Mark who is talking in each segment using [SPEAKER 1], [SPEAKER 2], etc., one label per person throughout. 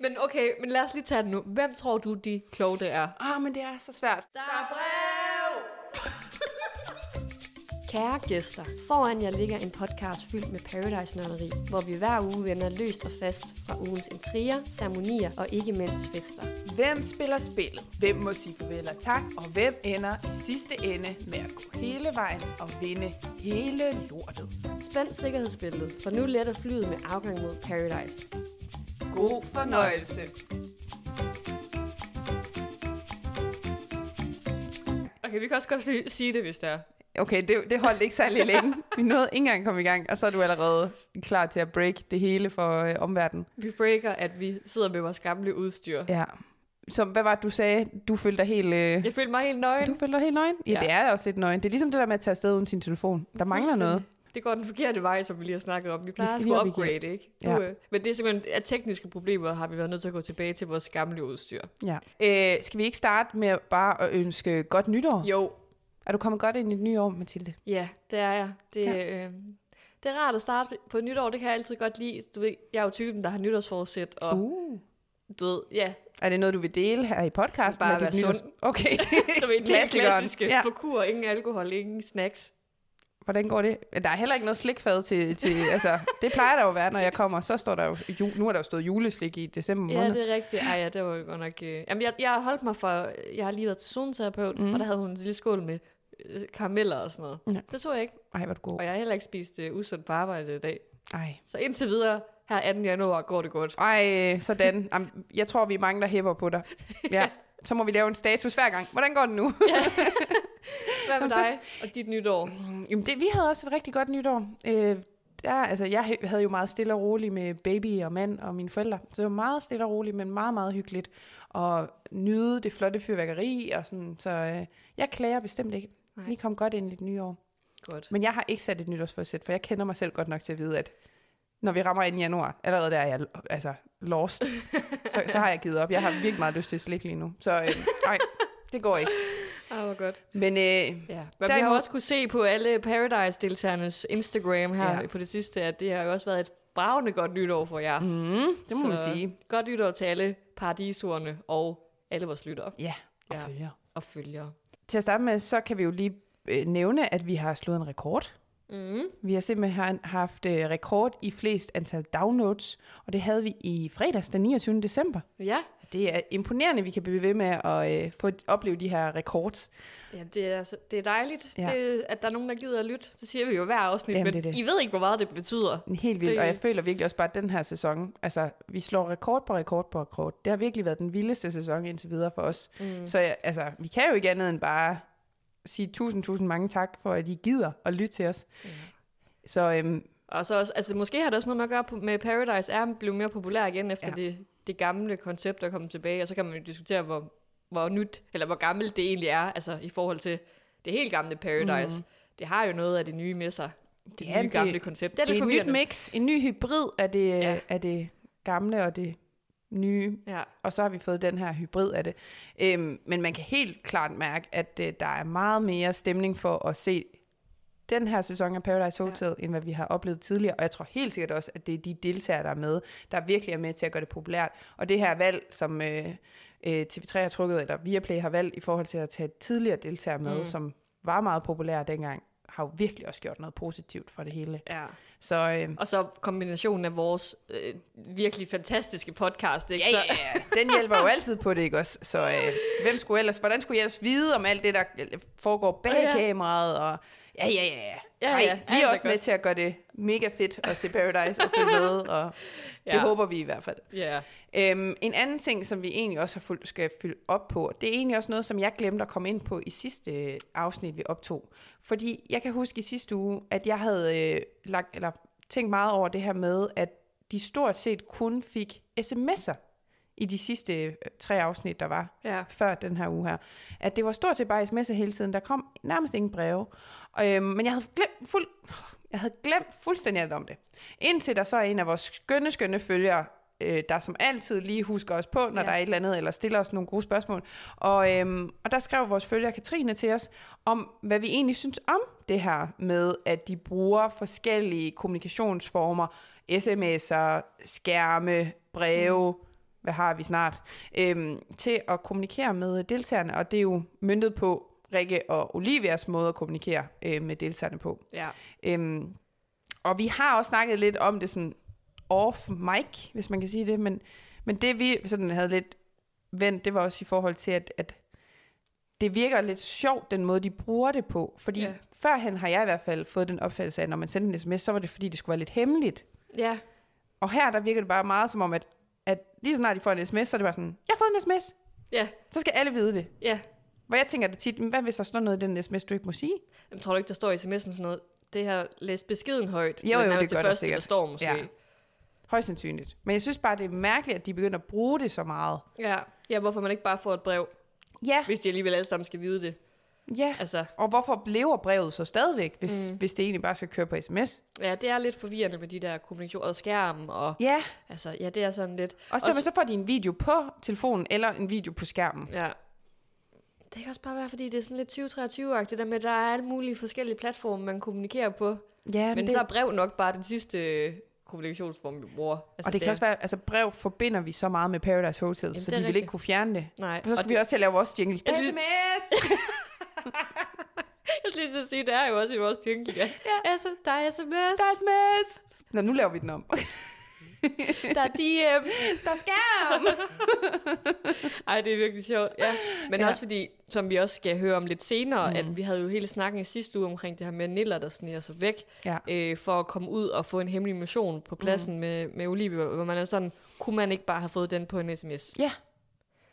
[SPEAKER 1] Men okay, men lad os lige tage den nu. Hvem tror du, de kloge er?
[SPEAKER 2] Ah, men det er så svært.
[SPEAKER 1] Der er brev! Kære gæster, foran jer ligger en podcast fyldt med paradise nørderi, hvor vi hver uge vender løst og fast fra ugens intriger, ceremonier og ikke mindst fester.
[SPEAKER 2] Hvem spiller spillet? Hvem må sige farvel og tak? Og hvem ender i sidste ende med at gå hele vejen og vinde hele lortet?
[SPEAKER 1] Spænd sikkerhedsbæltet, for nu letter flyet med afgang mod paradise.
[SPEAKER 2] God fornøjelse.
[SPEAKER 1] Okay, vi kan også godt sy- sige det, hvis det er.
[SPEAKER 2] Okay, det, det holdt ikke særlig længe. Vi nåede ikke engang at komme i gang, og så er du allerede klar til at break det hele for øh, omverdenen.
[SPEAKER 1] Vi breaker, at vi sidder med vores gamle udstyr.
[SPEAKER 2] Ja. Så hvad var det, du sagde? Du følte dig helt... Øh...
[SPEAKER 1] Jeg følte mig helt nøgen.
[SPEAKER 2] Du følte dig helt nøgen? Ja,
[SPEAKER 1] Ja.
[SPEAKER 2] ja, det er også lidt nøgen. Det er ligesom det der med at tage afsted uden sin telefon. Der mangler noget.
[SPEAKER 1] Det går den forkerte vej, som vi lige har snakket om. Vi plejer
[SPEAKER 2] skal
[SPEAKER 1] at
[SPEAKER 2] lige
[SPEAKER 1] skulle
[SPEAKER 2] op igen.
[SPEAKER 1] upgrade, ikke? Du,
[SPEAKER 2] Ja.
[SPEAKER 1] øh, men det er simpelthen af tekniske problemer, har vi været nødt til at gå tilbage til vores gamle udstyr.
[SPEAKER 2] Ja. Øh, skal vi ikke starte med bare at ønske godt nytår?
[SPEAKER 1] Jo,
[SPEAKER 2] Er du kommet godt ind i det nye år, Mathilde?
[SPEAKER 1] ja, det er jeg. Det, ja. øh, det er rart at starte på et nytår, det kan jeg altid godt lide. Du ved, jeg er jo typen, der har nytårsforsæt, og uh.
[SPEAKER 2] Uh.
[SPEAKER 1] du ved, ja,
[SPEAKER 2] Er det noget, du vil dele her i podcasten?
[SPEAKER 1] Bare
[SPEAKER 2] med dit
[SPEAKER 1] være sund.
[SPEAKER 2] nytårs- Okay.
[SPEAKER 1] du ved, det
[SPEAKER 2] Klassikeren.
[SPEAKER 1] klassiske, ja.
[SPEAKER 2] Ja.
[SPEAKER 1] på kur, ingen alkohol, ingen snacks.
[SPEAKER 2] Hvordan går det? Der er heller ikke noget slikfad til... til altså, det plejer der jo at være, når jeg kommer. Så står der jo... Jul, nu er der jo stået juleslik i december
[SPEAKER 1] Ja,
[SPEAKER 2] måned.
[SPEAKER 1] det er rigtigt. Ej, ja, det var jo godt nok... Øh... Jamen, jeg, jeg har holdt mig for... Jeg har lige været til zoneterapeut, mm. og der havde hun en lille skål med øh, karameller og sådan noget.
[SPEAKER 2] Ja.
[SPEAKER 1] Det tror jeg ikke.
[SPEAKER 2] Ej, hvor er du god.
[SPEAKER 1] Og jeg har heller ikke spist øh, usundt på arbejde i dag.
[SPEAKER 2] Ej.
[SPEAKER 1] Så indtil videre, her 18. januar, går det godt.
[SPEAKER 2] Ej, sådan. Am, Jeg tror, vi er mange, der hæpper på dig. Ja. Så må vi lave en status hver gang. Hvordan går det nu?
[SPEAKER 1] Hvad med dig og dit nytår?
[SPEAKER 2] Jamen, det, vi havde også et rigtig godt nytår. Øh, der, altså, jeg hæ- havde jo meget stille og roligt med baby og mand og mine forældre. Så det var meget stille og roligt, men meget, meget hyggeligt. Og nyde det flotte fyrværkeri og sådan. Så øh, jeg klager bestemt ikke.
[SPEAKER 1] Nej.
[SPEAKER 2] Vi kom godt ind i det nye år.
[SPEAKER 1] Godt.
[SPEAKER 2] Men jeg har ikke sat et nytårsforsæt, for jeg kender mig selv godt nok til at vide, at når vi rammer ind i januar, allerede der er jeg altså, lost. så, så har jeg givet op. Jeg har virkelig meget lyst til slik lige nu. Så øh, nej, det går ikke.
[SPEAKER 1] Ah, hvor godt.
[SPEAKER 2] Men øh,
[SPEAKER 1] Ja. Men vi har jo
[SPEAKER 2] Derimod-
[SPEAKER 1] også kunne se på alle Paradise-deltagernes Instagram her ja.
[SPEAKER 2] Ja.
[SPEAKER 1] på det sidste, at det har jo også været et bravende godt nytår for jer. Mm,
[SPEAKER 2] det må man sige.
[SPEAKER 1] Godt nytår til alle paradisorerne og alle vores lyttere
[SPEAKER 2] Ja, og
[SPEAKER 1] Ja.
[SPEAKER 2] ja. følger.
[SPEAKER 1] og følgere.
[SPEAKER 2] Til at starte med, så kan vi jo lige øh, nævne, at vi har slået en rekord.
[SPEAKER 1] Mm.
[SPEAKER 2] Vi har simpelthen haft øh, rekord i flest antal downloads, og det havde vi i fredags den 29. december.
[SPEAKER 1] Ja.
[SPEAKER 2] Det er imponerende, vi kan blive ved med at øh, få opleve de her rekords.
[SPEAKER 1] Ja, det er, altså- det er dejligt, ja.
[SPEAKER 2] Ja.
[SPEAKER 1] det, at der er nogen, der gider at lytte. Det siger vi jo hver afsnit, Jamen,
[SPEAKER 2] Jamen,
[SPEAKER 1] men
[SPEAKER 2] det er
[SPEAKER 1] det.
[SPEAKER 2] det.
[SPEAKER 1] I ved ikke, hvor meget det betyder.
[SPEAKER 2] Helt vildt, og jeg
[SPEAKER 1] Det-
[SPEAKER 2] føler virkelig også bare, at den her sæson, altså vi slår rekord på rekord på rekord. Det har virkelig været den vildeste sæson indtil videre for os. Mm. Så jeg, altså, vi kan jo ikke andet end bare sige tusind, tusind mange tak for, at I gider at lytte til os. Mm. Så øhm,
[SPEAKER 1] Og så også, altså, måske har det også noget med at gøre på, med Paradise er blevet mere populær igen, efter ja.
[SPEAKER 2] Ja.
[SPEAKER 1] det, det gamle koncept er kommet tilbage, og så kan man jo diskutere, hvor, hvor nyt, eller hvor gammelt det egentlig er, altså i forhold til det helt gamle Paradise. Mm. Det har jo noget af det nye med sig, det
[SPEAKER 2] Mhm. Ja,
[SPEAKER 1] ja, nye
[SPEAKER 2] det-
[SPEAKER 1] gamle koncept. Det er
[SPEAKER 2] det er
[SPEAKER 1] lidt
[SPEAKER 2] et nyt
[SPEAKER 1] forvirrende.
[SPEAKER 2] mix, en ny hybrid af det,
[SPEAKER 1] Ja.
[SPEAKER 2] ja. af det gamle og det nye.
[SPEAKER 1] ja.
[SPEAKER 2] Og så har vi fået den her hybrid af det. Øhm, men man kan helt klart mærke, at øh, der er meget mere stemning for at se den her sæson af Paradise Hotel, ja. end hvad vi har oplevet tidligere. Og jeg tror helt sikkert også, at det er de deltagere, der er med, der virkelig er med til at gøre det populært. Og det her valg, som øh, øh, TV3 har trukket, eller Viaplay har valgt i forhold til at tage tidligere deltagere med, mm. som var meget populære dengang, har jo virkelig også gjort noget positivt for det hele.
[SPEAKER 1] Ja.
[SPEAKER 2] Så øh,
[SPEAKER 1] Og så kombinationen af vores øh, virkelig fantastiske podcast, ikke?
[SPEAKER 2] Ja, ja, ja. Den hjælper jo altid på det, ikke også? Så øh, hvem skulle ellers, hvordan skulle jeg ellers vide om alt det, der øh, foregår bag
[SPEAKER 1] Ja.
[SPEAKER 2] ja. kameraet? Og, ja, ja, ja.
[SPEAKER 1] Ja,
[SPEAKER 2] Ej,
[SPEAKER 1] ja.
[SPEAKER 2] vi
[SPEAKER 1] Alt
[SPEAKER 2] er
[SPEAKER 1] er
[SPEAKER 2] også med
[SPEAKER 1] godt.
[SPEAKER 2] til at gøre det mega fedt at se Paradise og følge med, og ja.
[SPEAKER 1] Ja.
[SPEAKER 2] det håber vi i hvert fald.
[SPEAKER 1] ja. ja.
[SPEAKER 2] Øhm, en anden ting, som vi egentlig også har fuldt, skal fylde op på, det er egentlig også noget, som jeg glemte at komme ind på i sidste øh, afsnit, vi optog. Fordi jeg kan huske i sidste uge, at jeg havde øh, lagt, eller tænkt meget over det her med, at de stort set kun fik sms'er i de sidste øh, tre afsnit, der var
[SPEAKER 1] Ja.
[SPEAKER 2] før den her uge her. At det var stort set bare sms'er hele tiden. Der kom nærmest ingen breve. Og, øhm, men jeg havde glemt fuld... Jeg havde glemt fuldstændig alt om det. Indtil der så er en af vores skønne, skønne følgere, øh, der som altid lige husker os på, når
[SPEAKER 1] Ja.
[SPEAKER 2] ja. der er et eller andet, eller stiller os nogle gode spørgsmål. Og, øhm, og der skrev vores følger Katrine til os, om hvad vi egentlig synes om det her med, at de bruger forskellige kommunikationsformer, sms'er, skærme, breve, mm hvad har vi snart, øhm, til at kommunikere med deltagerne, og det er jo myndet på Rikke og Olivias måde at kommunikere øh, med deltagerne på.
[SPEAKER 1] Ja.
[SPEAKER 2] Øhm, og vi har også snakket lidt om det sådan off mic, hvis man kan sige det, men, men det vi sådan havde lidt vendt, det var også i forhold til, at, at det virker lidt sjovt, den måde, de bruger det på. Fordi
[SPEAKER 1] Ja.
[SPEAKER 2] yeah. førhen har jeg i hvert fald fået den opfattelse af, at når man sendte en sms, så var det fordi, det skulle være lidt hemmeligt.
[SPEAKER 1] Ja.
[SPEAKER 2] Og her, der virker det bare meget som om, at, at lige så snart de får en sms, så er det bare sådan, jeg har fået en sms,
[SPEAKER 1] Ja.
[SPEAKER 2] så skal alle vide det.
[SPEAKER 1] Ja.
[SPEAKER 2] Hvor jeg tænker det tit, "Men hvad hvis der står noget i den sms, du ikke må sige?
[SPEAKER 1] Jamen, tror du ikke, der står i sms'en sådan noget? Det her læs beskeden højt.
[SPEAKER 2] Jo, jo,
[SPEAKER 1] nærmest
[SPEAKER 2] det gør
[SPEAKER 1] det
[SPEAKER 2] der
[SPEAKER 1] første,
[SPEAKER 2] sikkert.
[SPEAKER 1] der står måske.
[SPEAKER 2] Ja.
[SPEAKER 1] Ja.
[SPEAKER 2] Højst sandsynligt. Men jeg synes bare, det er mærkeligt, at de begynder at bruge det så meget.
[SPEAKER 1] ja. Ja, hvorfor man ikke bare får et brev,
[SPEAKER 2] Ja,
[SPEAKER 1] hvis de alligevel alle sammen skal vide det.
[SPEAKER 2] ja.
[SPEAKER 1] Altså,
[SPEAKER 2] Og hvorfor lever brevet så stadigvæk, hvis, mm. hvis det egentlig bare skal køre på sms?
[SPEAKER 1] ja, det er lidt forvirrende med de der kommunikation og skærmen, og
[SPEAKER 2] Ja,
[SPEAKER 1] altså, ja, det er sådan lidt...
[SPEAKER 2] og så,
[SPEAKER 1] Også-
[SPEAKER 2] men så får de en video på telefonen, eller en video på skærmen.
[SPEAKER 1] Ja. Det kan også bare være, fordi det er sådan lidt 2023-agtigt, der med, at der er alle mulige forskellige platforme, man kommunikerer på. Men,
[SPEAKER 2] Ja, men
[SPEAKER 1] men
[SPEAKER 2] det,
[SPEAKER 1] så er brev nok bare den sidste øh, kommunikationsform, vi bruger. Altså,
[SPEAKER 2] og det kan også være, altså brev forbinder vi så meget med Paradise Hotel, Jamen, så
[SPEAKER 1] det
[SPEAKER 2] de
[SPEAKER 1] er
[SPEAKER 2] vil ikke
[SPEAKER 1] rigtigt.
[SPEAKER 2] kunne fjerne det.
[SPEAKER 1] Nej,
[SPEAKER 2] Og så
[SPEAKER 1] og
[SPEAKER 2] skal
[SPEAKER 1] det-
[SPEAKER 2] vi også til at lave vores jingle.
[SPEAKER 1] Jeg synes-
[SPEAKER 2] sms!
[SPEAKER 1] Jeg skulle lige til at sige, det er jo også i vores dynkel, ja. ja. Altså, der er sms,
[SPEAKER 2] Der er sms! Nå, nu laver vi den om.
[SPEAKER 1] der er DM.
[SPEAKER 2] Der er skærm!
[SPEAKER 1] Ej, det er virkelig sjovt, ja. Men
[SPEAKER 2] Ja.
[SPEAKER 1] ja. også fordi, som vi også skal høre om lidt senere, mm. at vi havde jo hele snakken i sidste uge omkring det her med Niller, der sniger sig væk,
[SPEAKER 2] Ja.
[SPEAKER 1] øh, for at komme ud og få en hemmelig mission på pladsen mm. med, med Olivia, hvor man er sådan, kunne man ikke bare have fået den på en sms?
[SPEAKER 2] ja.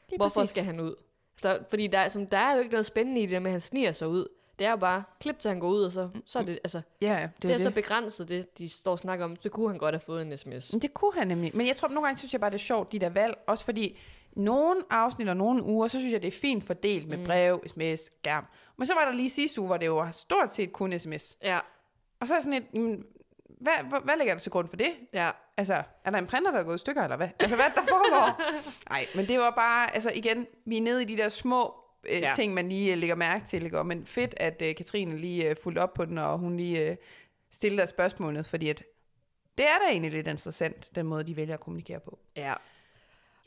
[SPEAKER 2] Lige
[SPEAKER 1] Hvorfor
[SPEAKER 2] præcis.
[SPEAKER 1] præcis. skal han ud? Så, fordi der, er- som, der er jo ikke noget spændende i det der med, at han sniger sig ud. Det er jo bare, klip til han går ud, og så, så er det, altså, det,
[SPEAKER 2] Ja, ja, det,
[SPEAKER 1] det er
[SPEAKER 2] er
[SPEAKER 1] så
[SPEAKER 2] det.
[SPEAKER 1] begrænset det, de står og snakker om. Så kunne han godt have fået en sms.
[SPEAKER 2] Men det kunne han nemlig. Men jeg tror, nogle gange synes jeg bare, det er sjovt, de der valg. Også fordi nogle afsnit og nogle uger, så synes jeg, det er fint fordelt
[SPEAKER 1] Mm.
[SPEAKER 2] med brev, sms, skærm. Men så var der lige sidste uge, hvor det jo var stort set kun sms.
[SPEAKER 1] Ja,
[SPEAKER 2] Og så er jeg sådan et, jamen, hvad, hvad, hvad lægger du til grund for det?
[SPEAKER 1] ja,
[SPEAKER 2] Altså, er der en printer, der er gået i stykker, eller hvad? Altså, hvad er det, der foregår? Nej, men det var bare, altså igen, vi er nede i de der små øh, ja.
[SPEAKER 1] Ja.
[SPEAKER 2] ting, man lige øh, lægger mærke til, ikke? Og men fedt, at øh, Katrine lige øh, fulgte op på den, og hun lige øh, stillede dig spørgsmålet, fordi at det er da egentlig lidt interessant, den måde, de vælger at kommunikere på.
[SPEAKER 1] ja.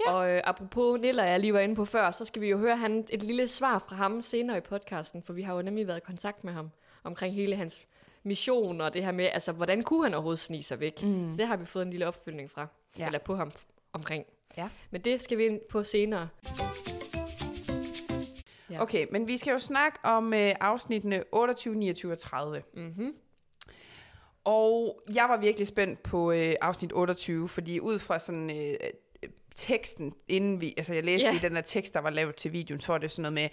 [SPEAKER 1] Ja. Og øh, apropos Niller, jeg lige var inde på før, så skal vi jo høre han, et lille svar fra ham senere i podcasten, for vi har jo nemlig været i kontakt med ham omkring hele hans mission og det her med, altså hvordan kunne han overhovedet snige sig væk? Mm. Så det har vi fået en lille opfølgning fra,
[SPEAKER 2] Ja.
[SPEAKER 1] ja. eller på ham omkring.
[SPEAKER 2] Ja.
[SPEAKER 1] Men det skal vi ind på senere. Ja.
[SPEAKER 2] Okay, men vi skal jo snakke om øh, afsnittene 28, 29 og 30. Mm-hmm.
[SPEAKER 1] Mhm.
[SPEAKER 2] Og jeg var virkelig spændt på øh, afsnit 28, fordi ud fra sådan øh, øh, teksten, inden vi, altså jeg læste
[SPEAKER 1] Ja.
[SPEAKER 2] yeah. i den her tekst, der var lavet til videoen, så var det sådan noget med,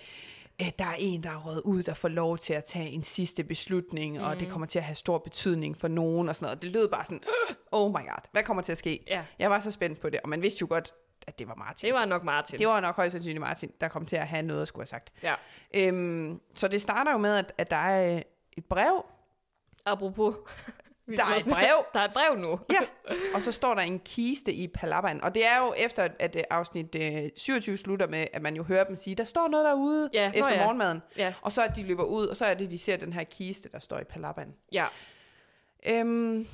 [SPEAKER 2] at der er en, der er røget ud, der får lov til at tage en sidste beslutning, mm. og
[SPEAKER 1] Mhm.
[SPEAKER 2] det kommer til at have stor betydning for nogen og sådan noget. Det lød bare sådan, "Øh, oh my god, hvad kommer til at ske?
[SPEAKER 1] Ja.
[SPEAKER 2] Jeg var så spændt på det, og man vidste jo godt, at det var Martin.
[SPEAKER 1] Det var nok Martin.
[SPEAKER 2] Det var nok højst sandsynligt Martin, der kom til at have noget at skulle have sagt.
[SPEAKER 1] Ja.
[SPEAKER 2] Øhm, så det starter jo med, at, at der er øh, et brev.
[SPEAKER 1] Apropos. Vi
[SPEAKER 2] Der er
[SPEAKER 1] var
[SPEAKER 2] et
[SPEAKER 1] sådan-
[SPEAKER 2] brev.
[SPEAKER 1] Der er et brev nu.
[SPEAKER 2] Ja. Og så står der en kiste i palapperen. Og det er jo efter, at øh, afsnit øh, 27 slutter med, at man jo hører dem sige, der står noget derude
[SPEAKER 1] Ja, nå
[SPEAKER 2] efter
[SPEAKER 1] ja.
[SPEAKER 2] morgenmaden.
[SPEAKER 1] Ja.
[SPEAKER 2] Og så at de løber ud, og så er det, de ser den her kiste, der står i palapperen.
[SPEAKER 1] Ja.
[SPEAKER 2] Øhm,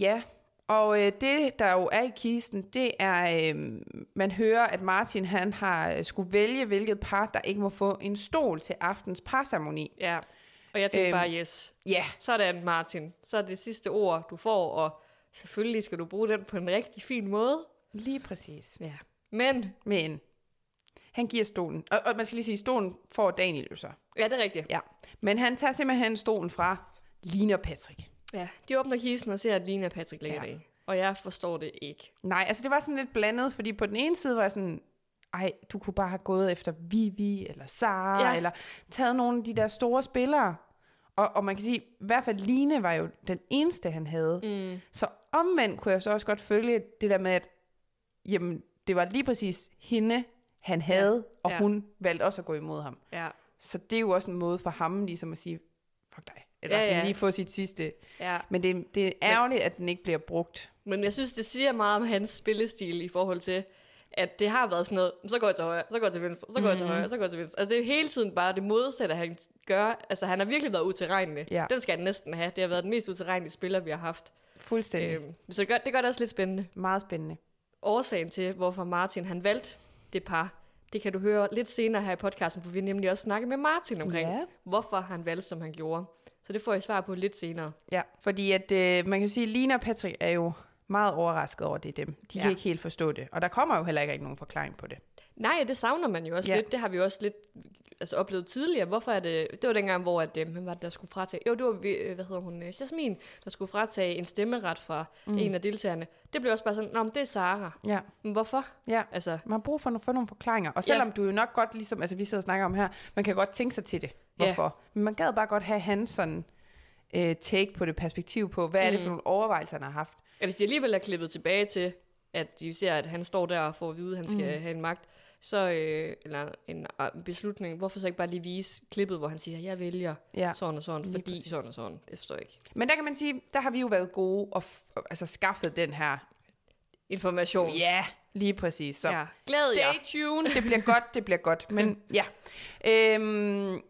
[SPEAKER 2] ja, og øh, det, der jo er i kisten, det er, øh, man hører, at Martin han har øh, skulle vælge, hvilket par, der ikke må få en stol til aftens parceremoni.
[SPEAKER 1] ja. Og jeg tænkte
[SPEAKER 2] Øhm.
[SPEAKER 1] øhm. bare, yes.
[SPEAKER 2] Ja,
[SPEAKER 1] Sådan, Martin. Så er det sidste ord, du får, og selvfølgelig skal du bruge den på en rigtig fin måde.
[SPEAKER 2] lige præcis.
[SPEAKER 1] Ja. Men,
[SPEAKER 2] Men han giver stolen, og, og man skal lige sige, stolen får Daniel jo så.
[SPEAKER 1] ja, det er rigtigt.
[SPEAKER 2] Ja, men han tager simpelthen stolen fra Lina og Patrick.
[SPEAKER 1] Ja. De åbner kisten og ser, at Lina og Patrick ligger
[SPEAKER 2] Ja.
[SPEAKER 1] ja. Og jeg forstår det ikke.
[SPEAKER 2] Nej, altså det var sådan lidt blandet, fordi på den ene side var jeg sådan, ej, du kunne bare have gået efter Vivi eller Sara, ja.
[SPEAKER 1] Ja.
[SPEAKER 2] eller taget nogle af de der store spillere. Og, og man kan sige, i hvert fald Line var jo den eneste, han havde. Mm. Så omvendt kunne jeg så også godt følge det der med, at jamen, det var lige præcis hende, han havde, ja. og
[SPEAKER 1] Ja.
[SPEAKER 2] hun valgte også at gå imod ham.
[SPEAKER 1] Ja.
[SPEAKER 2] Så det er jo også en måde for ham ligesom at sige, fuck dig, eller ja,
[SPEAKER 1] Ja,
[SPEAKER 2] sådan
[SPEAKER 1] ja.
[SPEAKER 2] lige få sit sidste.
[SPEAKER 1] Ja.
[SPEAKER 2] Men det, det er ærgerligt, at den ikke bliver brugt.
[SPEAKER 1] Men jeg synes, det siger meget om hans spillestil i forhold til, at det har været sådan noget, så går jeg til højre, så går jeg til venstre, så går jeg
[SPEAKER 2] Mm-hmm.
[SPEAKER 1] til højre, så går jeg til venstre. Altså det er hele tiden bare det modsatte, han gør. Altså han har virkelig været utilregnelig.
[SPEAKER 2] Ja.
[SPEAKER 1] Den skal han næsten have. Det har været den mest utilregnelige spiller, vi har haft.
[SPEAKER 2] Fuldstændig.
[SPEAKER 1] Øhm, så det gør, det gør det også lidt spændende.
[SPEAKER 2] Meget spændende.
[SPEAKER 1] årsagen til, hvorfor Martin han valgte det par, det kan du høre lidt senere her i podcasten, for vi har nemlig også snakket med Martin omkring,
[SPEAKER 2] Ja.
[SPEAKER 1] hvorfor han valgte, som han gjorde. Så det får jeg svar på lidt senere.
[SPEAKER 2] Ja, fordi at, øh, man kan sige, at Lina og Patrick er jo meget overrasket over at det er dem. De ja.
[SPEAKER 1] Ja.
[SPEAKER 2] kan ikke helt forstå det, og der kommer jo heller ikke rigtig nogen forklaring på det.
[SPEAKER 1] Nej, det savner man jo også
[SPEAKER 2] Ja.
[SPEAKER 1] ja. lidt. Det har vi også lidt altså, oplevet tidligere. Hvorfor er det... Det var dengang, hvor at, øh, hvem var det, der skulle fratage... Jo, det var, vi- øh, hvad hedder hun, øh, Jasmin, der skulle fratage en stemmeret fra mm. en af deltagerne. Det blev også bare sådan, Nå, men det er Sara.
[SPEAKER 2] Ja,
[SPEAKER 1] Men hvorfor?
[SPEAKER 2] ja.
[SPEAKER 1] Altså,
[SPEAKER 2] Man har brug for at få nogle forklaringer. Og selvom ja. du jo nok godt, ligesom altså, vi sidder og snakker om her, man kan godt tænke sig til det.
[SPEAKER 1] Ja.
[SPEAKER 2] Hvorfor? Men man gad bare godt have hans sådan, øh, take på det perspektiv på, hvad mm. er det for nogle overvejelser, han har haft.
[SPEAKER 1] ja, hvis de alligevel er klippet tilbage til, at de ser, at han står der og får at vide, at han skal mm. have en magt, så, øh, eller en øh, beslutning, hvorfor så ikke bare lige vise klippet, hvor han siger, jeg vælger
[SPEAKER 2] Ja.
[SPEAKER 1] ja. sådan og sådan,
[SPEAKER 2] Lige
[SPEAKER 1] fordi
[SPEAKER 2] præcis.
[SPEAKER 1] sådan og sådan. Det forstår jeg ikke.
[SPEAKER 2] Men der kan man sige, der har vi jo været gode og f- og altså, skaffet den her.
[SPEAKER 1] Information.
[SPEAKER 2] Ja, lige præcis. Så
[SPEAKER 1] Ja. Glæd jer.
[SPEAKER 2] Stay tuned. Det bliver godt, det bliver godt. Men ja. Øhm,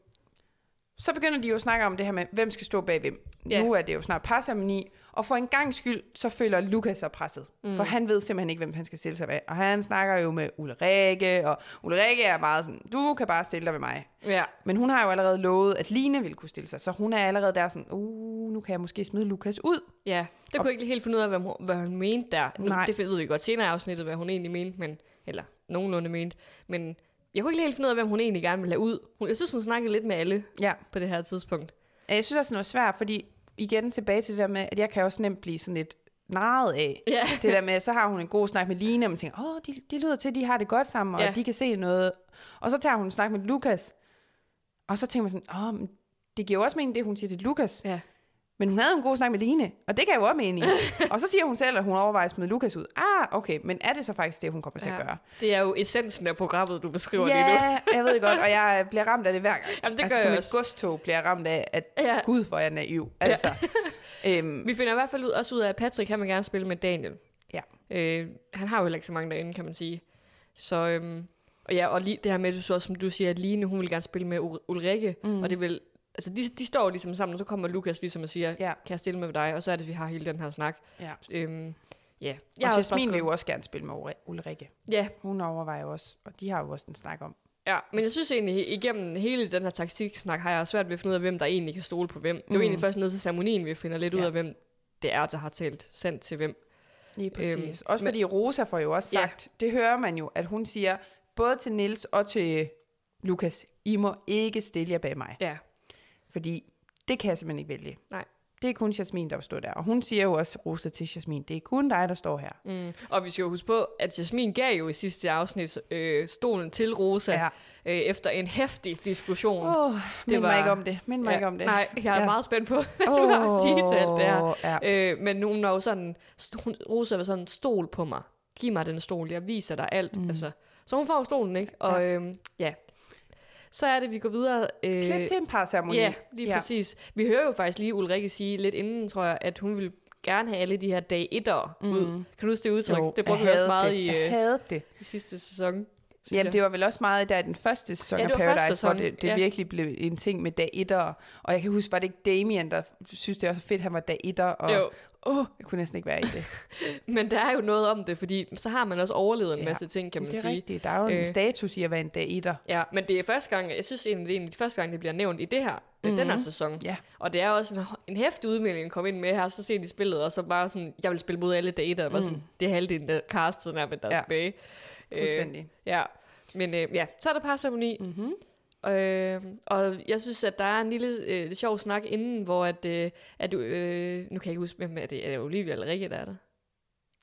[SPEAKER 2] så begynder de jo at snakke om det her med, hvem skal stå bag hvem.
[SPEAKER 1] Ja.
[SPEAKER 2] Nu er det jo snart parsameni, og for en gang skyld, så føler Lukas sig presset. Mm. For han ved simpelthen ikke, hvem han skal stille sig bag. Og han snakker jo med Ulrike, og Ulrike er meget sådan, du kan bare stille dig ved mig.
[SPEAKER 1] Ja.
[SPEAKER 2] Men hun har jo allerede lovet, at Line ville kunne stille sig, så hun er allerede der sådan, uh, nu kan jeg måske smide Lukas ud.
[SPEAKER 1] Ja, der kunne jeg ikke helt finde ud af, hvad hun, hvad hun mente der. Nu,
[SPEAKER 2] Nej.
[SPEAKER 1] Det ved vi godt senere i afsnittet, hvad hun egentlig mente, men, eller nogenlunde mente. Men jeg kunne ikke helt finde ud af, hvem hun egentlig gerne ville have ud. Hun, jeg synes, hun snakkede lidt med alle
[SPEAKER 2] Ja.
[SPEAKER 1] på det her tidspunkt.
[SPEAKER 2] Øh, Jeg synes også, det er svært, fordi igen tilbage til det der med, at jeg kan også nemt blive sådan lidt narret af.
[SPEAKER 1] Ja.
[SPEAKER 2] Det der med, så har hun en god snak med Line, og man tænker, åh, de, de lyder til, at de har det godt sammen, og
[SPEAKER 1] Ja.
[SPEAKER 2] ja. de kan se noget. Og så tager hun en snak med Lukas, og så tænker man sådan, åh, men det giver jo også mening, det hun siger til Lukas.
[SPEAKER 1] Ja.
[SPEAKER 2] Men hun havde jo en god snak med Line, og det gav jo også mening. og så siger hun selv, at hun overvejer at smide Lukas ud. Ah, okay, men er det så faktisk det, hun kommer til
[SPEAKER 1] Ja.
[SPEAKER 2] at gøre?
[SPEAKER 1] Det er jo essensen af programmet, du beskriver lige nu.
[SPEAKER 2] Ja, jeg ved det godt, og jeg bliver ramt af det hver gang.
[SPEAKER 1] Jamen, det
[SPEAKER 2] altså,
[SPEAKER 1] gør
[SPEAKER 2] som
[SPEAKER 1] jeg
[SPEAKER 2] et
[SPEAKER 1] også.
[SPEAKER 2] godstog bliver jeg ramt af, at ja.
[SPEAKER 1] Ja.
[SPEAKER 2] gud, hvor er jeg naiv. Altså, øhm,
[SPEAKER 1] Vi finder i hvert fald ud, også ud af, at Patrick han vil gerne spille med Daniel.
[SPEAKER 2] Ja.
[SPEAKER 1] Øh, han har jo heller ikke så mange derinde, kan man sige. Så, øhm, og ja, og lige det her med, du så, også, som du siger, at Line, hun vil gerne spille med Ul- Ulrikke, mm. og det vil, altså de, de står jo ligesom sammen, og så kommer Lukas ligesom og siger,
[SPEAKER 2] Ja.
[SPEAKER 1] ja. kan jeg stille med dig? Og så er det, vi har hele den her snak.
[SPEAKER 2] ja.
[SPEAKER 1] Øhm, ja.
[SPEAKER 2] Jeg og
[SPEAKER 1] har også bare
[SPEAKER 2] Jasmin vil
[SPEAKER 1] skrevet-
[SPEAKER 2] jo også gerne spille med Ulri- Ulrikke.
[SPEAKER 1] Ja,
[SPEAKER 2] Hun overvejer jo også, og de har jo også en snak om.
[SPEAKER 1] ja, men jeg synes egentlig, igennem hele den her taktiksnak, har jeg svært ved at finde ud af, hvem der egentlig kan stole på hvem. Det er jo
[SPEAKER 2] Mm.
[SPEAKER 1] egentlig først ned til ceremonien, vi finder lidt
[SPEAKER 2] Ja.
[SPEAKER 1] ud af, hvem det er, der har talt sendt til hvem.
[SPEAKER 2] Lige
[SPEAKER 1] præcis.
[SPEAKER 2] Øhm, også
[SPEAKER 1] men-
[SPEAKER 2] fordi Rosa får jo også
[SPEAKER 1] Ja.
[SPEAKER 2] sagt, det hører man jo, at hun siger både til Nils og til Lukas, I må ikke stille jer bag mig,
[SPEAKER 1] Ja,
[SPEAKER 2] fordi det kan jeg simpelthen ikke vælge.
[SPEAKER 1] Nej.
[SPEAKER 2] Det er kun Jasmin, der vil stå der. Og hun siger jo også, Rosa, til Jasmin, det er kun dig, der står her.
[SPEAKER 1] Mm. Og vi skal jo huske på, at Jasmin gav jo i sidste afsnit øh, stolen til Rosa
[SPEAKER 2] Ja.
[SPEAKER 1] ja. øh, efter en hæftig diskussion.
[SPEAKER 2] Åh, oh, mind
[SPEAKER 1] var-
[SPEAKER 2] mig ikke om det. Mind mig
[SPEAKER 1] ja.
[SPEAKER 2] ikke om det.
[SPEAKER 1] Nej, jeg er
[SPEAKER 2] Ja.
[SPEAKER 1] yes. meget spændt på, hvad du har at sige til alt det her.
[SPEAKER 2] Åh, Ja.
[SPEAKER 1] Øh, men hun var jo sådan, st- hun, Rosa var sådan, stol på mig. Giv mig den stol, jeg viser dig alt. Mm. Altså, så hun får jo stolen, ikke? Og ja. Øh, ja. Så er det, vi går videre. Øh,
[SPEAKER 2] Klip til en par ceremoni.
[SPEAKER 1] Ja, lige ja. præcis. Vi hører jo faktisk lige Ulrikke sige lidt inden, tror jeg, at hun ville gerne have alle de her dag 1'ere ud. Kan du huske det udtryk?
[SPEAKER 2] Mm. Jo,
[SPEAKER 1] det brugte vi
[SPEAKER 2] jeg
[SPEAKER 1] også
[SPEAKER 2] hadede
[SPEAKER 1] meget
[SPEAKER 2] det.
[SPEAKER 1] i...
[SPEAKER 2] Jeg
[SPEAKER 1] Øh,
[SPEAKER 2] havde det.
[SPEAKER 1] i sidste sæson. synes
[SPEAKER 2] Jamen,
[SPEAKER 1] jeg.
[SPEAKER 2] det var vel også meget der i den første sæson
[SPEAKER 1] Ja,
[SPEAKER 2] af
[SPEAKER 1] det var første
[SPEAKER 2] Paradise, hvor
[SPEAKER 1] sæson,
[SPEAKER 2] det, det
[SPEAKER 1] ja.
[SPEAKER 2] virkelig blev en ting med dag 1'er. Og jeg kan huske, var det ikke Damien, der synes, det var så fedt, han var dag 1'er? Og,
[SPEAKER 1] Jo,
[SPEAKER 2] Åh, jeg kunne næsten ikke være i det.
[SPEAKER 1] men der er jo noget om det, fordi så har man også overlevet en
[SPEAKER 2] Ja,
[SPEAKER 1] masse ting, kan man
[SPEAKER 2] det er
[SPEAKER 1] sige.
[SPEAKER 2] rigtigt. Der er jo en
[SPEAKER 1] Øh.
[SPEAKER 2] status i at være en dag 1'er.
[SPEAKER 1] Ja, men det er første gang, jeg synes egentlig, det er egentlig første gang, det bliver nævnt i det her, mm-hmm. den her
[SPEAKER 2] Mhm.
[SPEAKER 1] sæson.
[SPEAKER 2] Ja.
[SPEAKER 1] Og det er også en, en hæftig udmelding at komme ind med her, så sent i spillet, og så bare sådan, jeg vil spille mod alle data, og mm. sådan, det er halvdelen af castet, der er der
[SPEAKER 2] Mhm. Ja.
[SPEAKER 1] ja. tilbage. Øh.
[SPEAKER 2] Fuldstændig.
[SPEAKER 1] ja, men øh, ja, så er der parceremoni,
[SPEAKER 2] Mm-hmm.
[SPEAKER 1] Øh, og jeg synes, at der er en lille øh, sjov snak inden, hvor at, øh, at du, øh, nu kan jeg ikke huske, hvem er det, er det Olivia eller Rikke, der er der?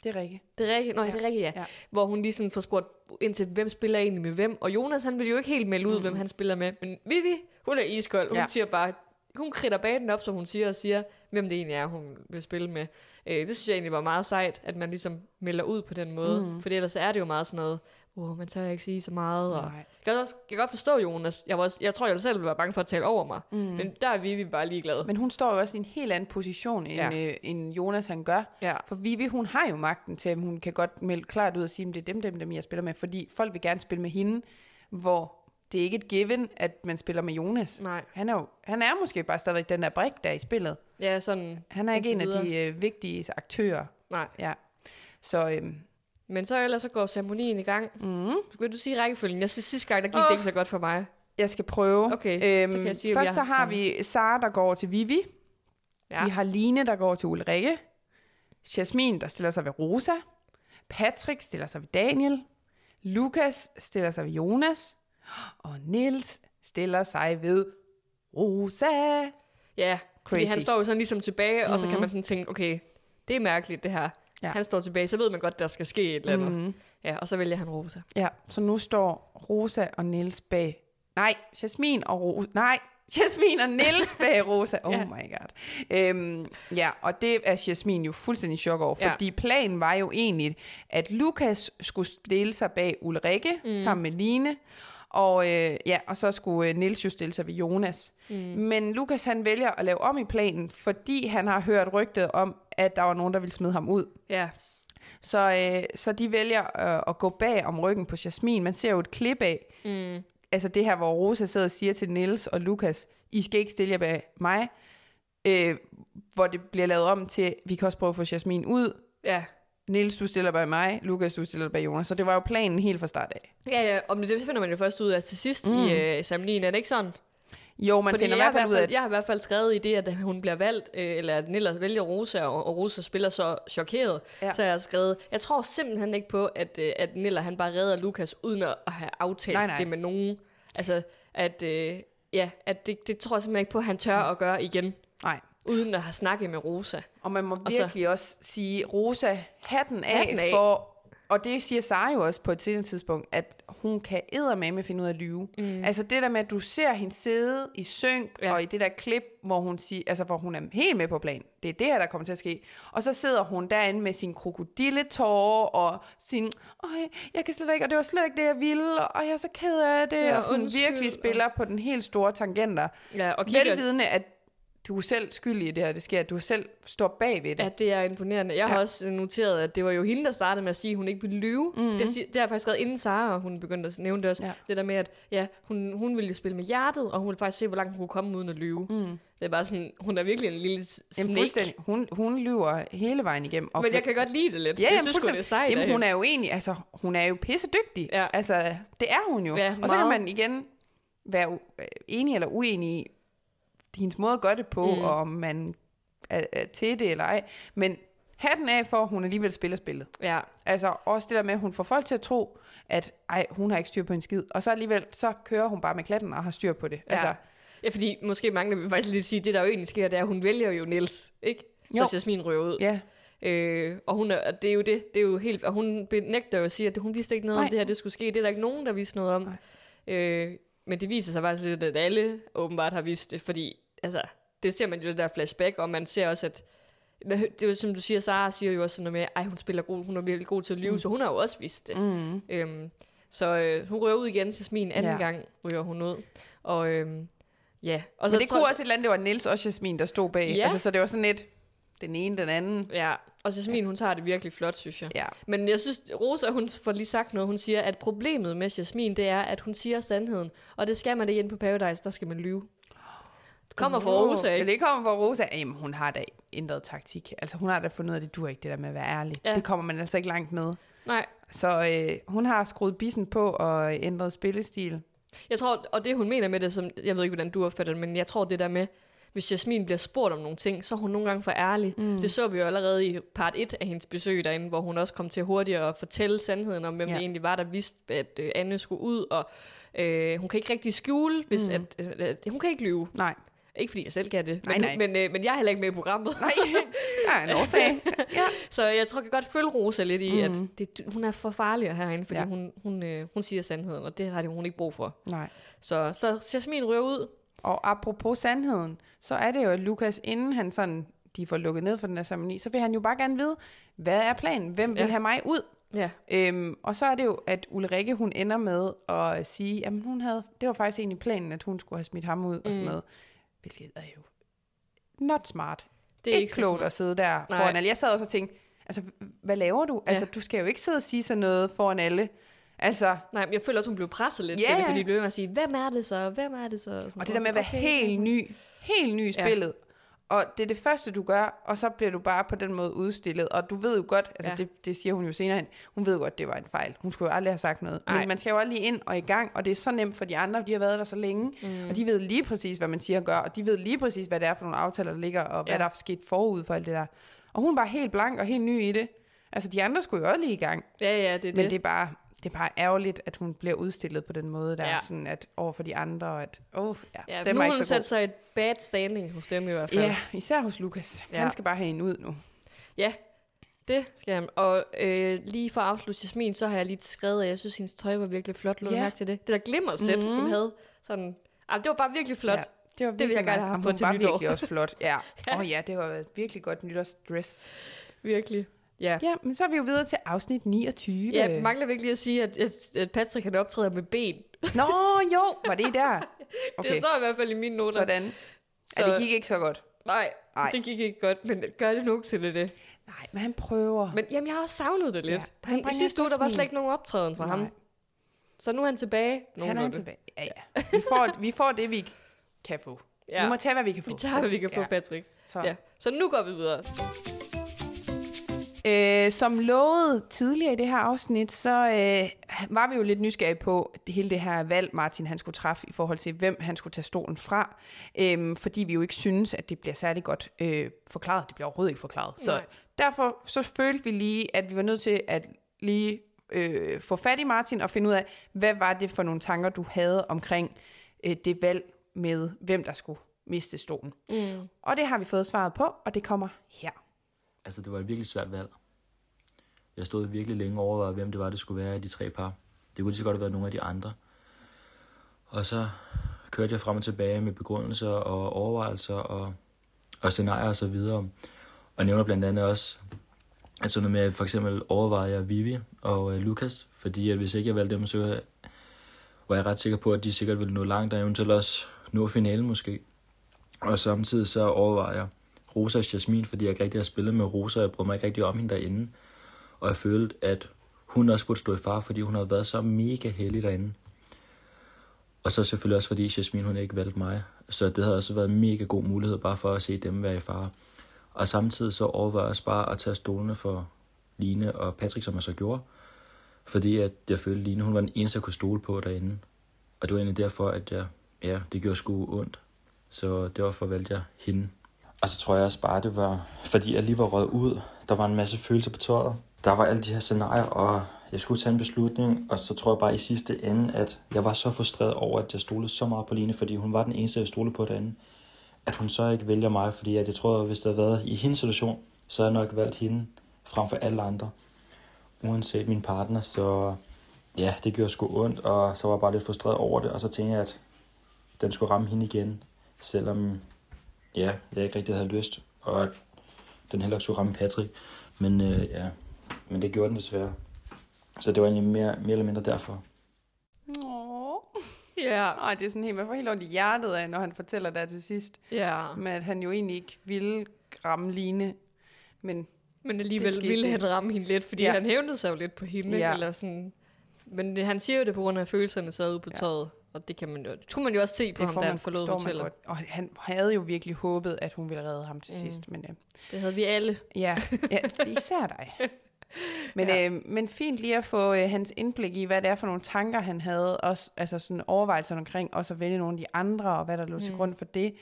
[SPEAKER 2] Det er rigtigt.
[SPEAKER 1] Det er rigtigt, Nå,
[SPEAKER 2] Ja,
[SPEAKER 1] ja. det er rigtigt, ja.
[SPEAKER 2] ja.
[SPEAKER 1] ja. Hvor hun lige sådan får spurgt ind til, hvem spiller egentlig med hvem. Og Jonas, han vil jo ikke helt melde ud, mm. hvem han spiller med. Men Vivi, hun er iskold. Hun
[SPEAKER 2] Ja.
[SPEAKER 1] ja. siger bare, hun kridter banen op, som hun siger, og siger, hvem det egentlig er, hun vil spille med. Øh, det synes jeg egentlig var meget sejt, at man ligesom melder ud på den måde. Mm. For ellers er det jo meget sådan noget, wow, man tør ikke sige så meget. Og...
[SPEAKER 2] Nej.
[SPEAKER 1] Jeg, kan også, jeg kan godt forstå Jonas. Jeg, var også, jeg tror, jeg selv ville være bange for at tale over mig. Mm. Men der er Vivi bare ligeglad.
[SPEAKER 2] Men hun står jo også i en helt anden position, end, ja. øh, end Jonas han gør.
[SPEAKER 1] Ja.
[SPEAKER 2] For Vivi, hun har jo magten til, at hun kan godt melde klart ud og sige, at det er dem, dem, dem, jeg spiller med. Fordi folk vil gerne spille med hende, hvor det er ikke et given, at man spiller med Jonas.
[SPEAKER 1] Nej.
[SPEAKER 2] Han er, jo, han er måske bare stadigvæk den der brik, der er i spillet.
[SPEAKER 1] Ja, sådan.
[SPEAKER 2] Han er ikke en
[SPEAKER 1] indtil
[SPEAKER 2] af
[SPEAKER 1] videre.
[SPEAKER 2] de øh, vigtige aktører.
[SPEAKER 1] Nej.
[SPEAKER 2] Ja. Så øhm,
[SPEAKER 1] Men så ellers så går ceremonien i gang.
[SPEAKER 2] Mm.
[SPEAKER 1] Vil du sige rækkefølgen? Jeg synes sidste gang, der gik oh.
[SPEAKER 2] Åh.
[SPEAKER 1] det ikke så godt for mig.
[SPEAKER 2] Jeg skal prøve. Øhm,
[SPEAKER 1] Okay, så kan jeg sige, at vi
[SPEAKER 2] først
[SPEAKER 1] har
[SPEAKER 2] så
[SPEAKER 1] haft
[SPEAKER 2] har vi Sara, der går til Vivi.
[SPEAKER 1] Ja.
[SPEAKER 2] Ja. Vi har Line, der går til Ulrikke. Jasmin, der stiller sig ved Rosa. Patrick stiller sig ved Daniel. Lukas stiller sig ved Jonas. Og Nils stiller sig ved Rosa.
[SPEAKER 1] Ja, fordi
[SPEAKER 2] Crazy.
[SPEAKER 1] han står jo sådan ligesom tilbage, mm-hmm. og så kan man sådan tænke, okay, det er mærkeligt det her. Ja.
[SPEAKER 2] Ja.
[SPEAKER 1] Han står tilbage, så ved man godt, der skal ske et eller andet. Mm.
[SPEAKER 2] Mm.
[SPEAKER 1] Ja, og så vælger han Rosa.
[SPEAKER 2] Ja, så nu står Rosa og Nils bag... Nej, Jasmin og Rosa... Nej, Jasmin og Nils bag Rosa. Oh
[SPEAKER 1] Ja.
[SPEAKER 2] ja. my god. Øhm, ja, og det er Jasmin jo fuldstændig i chok over,
[SPEAKER 1] Ja.
[SPEAKER 2] fordi planen var jo egentlig, at Lukas skulle stille sig bag Ulrikke mm. sammen med Line, og, øh, ja, og så skulle øh, Nils jo stille sig ved Jonas. Mm. Men Lukas han vælger at lave om i planen, fordi han har hørt rygtet om, at der var nogen, der ville smide ham ud.
[SPEAKER 1] Ja,
[SPEAKER 2] Så, øh, så de vælger øh, at gå bag om ryggen på Jasmin. Man ser jo et klip af,
[SPEAKER 1] mm.
[SPEAKER 2] altså det her, hvor Rosa sidder og siger til Nils og Lukas, I skal ikke stille jer bag mig. Øh, hvor det bliver lavet om til, vi kan også prøve at få Jasmin ud.
[SPEAKER 1] ja.
[SPEAKER 2] Nils, du stiller bag mig. Lukas, du stiller bag Jonas. Så det var jo planen helt fra start af.
[SPEAKER 1] Ja, ja, om det, det finder man jo først ud af til sidst mm. i øh, sammenligningen, er det ikke sådan?
[SPEAKER 2] Jo, man
[SPEAKER 1] Fordi
[SPEAKER 2] finder i
[SPEAKER 1] jeg,
[SPEAKER 2] hvert fald ud af, at
[SPEAKER 1] jeg har i hvert fald skrevet i det, at hun bliver valgt, øh, eller at Niller vælger Rosa, og, og Rosa spiller så chokeret. Ja.
[SPEAKER 2] Ja.
[SPEAKER 1] Så jeg har skrevet, jeg tror simpelthen ikke på, at, øh, at Niller han bare redder Lukas, uden at at have aftalt nej,
[SPEAKER 2] Nej,
[SPEAKER 1] nej.
[SPEAKER 2] nej.
[SPEAKER 1] det med nogen. Altså, at, øh, ja, at det, det tror jeg simpelthen ikke på, at han
[SPEAKER 2] Mm.
[SPEAKER 1] tør at gøre igen,
[SPEAKER 2] Nej.
[SPEAKER 1] uden at have snakket med Rosa.
[SPEAKER 2] Og man må
[SPEAKER 1] Og
[SPEAKER 2] og
[SPEAKER 1] så-
[SPEAKER 2] virkelig så, også sige, Rosa,
[SPEAKER 1] Hatten
[SPEAKER 2] hatten af, hatten
[SPEAKER 1] af.
[SPEAKER 2] af. for... Og det siger Sara jo også på et tidligere tidspunkt, at hun kan eddermame finde ud af at lyve. Mm. Altså det der med, at du ser hende sidde i synk,
[SPEAKER 1] Ja.
[SPEAKER 2] ja. og i det der klip, hvor hun, siger, altså, hvor hun er helt med på plan. Det er det her, der kommer til at ske. Og så sidder hun derinde med sin krokodilletårer og sin, Øj, jeg kan slet ikke, og det var slet ikke det, jeg ville, og jeg er så ked af det.
[SPEAKER 1] Ja,
[SPEAKER 2] Ja, og sådan
[SPEAKER 1] undskyld, og-
[SPEAKER 2] virkelig spiller på den helt store tangenter.
[SPEAKER 1] Ja, og kigger,
[SPEAKER 2] Velvidende, at du er selv skyldig i det her, det sker, at du selv står bag ved det.
[SPEAKER 1] Ja, det er imponerende. Jeg har ja.
[SPEAKER 2] Ja.
[SPEAKER 1] også øh, noteret, at det var jo hende, der startede med at sige, at hun ikke ville lyve. Mm-hmm. Det, har si- det har jeg faktisk skrevet inden Sara, og hun begyndte at nævne det også. Ja.
[SPEAKER 2] Mhm. Ja.
[SPEAKER 1] Det der med, at ja, hun, hun ville jo spille med hjertet, og hun ville faktisk se, hvor langt hun kunne komme uden at lyve. Mm. Det er bare sådan, hun er virkelig en lille s-
[SPEAKER 2] Jamen,
[SPEAKER 1] snake.
[SPEAKER 2] fuldstændig. Hun, hun lyver hele vejen igennem. Og
[SPEAKER 1] Men jeg kan godt lide det lidt.
[SPEAKER 2] Ja,
[SPEAKER 1] jeg
[SPEAKER 2] jamen,
[SPEAKER 1] synes, sgu, det er
[SPEAKER 2] fuldstændig.
[SPEAKER 1] sejt.
[SPEAKER 2] Jamen,
[SPEAKER 1] af
[SPEAKER 2] hun
[SPEAKER 1] hende.
[SPEAKER 2] er jo egentlig, altså, hun er jo pissedygtig.
[SPEAKER 1] Ja.
[SPEAKER 2] Altså, det er hun jo.
[SPEAKER 1] Ja,
[SPEAKER 2] og så
[SPEAKER 1] meget.
[SPEAKER 2] kan man igen være u- øh, enig eller uenig i hendes måde at gøre det på, mm. og om man er, er til det eller ej. Men hatten af for, at hun alligevel spiller spillet.
[SPEAKER 1] Ja,
[SPEAKER 2] Altså også det der med, at hun får folk til at tro, at ej, hun har ikke styr på en skid. Og så alligevel, så kører hun bare med klatten og har styr på det.
[SPEAKER 1] ja.
[SPEAKER 2] Altså,
[SPEAKER 1] ja, fordi måske mangler vi faktisk lige at sige, at det der jo egentlig sker, det er, at hun vælger jo Niels, ikke? Så
[SPEAKER 2] Jo.
[SPEAKER 1] Jasmin røver ud.
[SPEAKER 2] ja.
[SPEAKER 1] Øh, og hun er, og det er jo det, det er jo helt, og hun benægter jo at sige, at hun vidste ikke noget Nej. om
[SPEAKER 2] Nej.
[SPEAKER 1] det her, det skulle ske. Det er der ikke nogen, der vidste noget om. Øh, men det viser sig faktisk lidt, at alle åbenbart har vidst det, fordi altså, det ser man jo det der flashback, og man ser også, at hvad hø- det er jo som du siger, Sara siger jo også sådan noget med, ej hun spiller god, hun er virkelig god til at lyve, mm. så hun har jo også vidst det.
[SPEAKER 2] Mm.
[SPEAKER 1] Øhm, så øh, hun rører ud igen, Jasmin anden ja.
[SPEAKER 2] Ja.
[SPEAKER 1] gang ryger hun ud. Og øhm, ja, og
[SPEAKER 2] Og så, Men det kunne også et eller andet, det var Nils og Jasmin, der stod bag.
[SPEAKER 1] Altså, Ja.
[SPEAKER 2] Ja. Altså, så det var sådan lidt, den ene, den anden.
[SPEAKER 1] Ja, og Jasmin, hun tager det virkelig flot, synes jeg.
[SPEAKER 2] Ja.
[SPEAKER 1] Men jeg synes, Rosa, hun får lige sagt noget. Hun siger, at problemet med Jasmin, det er, at hun siger sandheden. Og det skal man da igen på Paradise, der skal man lyve. Det kommer fra Rosa,
[SPEAKER 2] Ja,
[SPEAKER 1] ikke?
[SPEAKER 2] det kommer fra Rosa. Jamen, hun har da ændret taktik. Altså, hun har da fundet ud af, det dur ikke, det der med at være ærlig.
[SPEAKER 1] Ja.
[SPEAKER 2] Ja. Det kommer man altså ikke langt med.
[SPEAKER 1] Nej,
[SPEAKER 2] Så øh, hun har skruet bissen på og ændret spillestil.
[SPEAKER 1] jeg tror, og det hun mener med det, som, jeg ved ikke, hvordan du opfatter det, men jeg tror det der med, hvis Jasmin bliver spurgt om nogle ting, så er hun nogle gange for ærlig. Mm. Det så vi jo allerede i part 1 af hendes besøg derinde, hvor hun også kom til hurtigt at fortælle sandheden om, hvem ja.
[SPEAKER 2] Ja.
[SPEAKER 1] det egentlig var, der vidste, at øh, Anne skulle ud, og øh, hun kan ikke rigtig skjule, hvis mm. at, øh, at, hun kan ikke lyve.
[SPEAKER 2] Nej.
[SPEAKER 1] Ikke fordi jeg selv kan det,
[SPEAKER 2] Nej,
[SPEAKER 1] men,
[SPEAKER 2] nej.
[SPEAKER 1] Men, øh, men jeg er heller ikke med i programmet.
[SPEAKER 2] Nej, der er en årsag. Ja.
[SPEAKER 1] Så jeg tror, jeg kan godt følge Rosa lidt i, mm. at det, hun er for farlig herinde, fordi ja.
[SPEAKER 2] Ja.
[SPEAKER 1] hun, hun, øh, hun siger sandheden, og det har det- hun ikke brug for.
[SPEAKER 2] Nej.
[SPEAKER 1] Så, så Jasmin rører ud.
[SPEAKER 2] Og apropos sandheden, så er det jo, at Lukas, inden han sådan, de får lukket ned for den der ceremoni, så vil han jo bare gerne vide, hvad er planen? Hvem vil
[SPEAKER 1] Ja.
[SPEAKER 2] have mig ud?
[SPEAKER 1] Ja,
[SPEAKER 2] Øhm, og så er det jo, at Ulrikke, hun ender med at sige, at hun havde, det var faktisk egentlig planen, at hun skulle have smidt ham ud mm. og sådan noget. Hvilket er jo not smart.
[SPEAKER 1] det er ikke, så
[SPEAKER 2] klogt
[SPEAKER 1] smart.
[SPEAKER 2] at sidde der Nej.
[SPEAKER 1] Nej.
[SPEAKER 2] foran alle. Jeg sad også og tænkte, altså, hvad laver du? Altså,
[SPEAKER 1] Ja.
[SPEAKER 2] du skal jo ikke sidde og sige sådan noget foran alle. Altså,
[SPEAKER 1] Nej, men jeg føler også, hun blev presset lidt
[SPEAKER 2] Ja,
[SPEAKER 1] til det,
[SPEAKER 2] ja.
[SPEAKER 1] fordi de blev ved med at sige, hvem er det så, hvem er det så? sådan,
[SPEAKER 2] og det der med at
[SPEAKER 1] hvor
[SPEAKER 2] være
[SPEAKER 1] jeg sådan,
[SPEAKER 2] helt ny, helt ny i
[SPEAKER 1] Ja.
[SPEAKER 2] spillet, Og det er det første, du gør, og så bliver du bare på den måde udstillet. Og du ved jo godt, altså
[SPEAKER 1] Ja.
[SPEAKER 2] ja. det, det siger hun jo senere hen, hun ved jo godt, det var en fejl. Hun skulle jo aldrig have sagt noget. Ej.
[SPEAKER 1] Nej.
[SPEAKER 2] Men man skal jo aldrig ind og i gang, og det er så nemt for de andre, de har været der så længe. Mm. Og de ved lige præcis, hvad man siger og gør, og de ved lige præcis, hvad det er for nogle aftaler, der ligger, og ja.
[SPEAKER 1] Ja.
[SPEAKER 2] hvad der er sket forud for alt det der. Og hun var helt blank og helt ny i det. Altså de andre skulle jo også lige i gang.
[SPEAKER 1] Ja, ja, det er
[SPEAKER 2] Men
[SPEAKER 1] det.
[SPEAKER 2] det er bare det er bare ærgerligt, at hun bliver udstillet på den måde, der
[SPEAKER 1] Ja.
[SPEAKER 2] ja. sådan at over for de andre, og at, oh, ja,
[SPEAKER 1] Ja,
[SPEAKER 2] den
[SPEAKER 1] nu
[SPEAKER 2] var
[SPEAKER 1] har
[SPEAKER 2] ikke
[SPEAKER 1] hun
[SPEAKER 2] så god.
[SPEAKER 1] sat sig et bad standing hos dem i hvert fald.
[SPEAKER 2] Ja, især hos Lukas. Ja.
[SPEAKER 1] Ja.
[SPEAKER 2] Han skal bare have en ud nu.
[SPEAKER 1] Ja, det skal han. Og øh, lige for at afslutte Jasmin, så har jeg lige skrevet, at jeg synes, hendes tøj var virkelig flot. Lå
[SPEAKER 2] Ja. Mhm.
[SPEAKER 1] ja. mærke til det. Det der glimmersæt, mm-hmm. hun havde. Sådan, ah, det var bare virkelig flot.
[SPEAKER 2] Ja,
[SPEAKER 1] Ja.
[SPEAKER 2] det var
[SPEAKER 1] vil jeg
[SPEAKER 2] virkelig
[SPEAKER 1] gerne
[SPEAKER 2] nice.
[SPEAKER 1] have
[SPEAKER 2] Hun
[SPEAKER 1] på til
[SPEAKER 2] var
[SPEAKER 1] nytår.
[SPEAKER 2] virkelig også flot. Ja. Åh oh, ja, det var et virkelig godt nytårsdress.
[SPEAKER 1] Virkelig. Ja.
[SPEAKER 2] Ja, men så er vi jo videre til afsnit 29.
[SPEAKER 1] Ja, jeg mangler virkelig at sige, at, at- at Patrick han optræder med ben.
[SPEAKER 2] Nå, jo, var det der?
[SPEAKER 1] Okay. Det
[SPEAKER 2] Okay,
[SPEAKER 1] står i hvert fald i mine noter.
[SPEAKER 2] sådan. Ja,
[SPEAKER 1] Så-
[SPEAKER 2] det gik ikke så godt.
[SPEAKER 1] Nej,
[SPEAKER 2] Ej.
[SPEAKER 1] det gik ikke godt, men gør det nogensinde det.
[SPEAKER 2] Nej, men han prøver.
[SPEAKER 1] Men jamen, jeg har også savnet det lidt.
[SPEAKER 2] Ja,
[SPEAKER 1] Ja,
[SPEAKER 2] han
[SPEAKER 1] han, I
[SPEAKER 2] bringer
[SPEAKER 1] sidste
[SPEAKER 2] et
[SPEAKER 1] uge, der var
[SPEAKER 2] smil.
[SPEAKER 1] slet ikke nogen optræden fra
[SPEAKER 2] Nej.
[SPEAKER 1] ham. Så nu er han tilbage.
[SPEAKER 2] han er
[SPEAKER 1] nogenlunde.
[SPEAKER 2] tilbage. Ja, ja. Vi får, vi får det, vi kan få. Ja. Vi må tage, hvad vi kan få.
[SPEAKER 1] vi tager, hvad vi kan få,
[SPEAKER 2] Ja,
[SPEAKER 1] Patrick.
[SPEAKER 2] så.
[SPEAKER 1] Ja. Så nu går vi videre.
[SPEAKER 2] Øh, som lovet tidligere i det her afsnit, så øh, var vi jo lidt nysgerrige på det hele det her valg, Martin han skulle træffe i forhold til, hvem han skulle tage stolen fra. Øh, fordi vi jo ikke synes, at det bliver særlig godt øh, forklaret. Det bliver overhovedet ikke forklaret. Så
[SPEAKER 1] Nej.
[SPEAKER 2] derfor så følte vi lige, at vi var nødt til at lige øh, få fat i Martin og finde ud af, hvad var det for nogle tanker, du havde omkring øh, det valg med, hvem der skulle miste stolen. Mm. Og det har vi fået svaret på, og det kommer her.
[SPEAKER 3] Altså, det var et virkelig svært valg. Jeg stod virkelig længe over, hvem det var, det skulle være af de tre par. Det kunne lige så godt have været nogle af de andre. Og så kørte jeg frem og tilbage med begrundelser og overvejelser og, og scenarier og så videre. Og nævner blandt andet også, at sådan noget med, at for eksempel overvejer jeg Vivi og øh, Lukas, fordi at hvis ikke jeg valgte dem, så var jeg ret sikker på, at de sikkert ville nå langt, og eventuelt også nå finalen måske. Og samtidig så overvejer jeg Rosa og Jasmin, fordi jeg ikke rigtig har spillet med Rosa, og jeg brød mig ikke rigtig om hende derinde. Og jeg følte, at hun også burde stå i far, fordi hun har været så mega heldig derinde. Og så selvfølgelig også, fordi Jasmin hun ikke valgte mig. Så det havde også været en mega god mulighed bare for at se dem være i fare. Og samtidig så overvejer jeg også bare at tage stolene for Line og Patrick, som jeg så gjorde. Fordi at jeg følte, at Line hun var den eneste, jeg kunne stole på derinde. Og det var egentlig derfor, at jeg, ja, det gjorde sgu ondt. Så derfor valgte jeg hende. Og så tror jeg også bare, det var, fordi jeg lige var røget ud. Der var en masse følelser på tøjet. Der var alle de her scenarier, og jeg skulle tage en beslutning. Og så tror jeg bare i sidste ende, at jeg var så frustreret over, at jeg stolede så meget på Line, fordi hun var den eneste, jeg stolede på derinde. At hun så ikke vælger mig, fordi at jeg tror, at hvis det havde været i hendes situation, så havde jeg nok valgt hende frem for alle andre. Uanset min partner, så ja, det gjorde sgu ondt, og så var jeg bare lidt frustreret over det. Og så tænkte jeg, at den skulle ramme hende igen, selvom ja, jeg ikke rigtig havde lyst, og at den heller ikke skulle ramme Patrick. Men, øh, ja. Men det gjorde den desværre. Så det var egentlig mere, mere eller mindre derfor.
[SPEAKER 2] Åh.
[SPEAKER 1] Ja,
[SPEAKER 2] Ej, det er sådan helt, man får helt ondt i hjertet af, når han fortæller der til sidst,
[SPEAKER 1] ja.
[SPEAKER 2] med at han jo egentlig ikke ville ramme Line, men
[SPEAKER 1] Men
[SPEAKER 2] Det
[SPEAKER 1] alligevel
[SPEAKER 2] skete
[SPEAKER 1] ville
[SPEAKER 2] det.
[SPEAKER 1] han ramme hende lidt, fordi
[SPEAKER 2] Ja.
[SPEAKER 1] ja. han hævnede sig jo lidt på hende.
[SPEAKER 2] Ja.
[SPEAKER 1] Ja. Eller sådan. Men det, han siger jo det på grund af følelserne sad ude på ja. tøjet. Og det kan man jo, det kunne man jo også se på
[SPEAKER 2] det
[SPEAKER 1] ham,
[SPEAKER 2] får
[SPEAKER 1] da
[SPEAKER 2] man,
[SPEAKER 1] han forlod
[SPEAKER 2] forstår man
[SPEAKER 1] hotellet.
[SPEAKER 2] godt. Og han havde jo virkelig håbet, at hun ville redde ham til mm. sidst, men øh,
[SPEAKER 1] Det havde vi alle.
[SPEAKER 2] ja, ja, især dig. Men, ja. øh, men fint lige at få øh, hans indblik i, hvad det er for nogle tanker, han havde, også, altså sådan overvejelser omkring, også at vælge nogle af de andre, og hvad der lå til grund for det.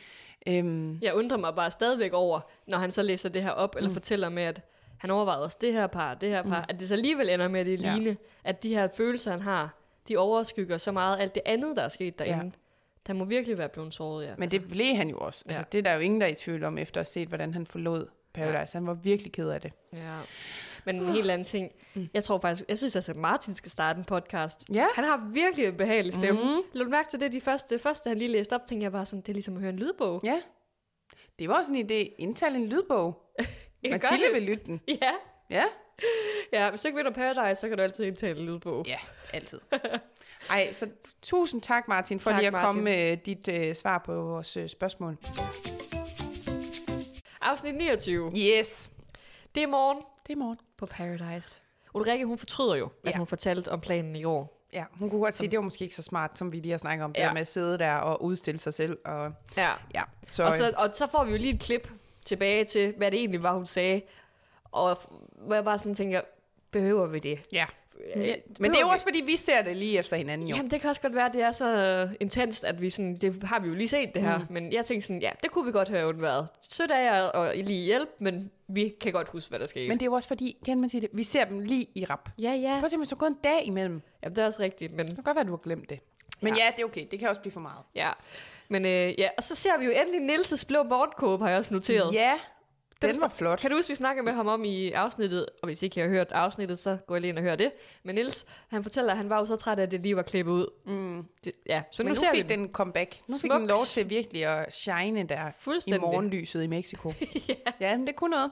[SPEAKER 2] Øhm,
[SPEAKER 1] Jeg undrer mig bare stadigvæk over, når han så læser det her op,
[SPEAKER 2] Mm.
[SPEAKER 1] eller fortæller med, at han overvejede også det her par, det her par, mm. at det så alligevel ender med, at det
[SPEAKER 2] Ja.
[SPEAKER 1] er Line, at de her følelser, han har, de overskygger så meget alt det andet, der er sket derinde. Ja. Der må virkelig være blevet såret, ja.
[SPEAKER 2] Men det blev han jo også. Altså,
[SPEAKER 1] Ja.
[SPEAKER 2] det er der jo ingen, der er i tvivl om, efter at have set, hvordan han forlod Paradise. Ja. Han var virkelig ked af det.
[SPEAKER 1] Ja. Men en helt anden ting. Jeg tror faktisk, jeg synes altså, at Martin skal starte en podcast.
[SPEAKER 2] Mm. Ja. Mm.
[SPEAKER 1] Han har virkelig en behagelig stemme. Mm-hmm. Lå du mærke til det, de første, det første, han lige læste op, tænkte jeg bare sådan, det er ligesom at høre en lydbog.
[SPEAKER 2] Ja. Det var også en idé. Indtal en lydbog.
[SPEAKER 1] Jeg kan
[SPEAKER 2] Mathilde
[SPEAKER 1] godt
[SPEAKER 2] vil lytte den.
[SPEAKER 1] lide- Ja,
[SPEAKER 2] Ja.
[SPEAKER 1] ja. Hvis du ikke vinder Paradise, så kan du altid indtale en lydbog.
[SPEAKER 2] Ja, altid. Ej, så tusind tak, Martin, for
[SPEAKER 1] Tak,
[SPEAKER 2] lige at
[SPEAKER 1] Martin.
[SPEAKER 2] komme med dit øh, svar på vores øh, spørgsmål.
[SPEAKER 1] Afsnit 29.
[SPEAKER 2] Yes.
[SPEAKER 1] Det er morgen
[SPEAKER 2] Det er morgen.
[SPEAKER 1] på Paradise. Ulrike, hun fortryder jo, at
[SPEAKER 2] Ja.
[SPEAKER 1] hun fortalte om planen i år.
[SPEAKER 2] ja, hun kunne godt sige, at det var måske ikke så smart, som vi lige har snakket om, ja. det
[SPEAKER 1] Ja.
[SPEAKER 2] der med at sidde der og udstille sig selv. Og,
[SPEAKER 1] Ja.
[SPEAKER 2] ja, så, øh,
[SPEAKER 1] Og så, og så får vi jo lige et klip tilbage til, hvad det egentlig var, hun sagde. Og f- hvor jeg bare sådan tænker, behøver vi det?
[SPEAKER 2] ja.
[SPEAKER 1] Ja,
[SPEAKER 2] Men det er jo
[SPEAKER 1] behøver
[SPEAKER 2] også, fordi vi ser det lige efter hinanden, jo.
[SPEAKER 1] Jo. Jamen, det kan også godt være, at det er så øh, intenst, at vi sådan, det har vi jo lige set det her, mm. men jeg tænkte sådan, ja, det kunne vi godt have undværet. Sødt af jer og lige hjælp, men vi kan godt huske, hvad der skete.
[SPEAKER 2] Men
[SPEAKER 1] Men...
[SPEAKER 2] det er jo også fordi, kan man sige det, vi ser dem lige i rap.
[SPEAKER 1] Ja, ja,
[SPEAKER 2] Prøv at se, hvis der er gået en dag imellem. Det
[SPEAKER 1] Jamen, det er også rigtigt, men
[SPEAKER 2] kan godt være, at du har glemt det. Men ja,
[SPEAKER 1] Ja.
[SPEAKER 2] ja det er okay. Det kan også blive for meget.
[SPEAKER 1] ja. Men øh, ja, og så ser vi jo endelig Nilses blå morgenkåbe, har jeg også noteret.
[SPEAKER 2] Ja, den,
[SPEAKER 1] Den
[SPEAKER 2] var flot.
[SPEAKER 1] Kan du huske, vi snakkede med ham om i afsnittet, og hvis ikke I har hørt afsnittet, så går jeg lige ind og hører det. Men Nils, han fortæller, at han var jo så træt af, at det lige var klippet ud. Mm. Det, ja, så
[SPEAKER 2] Men
[SPEAKER 1] nu,
[SPEAKER 2] nu,
[SPEAKER 1] ser
[SPEAKER 2] fik
[SPEAKER 1] vi
[SPEAKER 2] den comeback. Nu fik
[SPEAKER 1] Smukt.
[SPEAKER 2] den lov til virkelig at shine der i
[SPEAKER 1] Fuldstændig.
[SPEAKER 2] morgenlyset i Mexico. ja. ja, men det kunne noget.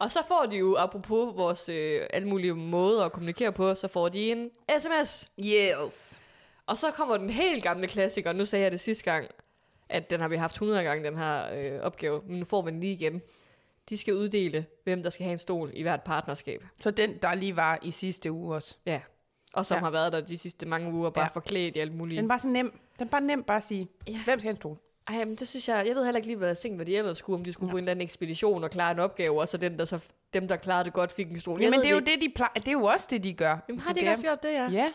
[SPEAKER 1] Og så får de jo, apropos vores øh, alle mulige måder at kommunikere på, så får de en sms.
[SPEAKER 2] Yes.
[SPEAKER 1] Og så kommer den helt gamle klassiker, nu sagde jeg det sidste gang, at den har vi haft 100 gange, den her øh, opgave, men nu får vi den lige igen. De skal uddele, hvem der skal have en stol i hvert partnerskab.
[SPEAKER 2] Så den, der lige var i sidste uge også.
[SPEAKER 1] Ja. Og som
[SPEAKER 2] Ja.
[SPEAKER 1] ja. har været der de sidste mange uger, bare
[SPEAKER 2] Ja.
[SPEAKER 1] ja. forklædt i alt muligt.
[SPEAKER 2] Den var så nem. Den var nem bare at sige, ja.
[SPEAKER 1] Ja.
[SPEAKER 2] hvem skal have en stol?
[SPEAKER 1] Ej, men det synes jeg, jeg ved heller ikke lige, hvad jeg tænkte, hvad de ellers skulle, om de skulle ja. på en eller anden ekspedition og klare en opgave, og så, den, der så dem, der klarede det godt, fik en stol. Jeg
[SPEAKER 2] Jamen
[SPEAKER 1] ved
[SPEAKER 2] det er jo
[SPEAKER 1] ikke.
[SPEAKER 2] det, de plejer. Det er jo også det, de gør.
[SPEAKER 1] Jamen, har de ikke også gjort det, ja?
[SPEAKER 2] Ja.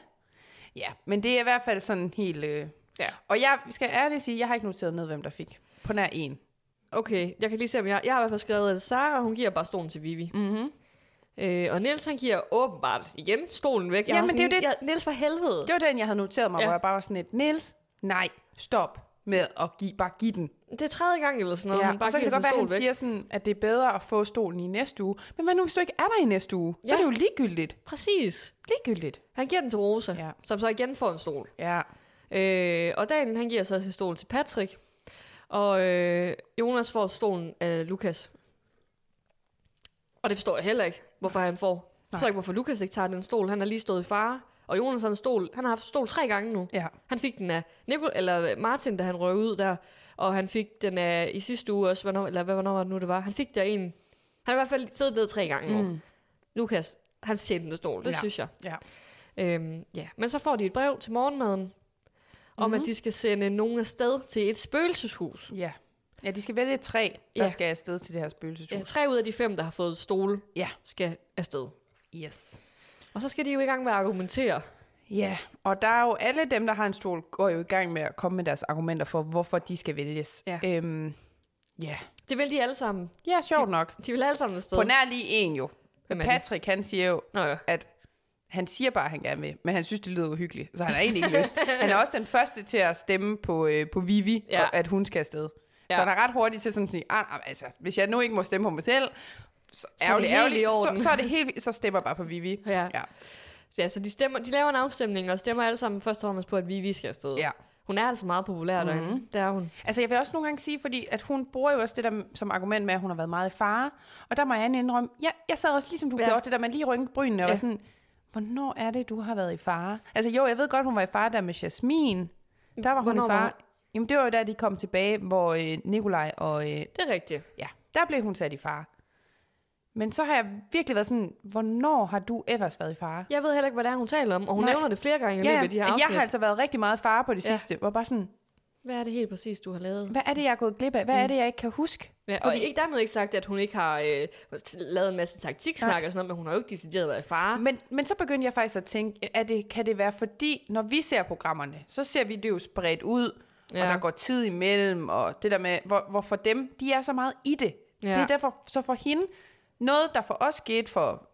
[SPEAKER 2] Ja, men det er i hvert fald sådan helt... Øh...
[SPEAKER 1] Ja.
[SPEAKER 2] Og jeg skal ærligt sige, jeg har ikke noteret ned, hvem der fik. På nær en.
[SPEAKER 1] Okay, jeg kan lige se, om jeg... Jeg har i hvert fald skrevet, at Sara, hun giver bare stolen til Vivi. Mm-hmm. Øh, og Niels, han giver åbenbart igen stolen væk. Jeg
[SPEAKER 2] Jamen,
[SPEAKER 1] har
[SPEAKER 2] det er jo det.
[SPEAKER 1] Jeg, Niels, for helvede.
[SPEAKER 2] Det var den, jeg havde noteret mig, ja.
[SPEAKER 1] Ja.
[SPEAKER 2] hvor jeg bare var sådan et, Niels, nej, stop med at give, bare give den.
[SPEAKER 1] Det er tredje gang eller sådan noget, ja. han
[SPEAKER 2] og
[SPEAKER 1] bare
[SPEAKER 2] så kan
[SPEAKER 1] giver
[SPEAKER 2] det
[SPEAKER 1] sin
[SPEAKER 2] godt være, at
[SPEAKER 1] stol
[SPEAKER 2] han
[SPEAKER 1] væk.
[SPEAKER 2] siger sådan, at det er bedre at få stolen i næste uge. Men hvad nu, hvis du ikke er der i næste uge? Så
[SPEAKER 1] Ja.
[SPEAKER 2] er det jo ligegyldigt.
[SPEAKER 1] Præcis.
[SPEAKER 2] Ligegyldigt.
[SPEAKER 1] Han giver den til Rosa,
[SPEAKER 2] Ja.
[SPEAKER 1] ja. som så igen får en stol.
[SPEAKER 2] Ja.
[SPEAKER 1] Øh, og Daniel, han giver så sin stol til Patrick. Og øh, Jonas får stolen af Lukas. Og det forstår jeg heller ikke, hvorfor han får. Jeg forstår
[SPEAKER 2] Nej.
[SPEAKER 1] ikke, hvorfor Lukas ikke tager den stol. Han har lige stået i fare. Og Jonas har en stol. Han har haft stol tre gange nu.
[SPEAKER 2] Ja.
[SPEAKER 1] Han fik den af Nicol, eller Martin, da han røg ud der, og han fik den af i sidste uge også, hvornår, eller hvad, hvornår var det nu, det var. Han fik der en. Han har i hvert fald siddet ned tre gange nu. Mm. Lukas, han fortjente en stol, det
[SPEAKER 2] Ja.
[SPEAKER 1] ja. synes jeg.
[SPEAKER 2] Ja.
[SPEAKER 1] Øhm, ja. Men så får de et brev til morgenmaden, om
[SPEAKER 2] Mhm.
[SPEAKER 1] mm-hmm. at de skal sende nogen afsted til et spøgelseshus.
[SPEAKER 2] Ja. Ja, de skal vælge et træ, der ja.
[SPEAKER 1] Ja.
[SPEAKER 2] skal afsted til det her spøgelseshus.
[SPEAKER 1] Ja, tre ud af de fem, der har fået stole,
[SPEAKER 2] Ja.
[SPEAKER 1] skal afsted.
[SPEAKER 2] Yes.
[SPEAKER 1] Og så skal de jo i gang med at argumentere.
[SPEAKER 2] Ja, og der er jo alle dem, der har en stol, går jo i gang med at komme med deres argumenter for, hvorfor de skal vælges.
[SPEAKER 1] Ja.
[SPEAKER 2] Øhm, ja.
[SPEAKER 1] Det vil de alle sammen.
[SPEAKER 2] ja, sjovt nok.
[SPEAKER 1] De vil alle sammen afsted.
[SPEAKER 2] På nær lige en jo.
[SPEAKER 1] Hvem er det?
[SPEAKER 2] Patrick, han siger jo,
[SPEAKER 1] Nå ja.
[SPEAKER 2] at han siger bare, at han gerne vil, men han synes, det lyder uhyggeligt, så han har egentlig ikke lyst. Han er også den første til at stemme på, øh, på Vivi, ja.
[SPEAKER 1] Ja.
[SPEAKER 2] og, at hun skal afsted. Ja.
[SPEAKER 1] Ja.
[SPEAKER 2] Så han er ret hurtigt til sådan at sige, "Ah, ah, altså, hvis jeg nu ikke må stemme på mig selv, så,
[SPEAKER 1] det
[SPEAKER 2] ærgerligt,
[SPEAKER 1] helt i
[SPEAKER 2] ærgerligt, så,
[SPEAKER 1] orden."
[SPEAKER 2] så, er det helt, vildt, så stemmer jeg bare på Vivi.
[SPEAKER 1] Ja.
[SPEAKER 2] ja.
[SPEAKER 1] Ja, så de, stemmer, de laver en afstemning og stemmer alle sammen først og fremmest på, at Vivi skal afsted.
[SPEAKER 2] Ja.
[SPEAKER 1] Hun er altså meget populær mm-hmm. derinde. Det er hun.
[SPEAKER 2] Altså, jeg vil også nogle gange sige, fordi at hun bruger jo også det der som argument med, at hun har været meget i fare. Og der må jeg indrømme, ja, jeg sad også ligesom du ja.
[SPEAKER 1] Ja.
[SPEAKER 2] gjorde det der med lige rynke brynene, og ja.
[SPEAKER 1] Ja.
[SPEAKER 2] sådan, hvornår er det, du har været i fare? Altså jo, jeg ved godt, hun var i fare der med Jasmin. Der var hun
[SPEAKER 1] Hvornår
[SPEAKER 2] i
[SPEAKER 1] var
[SPEAKER 2] fare.
[SPEAKER 1] hun?
[SPEAKER 2] Jamen, det var jo der, de kom tilbage, hvor øh, Nikolaj og... Øh,
[SPEAKER 1] Det er rigtigt.
[SPEAKER 2] ja, der blev hun sat i fare. Men så har jeg virkelig været sådan, hvornår har du ellers været i fare?
[SPEAKER 1] Jeg ved heller ikke, hvad det er, hun taler om, og hun
[SPEAKER 2] Nej.
[SPEAKER 1] Nej. nævner det flere gange i løbet af de her
[SPEAKER 2] at
[SPEAKER 1] afsnit.
[SPEAKER 2] jeg har altså været rigtig meget i fare på det
[SPEAKER 1] Ja.
[SPEAKER 2] sidste. Hvor bare sådan,
[SPEAKER 1] Hvad er det helt præcis, du har lavet?
[SPEAKER 2] hvad er det, jeg er gået glip af? Hvad
[SPEAKER 1] Mm.
[SPEAKER 2] er det, jeg ikke kan huske?
[SPEAKER 1] Ja, og
[SPEAKER 2] Fordi-
[SPEAKER 1] fordi... ikke dermed ikke sagt, at hun ikke har øh, lavet en masse taktiksnak og sådan noget, men hun har jo ikke decideret været i fare.
[SPEAKER 2] Men, men så begyndte jeg faktisk at tænke, er det, kan det være fordi, når vi ser programmerne, så ser vi det jo spredt ud, ja. og
[SPEAKER 1] Ja.
[SPEAKER 2] der går tid imellem, og det der med, hvor, hvor for dem, de er så meget i det. Ja.
[SPEAKER 1] Ja.
[SPEAKER 2] Det er derfor, så for hende, noget der for os skete for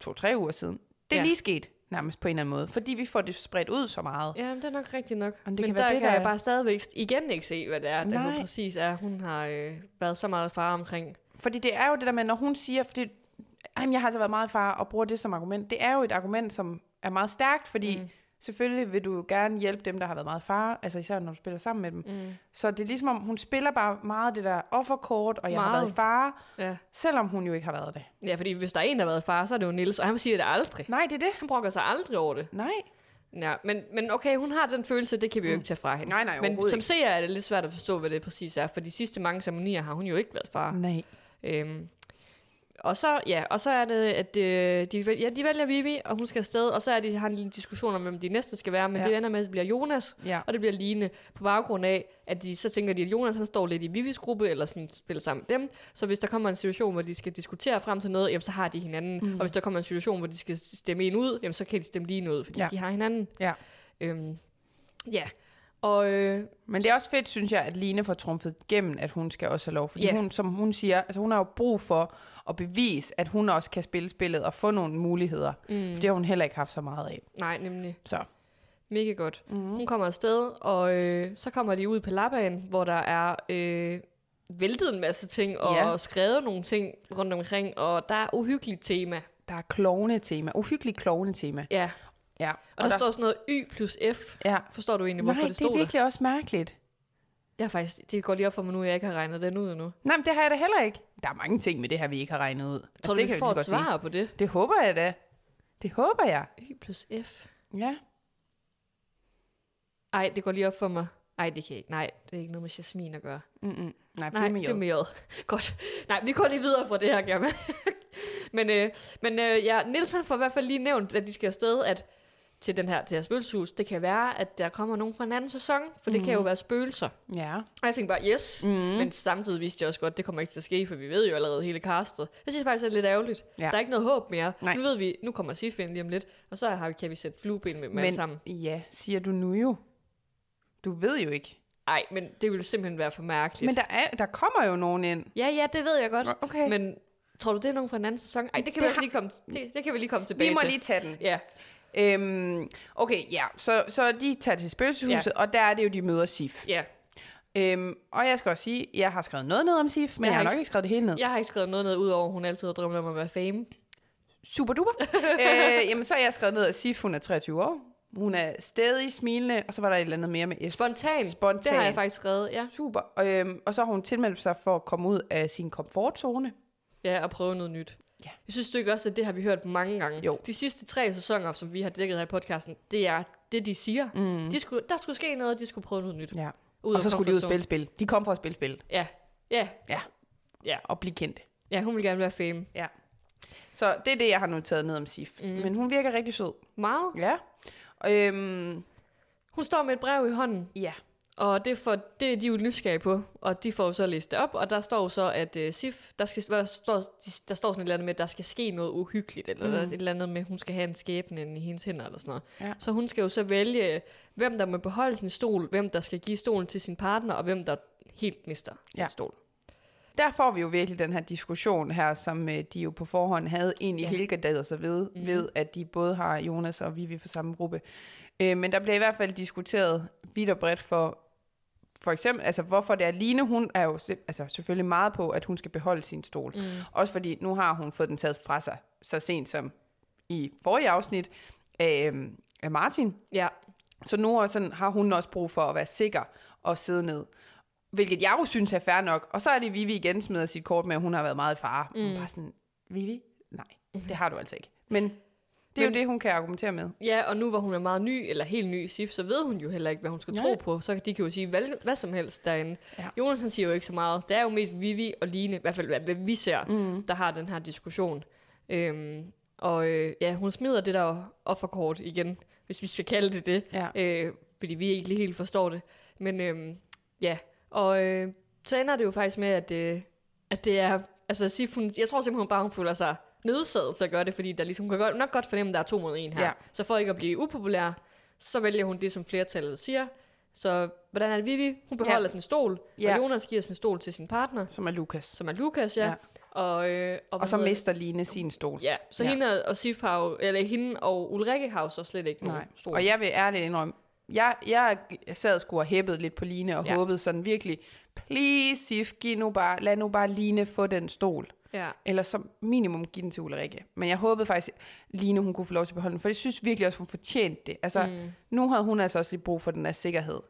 [SPEAKER 2] to-tre uger siden, det er ja.
[SPEAKER 1] Ja.
[SPEAKER 2] lige sket nærmest på en eller anden måde, fordi vi får det spredt ud så meget. Ja.
[SPEAKER 1] Ja, men det er nok rigtigt nok.
[SPEAKER 2] Jamen,
[SPEAKER 1] Men,
[SPEAKER 2] det
[SPEAKER 1] det
[SPEAKER 2] kan
[SPEAKER 1] men
[SPEAKER 2] være
[SPEAKER 1] der
[SPEAKER 2] det,
[SPEAKER 1] kan
[SPEAKER 2] der
[SPEAKER 1] jeg
[SPEAKER 2] er-
[SPEAKER 1] bare stadigvæk igen ikke se, hvad det er, at
[SPEAKER 2] Nej.
[SPEAKER 1] hun præcis er. Hun har øh, været så meget i fare omkring.
[SPEAKER 2] Fordi det er jo det der med, når hun siger, fordi, Jamen, jeg har altså været meget i far og bruger det som argument, det er jo et argument, som er meget stærkt, fordi mm. selvfølgelig vil du gerne hjælpe dem, der har været meget i far, altså især når du spiller sammen med dem. Mm. Så det er ligesom om, hun spiller bare meget det der offerkort, og jeg meget. har
[SPEAKER 1] Meget.
[SPEAKER 2] været i far,
[SPEAKER 1] Ja.
[SPEAKER 2] selvom hun jo ikke har været det.
[SPEAKER 1] ja, fordi hvis der er en, der har været i fare, så er det jo Nils, og han siger det aldrig.
[SPEAKER 2] Nej, det er det.
[SPEAKER 1] Han brokker sig aldrig over det.
[SPEAKER 2] Nej.
[SPEAKER 1] Ja, men, men okay, hun har den følelse, det kan vi jo ikke tage fra hende.
[SPEAKER 2] Mm. Nej, nej,
[SPEAKER 1] Men
[SPEAKER 2] overhovedet
[SPEAKER 1] som
[SPEAKER 2] ikke.
[SPEAKER 1] seer er det lidt svært at forstå, hvad det præcis er, for de sidste mange ceremonier har hun jo ikke været far.
[SPEAKER 2] Nej.
[SPEAKER 1] Øhm, Og så, ja, og så er det, at øh, de, væl- ja, de vælger Vivi, og hun skal afsted, og så er de, har en lille diskussion om, hvem de næste skal være, men
[SPEAKER 2] Ja.
[SPEAKER 1] ja. det ender med, at det bliver Jonas,
[SPEAKER 2] Ja.
[SPEAKER 1] og det bliver Line, på baggrund af, at de, så tænker de, at Jonas han står lidt i Vivis gruppe, eller sådan spiller sammen med dem, så hvis der kommer en situation, hvor de skal diskutere frem til noget, jamen, så har de hinanden,
[SPEAKER 2] Mhm.
[SPEAKER 1] mm. og hvis der kommer en situation, hvor de skal stemme en ud, jamen, så kan de stemme Line ud, fordi
[SPEAKER 2] Ja.
[SPEAKER 1] ja. de har hinanden.
[SPEAKER 2] Ja.
[SPEAKER 1] Øhm, ja, og øh,
[SPEAKER 2] Men det er også fedt, synes jeg, at Line får trumfet gennem, at hun skal også have lov. Fordi
[SPEAKER 1] Ja.
[SPEAKER 2] yeah. hun, som hun siger, altså hun har jo brug for at bevise, at hun også kan spille spillet og få nogle muligheder. Mm. For det har hun heller ikke haft så meget af.
[SPEAKER 1] nej, nemlig.
[SPEAKER 2] Så
[SPEAKER 1] Mega godt.
[SPEAKER 2] Mhm.
[SPEAKER 1] Mm-hmm. Hun kommer afsted, og øh, så kommer de ud på lappaen, hvor der er øh, væltet en masse ting, og
[SPEAKER 2] Ja.
[SPEAKER 1] ja. skrevet nogle ting rundt omkring, og der er uhyggeligt tema.
[SPEAKER 2] der er klovne tema. Uhyggeligt klovne tema.
[SPEAKER 1] Ja,
[SPEAKER 2] Ja.
[SPEAKER 1] og, og der, der står sådan noget Y plus F.
[SPEAKER 2] Ja.
[SPEAKER 1] Forstår du egentlig,
[SPEAKER 2] Nej,
[SPEAKER 1] hvorfor
[SPEAKER 2] det,
[SPEAKER 1] det stod
[SPEAKER 2] er
[SPEAKER 1] der?
[SPEAKER 2] virkelig også mærkeligt.
[SPEAKER 1] Jeg er faktisk, det går lige op for mig nu, at jeg ikke har regnet den ud endnu.
[SPEAKER 2] Nej, men det har jeg da heller ikke. Der er mange ting med det her, vi ikke har regnet ud. Tror
[SPEAKER 1] Tror
[SPEAKER 2] Altså, det
[SPEAKER 1] du,
[SPEAKER 2] kan
[SPEAKER 1] vi
[SPEAKER 2] lige
[SPEAKER 1] får
[SPEAKER 2] så
[SPEAKER 1] et
[SPEAKER 2] godt sige.
[SPEAKER 1] svar på det?
[SPEAKER 2] Det håber jeg da. Det håber jeg.
[SPEAKER 1] Y plus F.
[SPEAKER 2] Ja.
[SPEAKER 1] Ej, det går lige op for mig. Ej, det kan jeg ikke. Nej, det er ikke noget med jasmin at gøre.
[SPEAKER 2] Mm-mm. Nej, for
[SPEAKER 1] Nej,
[SPEAKER 2] Nej, det
[SPEAKER 1] det er
[SPEAKER 2] er med
[SPEAKER 1] med J. Godt. Nej, vi går lige videre fra det her, kan Men, øh, men øh, ja, Niels han får i hvert fald lige nævnt, at de skal afsted, at til den her, til her spøgelseshus, det kan være, at der kommer nogen fra en anden sæson, for det mm. kan jo være spøgelser.
[SPEAKER 2] J. Ja.
[SPEAKER 1] Og jeg tænkte bare, yes, mm. men samtidig vidste jeg også godt, at det kommer ikke til at ske, for vi ved jo allerede hele castet. Jeg synes faktisk, det er lidt ærgerligt.
[SPEAKER 2] Ja.
[SPEAKER 1] Ja. Der er ikke noget håb mere.
[SPEAKER 2] Nej.
[SPEAKER 1] Nej. Nu ved vi, nu kommer Sifin lige om lidt, og så har vi, kan vi sætte flueben med dem alle sammen.
[SPEAKER 2] Men ja, siger du nu jo. Du ved jo ikke.
[SPEAKER 1] Nej, men det ville simpelthen være for mærkeligt.
[SPEAKER 2] Men der, er, der kommer jo nogen ind.
[SPEAKER 1] Ja, ja, det ved jeg godt.
[SPEAKER 2] Okay. Men
[SPEAKER 1] Men tror du, det er nogen fra en anden sæson? Ej, det kan,
[SPEAKER 2] Det
[SPEAKER 1] det vi,
[SPEAKER 2] har-
[SPEAKER 1] har... lige komme, det, det kan vi lige komme tilbage
[SPEAKER 2] vi må
[SPEAKER 1] til.
[SPEAKER 2] lige tage den.
[SPEAKER 1] Ja,
[SPEAKER 2] Øhm, okay, ja. Så, så de tager til spøgelseshuset, ja. og der er det jo, de møder Sif.
[SPEAKER 1] ja.
[SPEAKER 2] Øhm, og jeg skal også sige, jeg har skrevet noget ned om Sif, men jeg,
[SPEAKER 1] Jeg
[SPEAKER 2] jeg
[SPEAKER 1] har
[SPEAKER 2] har nok
[SPEAKER 1] ikke-
[SPEAKER 2] ikke skrevet det hele ned.
[SPEAKER 1] Jeg har ikke skrevet noget ned, udover at hun altid har drømt om at være fame.
[SPEAKER 2] super duper. øh, jamen, så har jeg skrevet ned at Sif, hun er 23 år. Hun er stadig smilende, og så var der et eller andet mere med S.
[SPEAKER 1] Spontan.
[SPEAKER 2] Spontan.
[SPEAKER 1] Det har jeg faktisk skrevet, ja.
[SPEAKER 2] Super. Og, øhm, og så har hun tilmeldt sig for at komme ud af sin komfortzone.
[SPEAKER 1] Ja, og prøve noget nyt.
[SPEAKER 2] Ja.
[SPEAKER 1] Jeg synes du ikke også, at det har vi hørt mange gange.
[SPEAKER 2] Jo.
[SPEAKER 1] De sidste tre sæsoner, som vi har dækket her i podcasten, det er det, de siger. Mm. De skulle, der skulle ske noget, og de skulle prøve noget nyt.
[SPEAKER 2] Mhm. Ja.
[SPEAKER 1] Ud
[SPEAKER 2] og
[SPEAKER 1] af
[SPEAKER 2] så skulle de ud og
[SPEAKER 1] komfortzonen.
[SPEAKER 2] spille spil. De kom for at spille spil
[SPEAKER 1] Ja. Ja.
[SPEAKER 2] Ja.
[SPEAKER 1] Ja.
[SPEAKER 2] og blive kendte.
[SPEAKER 1] ja, hun vil gerne være fame.
[SPEAKER 2] Ja. Så det er det, jeg har noteret ned om Sif. Mm. Men hun virker rigtig sød.
[SPEAKER 1] Meget.
[SPEAKER 2] Ja. Øhm,
[SPEAKER 1] Hun står med et brev i hånden,
[SPEAKER 2] ja.
[SPEAKER 1] Og det, for, det er de jo nysgerrige på, og de får jo så læst det op, og der står jo så, at øh, Sif, der, skal, hvad der, står, de- der står sådan et eller andet med, at der skal ske noget uhyggeligt, eller mm. der er et eller andet med, at hun skal have en skæbne inde i hendes hænder, eller sådan noget.
[SPEAKER 2] Ja.
[SPEAKER 1] Så hun skal jo så vælge, hvem der må beholde sin stol, hvem der skal give stolen til sin partner, og hvem der helt mister sin
[SPEAKER 2] Ja.
[SPEAKER 1] stol.
[SPEAKER 2] Der får vi jo virkelig den her diskussion her, som øh, de jo på forhånd havde egentlig ja.
[SPEAKER 1] Ja.
[SPEAKER 2] helgedaget sig ved, mm. ved, at de både har Jonas og Vivi fra samme gruppe. Øh, men der bliver i hvert fald diskuteret vidt og bredt for, for eksempel, altså hvorfor det er Line, hun er jo sim- altså, selvfølgelig meget på, at hun skal beholde sin stol. Mm. Også fordi nu har hun fået den taget fra sig, så sent som i forrige afsnit af, øhm, af Martin.
[SPEAKER 1] Ja,
[SPEAKER 2] Så nu er sådan, har hun også brug for at være sikker og sidde ned. Hvilket jeg jo synes er fair nok. Og så er det Vivi igen smider sit kort med, at hun har været meget i fare. Mm. Hun er bare sådan, Vivi? Nej, det har du altså ikke. Men det er Men, jo
[SPEAKER 1] Men-
[SPEAKER 2] det, hun kan argumentere med.
[SPEAKER 1] ja, og nu hvor hun er meget ny, eller helt ny i Sif, så ved hun jo heller ikke, hvad hun skal
[SPEAKER 2] Nej.
[SPEAKER 1] tro på. Så de kan jo sige hvad, hvad som helst derinde.
[SPEAKER 2] Ja.
[SPEAKER 1] Jonas han siger jo ikke så meget. Det er jo mest Vivi og Line, i hvert fald hvad, hvad vi ser, mm. der har den her diskussion. Øhm, og øh, ja, hun smider det der offerkort igen, hvis vi skal kalde det det.
[SPEAKER 2] Ja.
[SPEAKER 1] Øh, fordi vi ikke lige helt forstår det. Men øhm, ja, og øh, så ender det jo faktisk med, at, øh, at det er... Altså, Sif, hun, jeg tror simpelthen bare, hun føler sig nødsaget til at gøre det, fordi der ligesom, hun kan godt, nok godt fornemme, at der er to mod en her.
[SPEAKER 2] Ja.
[SPEAKER 1] Så for ikke at blive upopulær, så vælger hun det, som flertallet siger. Så hvordan er det, Vivi? Hun beholder
[SPEAKER 2] Ja.
[SPEAKER 1] ja. sin stol, ja.
[SPEAKER 2] Ja.
[SPEAKER 1] og Jonas giver sin stol til sin partner,
[SPEAKER 2] Som er Lukas.
[SPEAKER 1] som er Lukas, ja.
[SPEAKER 2] Ja.
[SPEAKER 1] ja. Og, øh,
[SPEAKER 2] Og så
[SPEAKER 1] hvad hedder
[SPEAKER 2] mister Line sin stol.
[SPEAKER 1] det? Ja, så
[SPEAKER 2] Ja.
[SPEAKER 1] ja. hende og Sif har jo, eller hende og Ulrikke har jo så slet ikke
[SPEAKER 2] Nej.
[SPEAKER 1] nogen stol.
[SPEAKER 2] Og jeg vil ærligt indrømme, jeg, jeg sad sgu og hæppede lidt på Line og ja.
[SPEAKER 1] Ja.
[SPEAKER 2] håbede sådan virkelig, please Sif, giv nu bare, lad nu bare Line få den stol.
[SPEAKER 1] ja.
[SPEAKER 2] Eller som minimum give den til Ulrikke. Men jeg håbede faktisk, Line hun kunne få lov til at beholde den, for jeg synes virkelig også, hun fortjente det. Altså, mm. nu havde hun altså også lige brug for den der sikkerhed.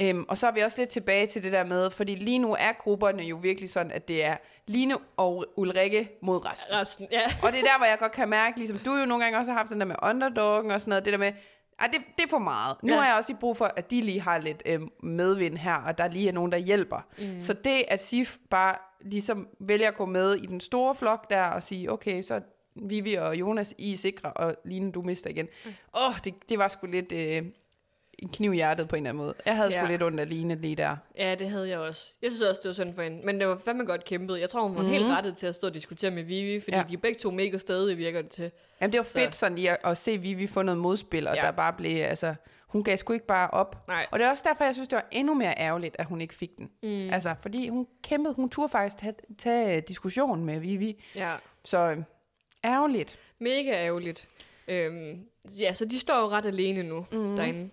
[SPEAKER 2] Øhm, og så er vi også lidt tilbage til det der med, fordi lige nu er grupperne jo virkelig sådan, at det er Line og Ulrikke mod resten.
[SPEAKER 1] Resten, ja.
[SPEAKER 2] Og det er der, hvor jeg godt kan mærke, ligesom du jo nogle gange også har haft den der med underdoggen og sådan noget, det der med, Ej, det, det er for meget. Nu
[SPEAKER 1] Ja.
[SPEAKER 2] ja. har jeg også lige brug for, at de lige har lidt øh, medvind her, og der lige er nogen, der hjælper. Mm. Så det, at Sif bare ligesom vælger at gå med i den store flok der, og sige, okay, så Vivi og Jonas, I er sikre, og Line, du mister igen. Åh, mm. oh, det, det var sgu lidt øh, en kniv i hjertet på en eller anden måde. Jeg havde ja.
[SPEAKER 1] Ja.
[SPEAKER 2] sgu lidt ondt af Line lige der.
[SPEAKER 1] Ja, det havde jeg også. Jeg synes også, det var synd for hende. Men det var fandme godt kæmpet. Jeg tror, hun var mm-hmm. helt rettet til at stå og diskutere med Vivi, fordi ja.
[SPEAKER 2] Ja.
[SPEAKER 1] de er begge to mega stadig virker det til.
[SPEAKER 2] Jamen, det var
[SPEAKER 1] Så-
[SPEAKER 2] fedt sådan lige at, at se Vivi få noget modspil, og
[SPEAKER 1] Ja.
[SPEAKER 2] ja. der bare blev, altså, hun gav sgu ikke bare op.
[SPEAKER 1] Nej.
[SPEAKER 2] Og det er også derfor, jeg synes, det var endnu mere ærgerligt, at hun ikke fik den. Mm. Altså, fordi hun kæmpede, hun turde faktisk tage, tage øh, diskussionen med Vivi.
[SPEAKER 1] Ja,
[SPEAKER 2] Så øh, ærgerligt.
[SPEAKER 1] mega ærgerligt. Øhm, ja, så de står jo ret alene nu
[SPEAKER 2] Mhm.
[SPEAKER 1] mm-hmm. derinde.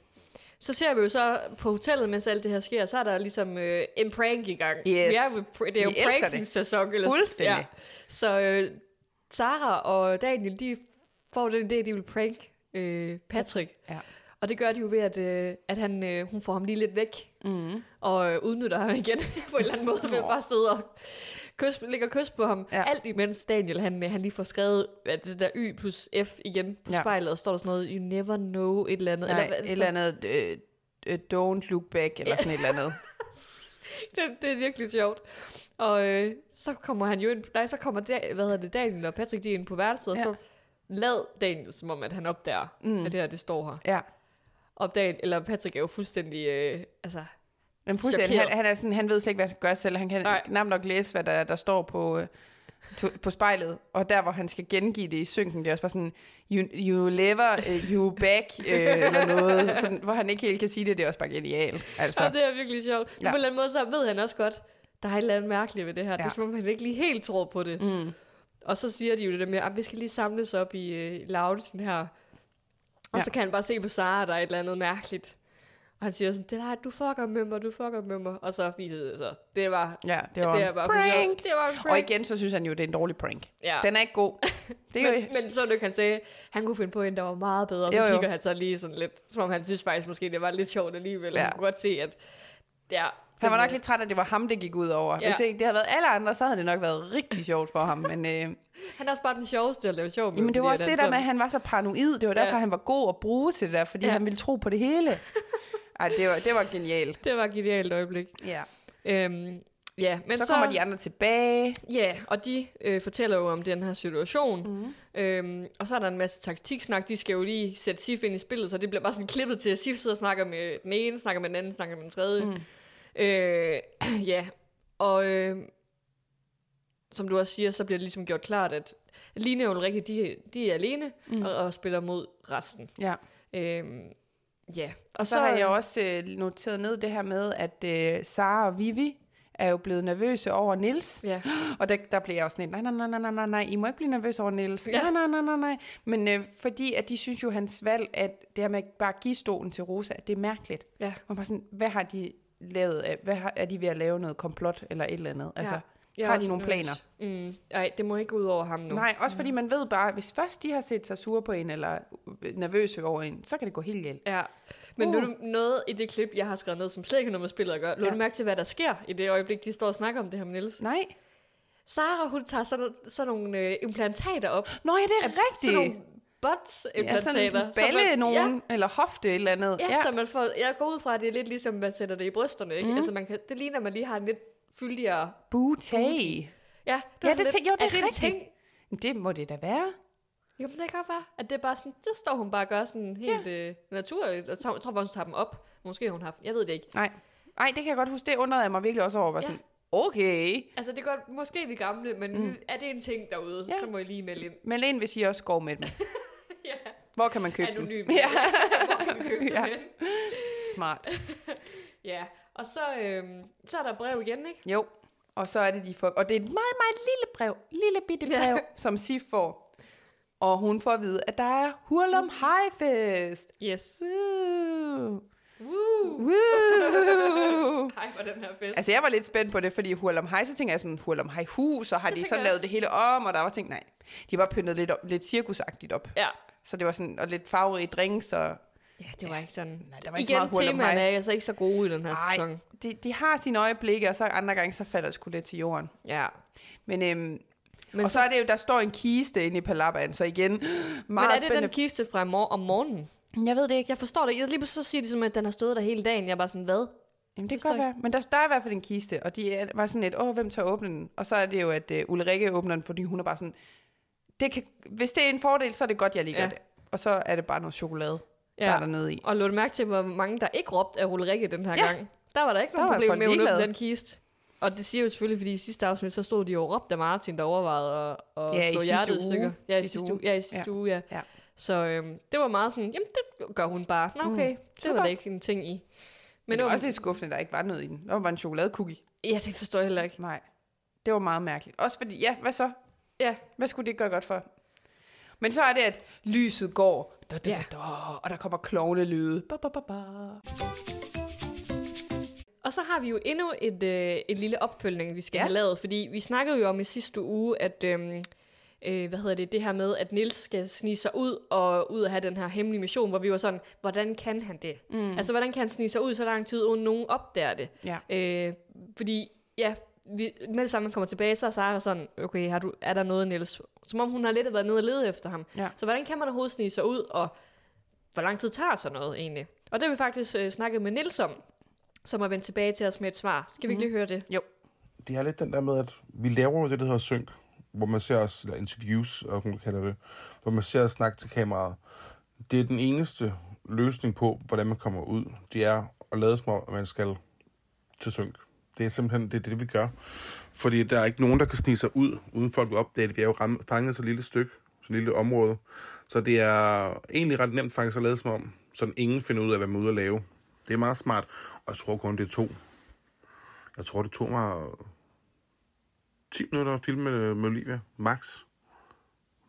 [SPEAKER 1] Så ser vi jo så på hotellet, mens alt det her sker, så er der ligesom øh, en prank i gang.
[SPEAKER 2] Yes.
[SPEAKER 1] Vi er jo, pr- det er jo
[SPEAKER 2] Vi elsker det.
[SPEAKER 1] pranking-sæson. Eller,
[SPEAKER 2] Fuldstændig.
[SPEAKER 1] Så øh, Sara og Daniel, de får den idé, de vil prank øh, Patrick.
[SPEAKER 2] Ja.
[SPEAKER 1] Og det gør de jo ved, at, øh, at han, øh, hun får ham lige lidt væk. Mm. Og øh, udnytter ham igen på en eller anden måde. Ved at bare sidde og kys, lægger kys på ham. Ja.
[SPEAKER 2] Ja.
[SPEAKER 1] Alt imens Daniel han, øh, han lige får skrevet at det der Y plus F igen på ja.
[SPEAKER 2] Ja.
[SPEAKER 1] spejlet. Og står der sådan noget, you never know et eller andet.
[SPEAKER 2] Nej,
[SPEAKER 1] hvad
[SPEAKER 2] eller,
[SPEAKER 1] det
[SPEAKER 2] et eller andet, øh, øh, don't look back, eller sådan et eller andet.
[SPEAKER 1] står. det, det er virkelig sjovt. Og øh, så kommer han jo ind, nej, så kommer der, hvad hedder det, Daniel og Patrick de er ind på værelset. Og
[SPEAKER 2] Ja.
[SPEAKER 1] så lad Daniel, som om at han opdager, mm. at det her det står her.
[SPEAKER 2] Ja.
[SPEAKER 1] Og Daniel, eller Patrick er jo fuldstændig, øh, altså
[SPEAKER 2] Men fuldstændig, han,
[SPEAKER 1] Chokeret.
[SPEAKER 2] han, er sådan, han ved slet ikke, hvad han skal gøre selv. Han kan
[SPEAKER 1] Nej.
[SPEAKER 2] Nej. knap nok læse, hvad der, der står på, øh, to- på spejlet. Og der, hvor han skal gengive det i synken, det er også bare sådan, you, you lever, øh, you back, øh, eller noget. Sådan, hvor han ikke helt kan sige det, det er også bare genialt.
[SPEAKER 1] Så. Og
[SPEAKER 2] Altså,
[SPEAKER 1] det er virkelig sjovt. Ja. Men på
[SPEAKER 2] Ja.
[SPEAKER 1] en eller anden måde, så ved han også godt, der er et eller andet mærkeligt ved det her. Ja. Det er
[SPEAKER 2] Ja.
[SPEAKER 1] som om, han ikke lige helt tror på det. Mm. Og så siger de jo det der med, at vi skal lige samles op i øh, loungen her. Og
[SPEAKER 2] Ja.
[SPEAKER 1] så kan han bare se på Sara, der er et eller andet mærkeligt. Og han siger sådan, det der, du fucker med mig, du fucker med mig. Og så viser det sig. Det var,
[SPEAKER 2] ja, det
[SPEAKER 1] det
[SPEAKER 2] var,
[SPEAKER 1] var, det var bare for sjov.
[SPEAKER 2] prank.
[SPEAKER 1] Det var en
[SPEAKER 2] Og
[SPEAKER 1] prank.
[SPEAKER 2] igen, så synes han jo, det er en dårlig prank.
[SPEAKER 1] Ja.
[SPEAKER 2] Den er ikke god. Det er jo,
[SPEAKER 1] Men, men så du kan sige, han kunne finde på en, der var meget bedre, og så
[SPEAKER 2] Jo,
[SPEAKER 1] jo,
[SPEAKER 2] jo.
[SPEAKER 1] kigger han så lige sådan lidt, som om han synes faktisk måske, det var lidt sjovt alligevel. Ja.
[SPEAKER 2] Ja.
[SPEAKER 1] Han kunne godt se, at ja,
[SPEAKER 2] han var
[SPEAKER 1] den-
[SPEAKER 2] nok lidt træt, at det var ham, det gik ud over.
[SPEAKER 1] Ja.
[SPEAKER 2] Hvis ikke det havde været alle andre, så havde det nok været rigtig sjovt for ham. Men øh,
[SPEAKER 1] Han er også bare den sjoveste at lave sjov med.
[SPEAKER 2] Jamen det var
[SPEAKER 1] fordi
[SPEAKER 2] også
[SPEAKER 1] at
[SPEAKER 2] det
[SPEAKER 1] han
[SPEAKER 2] der med, at han var så paranoid. Det var derfor,
[SPEAKER 1] Ja.
[SPEAKER 2] han var god at bruge til det der, fordi
[SPEAKER 1] Ja.
[SPEAKER 2] ja. han ville tro på det hele. Ej, det var, det var genialt.
[SPEAKER 1] sådan- Det var et genialt øjeblik.
[SPEAKER 2] Ja.
[SPEAKER 1] Øhm, ja, men så,
[SPEAKER 2] Så kommer de andre tilbage.
[SPEAKER 1] Ja, og de øh, fortæller jo om den her situation.
[SPEAKER 2] Mhm.
[SPEAKER 1] Mm. Øhm, og så er der en masse taktiksnak. De skal jo lige sætte Sif ind i spillet, så det bliver bare sådan klippet til, at Sif sidder og snakker med den ene, snakker med den anden, snakker med den tredje.
[SPEAKER 2] Mhm.
[SPEAKER 1] Mm. Øh, ja, og øh, som du også siger, så bliver det ligesom gjort klart, at Line og Ulrikke, de, de er alene
[SPEAKER 2] Mhm.
[SPEAKER 1] mm. og, og spiller mod resten.
[SPEAKER 2] Ja.
[SPEAKER 1] Øhm, ja,
[SPEAKER 2] Og så, så har jeg også øh, noteret ned det her med, at øh, Sara og Vivi er jo blevet nervøse over Nils.
[SPEAKER 1] Ja.
[SPEAKER 2] Og der, der blev jeg også sådan, lidt, nej, nej, nej, nej, nej, nej, I må ikke blive nervøse over Nils.
[SPEAKER 1] Ja.
[SPEAKER 2] Ja. Nej, nej, nej, nej, nej. Men øh, fordi, at de synes jo, hans valg, at det her med at bare give stolen til Rosa, at det er mærkeligt.
[SPEAKER 1] Ja.
[SPEAKER 2] Og bare sådan, hvad har de lavet af? Hvad har, er de ved at lave noget komplot eller et eller andet? Altså,
[SPEAKER 1] Jeg er
[SPEAKER 2] har de
[SPEAKER 1] også
[SPEAKER 2] nogle
[SPEAKER 1] nervøs.
[SPEAKER 2] planer?
[SPEAKER 1] Mm, nej, det må ikke gå ud over ham nu.
[SPEAKER 2] Nej, også fordi man ved bare, at hvis først de har set sig sure på en, eller øh, nervøse over en, så kan det gå helt galt.
[SPEAKER 1] Ja. Men
[SPEAKER 2] Uh.
[SPEAKER 1] uh. nu, noget i det klip, jeg har skrevet ned, som slet ikke har noget med spillet at gøre. Lå ja.
[SPEAKER 2] Ja.
[SPEAKER 1] du mærke til, hvad der sker i det øjeblik, de står og snakker om det her med Niels?
[SPEAKER 2] Nej.
[SPEAKER 1] Sara, hun tager sådan, sådan nogle øh, implantater op.
[SPEAKER 2] Nå ja, det er
[SPEAKER 1] Sådan
[SPEAKER 2] rigtigt.
[SPEAKER 1] nogle
[SPEAKER 2] Ja, sådan
[SPEAKER 1] bots-implantater.
[SPEAKER 2] en balle
[SPEAKER 1] man-
[SPEAKER 2] nogen, eller hofte et eller andet.
[SPEAKER 1] Ja, ja, så man får, jeg går ud fra, at det er lidt ligesom, man sætter det i brysterne. Ikke? Mm. Altså, man kan, det ligner, at man lige har en lidt fyldigere...
[SPEAKER 2] Booty.
[SPEAKER 1] Ja, det,
[SPEAKER 2] Ja,
[SPEAKER 1] var
[SPEAKER 2] det
[SPEAKER 1] sådan lidt,
[SPEAKER 2] tænkte- jo, det er
[SPEAKER 1] en
[SPEAKER 2] rigtigt.
[SPEAKER 1] ting?
[SPEAKER 2] Men Det må det da være.
[SPEAKER 1] Jo, men det kan godt være, at det er bare sådan, det står hun bare og gør sådan helt ja. øh, naturligt, og så, jeg tror bare, hun tager dem op. Måske har hun haft, jeg ved det ikke.
[SPEAKER 2] Nej. Ej, det kan jeg godt huske. Det undrede jeg mig virkelig også over. Var
[SPEAKER 1] Ja.
[SPEAKER 2] sådan, okay.
[SPEAKER 1] Altså, det er godt, måske vi gamle, men mm. er det en ting derude, ja.
[SPEAKER 2] Ja.
[SPEAKER 1] så må I lige melde ind.
[SPEAKER 2] Men ind, hvis I også går med dem.
[SPEAKER 1] Ja,
[SPEAKER 2] Hvor kan man købe dem?
[SPEAKER 1] anonym.
[SPEAKER 2] Ja,
[SPEAKER 1] ja.
[SPEAKER 2] Ja. smart.
[SPEAKER 1] ja, og så, øhm, så er der brev igen, ikke?
[SPEAKER 2] Jo. Og så er det de får, og det er et meget, meget lille brev, lille bitte
[SPEAKER 1] Ja.
[SPEAKER 2] brev, som Sif får. Og hun får at vide, at der er
[SPEAKER 1] Mm.
[SPEAKER 2] Hurlum Highfest.
[SPEAKER 1] Yes.
[SPEAKER 2] Woo.
[SPEAKER 1] Woo.
[SPEAKER 2] Woo.
[SPEAKER 1] Hej for den her fest.
[SPEAKER 2] Altså, jeg var lidt spændt på det, fordi Hurlum Hej, så tænker jeg sådan, Hurlum Hej hus, og har
[SPEAKER 1] Det
[SPEAKER 2] de
[SPEAKER 1] tænker
[SPEAKER 2] så
[SPEAKER 1] jeg også.
[SPEAKER 2] lavet det hele om, og der var ting, nej, de var pyntet lidt, op, lidt cirkusagtigt op.
[SPEAKER 1] Ja.
[SPEAKER 2] Så det var sådan, og lidt farverige drinks, og
[SPEAKER 1] ja, det var ikke sådan.
[SPEAKER 2] Nej, der var ikke så
[SPEAKER 1] igen,
[SPEAKER 2] meget hul om
[SPEAKER 1] temaerne
[SPEAKER 2] hej.
[SPEAKER 1] er altså ikke så gode i den her
[SPEAKER 2] ej,
[SPEAKER 1] sæson.
[SPEAKER 2] de, de har sine øjeblikke, og så andre gange, så falder det sgu lidt til jorden.
[SPEAKER 1] Ja.
[SPEAKER 2] Men, øhm,
[SPEAKER 1] Men
[SPEAKER 2] og så, er det jo, der står en kiste inde i Palabaen, så igen, meget
[SPEAKER 1] Men er det
[SPEAKER 2] spændende.
[SPEAKER 1] den kiste fra mor- om morgenen?
[SPEAKER 2] Jeg ved det ikke.
[SPEAKER 1] Jeg forstår det. Jeg lige pludselig så siger de som, at den har stået der hele dagen. Jeg er bare sådan, hvad? Det
[SPEAKER 2] Jamen, det kan godt
[SPEAKER 1] står
[SPEAKER 2] være. Men der, der er i hvert fald en kiste, og de er, var sådan et, åh, hvem tør åbne den? Og så er det jo, at øh, Ulrikke åbner den, fordi hun er bare sådan, det kan, hvis det er en fordel, så er det godt, jeg ligger ja.
[SPEAKER 1] Ja.
[SPEAKER 2] det. Og så er det bare noget chokolade, ja. der er dernede i.
[SPEAKER 1] Og lå du mærke til, hvor mange der ikke råbte af Ulrikke den her
[SPEAKER 2] Ja.
[SPEAKER 1] ja. gang? Der var der ikke
[SPEAKER 2] Der
[SPEAKER 1] noget
[SPEAKER 2] var
[SPEAKER 1] problem
[SPEAKER 2] folk
[SPEAKER 1] med at hun
[SPEAKER 2] ligeglade.
[SPEAKER 1] åbne den kiste. Og det siger jo selvfølgelig, fordi i sidste afsnit, så stod de jo og råbte af Martin, der overvejede at, at
[SPEAKER 2] Ja, i
[SPEAKER 1] slå
[SPEAKER 2] sidste
[SPEAKER 1] hjertet i
[SPEAKER 2] uge.
[SPEAKER 1] stykker. Ja, i
[SPEAKER 2] Sidste
[SPEAKER 1] sidste
[SPEAKER 2] uge.
[SPEAKER 1] uge. Ja, i sidste
[SPEAKER 2] Ja.
[SPEAKER 1] uge, ja.
[SPEAKER 2] Ja.
[SPEAKER 1] Så øhm, det var meget sådan, jamen det gør hun bare. Nå okay, det var
[SPEAKER 2] Mm. Super.
[SPEAKER 1] der ikke en ting i.
[SPEAKER 2] Men
[SPEAKER 1] Men
[SPEAKER 2] det var
[SPEAKER 1] åben-
[SPEAKER 2] også lidt skuffende, at der ikke var noget i den. Der var bare en chokoladecookie.
[SPEAKER 1] Ja, det forstår jeg heller ikke.
[SPEAKER 2] Nej, det var meget mærkeligt. Også fordi, ja, hvad så?
[SPEAKER 1] Ja,
[SPEAKER 2] Hvad skulle det gøre godt for? Men så er det, at lyset går, da, da,
[SPEAKER 1] Ja.
[SPEAKER 2] da, da, og der kommer klovnelyde. Ba, ba, ba, ba.
[SPEAKER 1] Og så har vi jo endnu et, øh, et lille opfølgning, vi skal
[SPEAKER 2] Ja.
[SPEAKER 1] ja. have lavet, fordi vi snakkede jo om i sidste uge, at øhm, øh, hvad hedder det, det her med, at Nils skal snige sig ud og ud og have den her hemmelige mission, hvor vi var sådan, hvordan kan han det? Mm. Altså, hvordan kan han snige sig ud så lang tid, uden nogen opdager det?
[SPEAKER 2] Ja.
[SPEAKER 1] Øh, fordi, ja, vi, med det samme han kommer tilbage, så er Sara sådan, okay, har du, er der noget, Niels? Som om hun har lidt været nede og lede efter ham.
[SPEAKER 2] Ja.
[SPEAKER 1] Så hvordan kan man overhovedet snige sig ud, og hvor lang tid tager sådan noget egentlig? Og det har vi faktisk øh, snakket med Niels om, som er vendt tilbage til os med et svar. Skal vi ikke lige høre det?
[SPEAKER 2] Jo,
[SPEAKER 4] det er lidt den der med, at vi laver jo det, der hedder synk, hvor man ser os, eller interviews, og hun kalder det, hvor man ser os snakke til kameraet. Det er den eneste løsning på, hvordan man kommer ud, det er at lade som om, at man skal til synk. Det er simpelthen det, er det vi gør. Fordi der er ikke nogen, der kan snige sig ud, uden folk vil opdage det. Vi er jo ramme- fanget så et lille stykke, så et lille område. Så det er egentlig ret nemt faktisk at lade som om, så ingen finder ud af, hvad man er ude at lave. Det er meget smart, og jeg tror kun, det er to. Jeg tror, det tog mig 10 minutter at filme øh, med Olivia, max.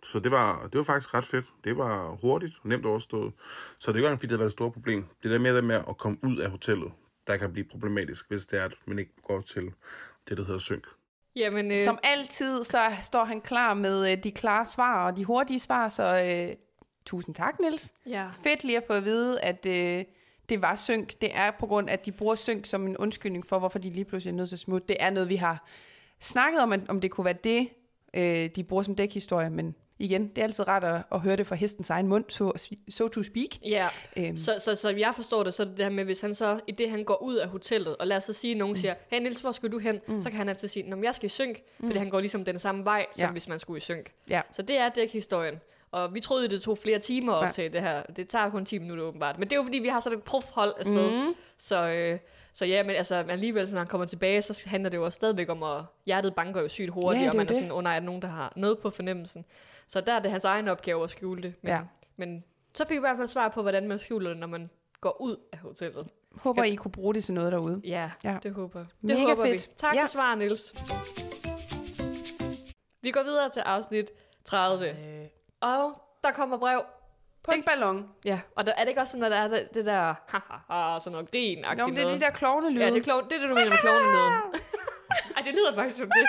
[SPEAKER 4] Så det var, det var faktisk ret fedt. Det var hurtigt, nemt overstået. Så det er ikke engang, fordi det har været et stort problem. Det der med, det med at komme ud af hotellet, der kan blive problematisk, hvis det er, at man ikke går til det, der hedder synk.
[SPEAKER 1] Jamen, øh,
[SPEAKER 2] Som altid, så står han klar med øh, de klare svar og de hurtige svar, så øh, tusind tak, Niels.
[SPEAKER 1] ja.
[SPEAKER 2] Fedt lige at få at vide, at øh, det var synk. Det er på grund af, at de bruger synk som en undskyldning for, hvorfor de lige pludselig er nødt til at smutte. Det er noget, vi har snakket om, at- om det kunne være det, øh, de bruger som dækhistorie, men igen, det er altid rart at, at høre det fra hestens egen mund, so, so to speak.
[SPEAKER 1] Ja,
[SPEAKER 2] Øhm.
[SPEAKER 1] øhm. så, så, så jeg forstår det, så er det det her med, hvis han så, i det han går ud af hotellet, og lad os så sige, at nogen siger, hey Niels, hvor skal du hen? Mm. Så kan han altid sige, at jeg skal i synk, mm. fordi han går ligesom den samme vej, som
[SPEAKER 2] Ja.
[SPEAKER 1] hvis man skulle i synk.
[SPEAKER 2] Ja.
[SPEAKER 1] Så det er dækhistorien. Og vi troede, det tog flere timer op
[SPEAKER 2] Ja.
[SPEAKER 1] ja. til det her. Det tager kun 10 minutter åbenbart. Men det er jo fordi, vi har sådan et profhold afsted. Mm. Så, øh, så ja, men altså, alligevel, så når han kommer tilbage, så handler det jo også stadigvæk om, at hjertet banker jo sygt hurtigt,
[SPEAKER 2] Ja, det
[SPEAKER 1] og
[SPEAKER 2] er
[SPEAKER 1] man er
[SPEAKER 2] det.
[SPEAKER 1] sådan, under, er der nogen, der har noget på fornemmelsen. Så der er det hans egen opgave at skjule det. Men,
[SPEAKER 2] Ja.
[SPEAKER 1] ja. men så fik vi i hvert fald svar på, hvordan man skjuler det, når man går ud af hotellet.
[SPEAKER 2] Håber, I kunne bruge det til noget derude.
[SPEAKER 1] Ja,
[SPEAKER 2] Ja.
[SPEAKER 1] ja. det håber Det
[SPEAKER 2] Mega
[SPEAKER 1] håber
[SPEAKER 2] fedt.
[SPEAKER 1] vi. Tak
[SPEAKER 2] Ja.
[SPEAKER 1] ja. for svaret, Niels. Vi går videre til afsnit 30. Og der kommer brev.
[SPEAKER 2] Øh, På en ballon.
[SPEAKER 1] Ja, og der, er det ikke også sådan, at der er det, det der ha, ha, ha, sådan noget grin
[SPEAKER 2] Nå, men det er de der klovne lyde.
[SPEAKER 1] Ja, det er, klovn, det er det, du mener med klovnelyden. Ej, det lyder faktisk som det.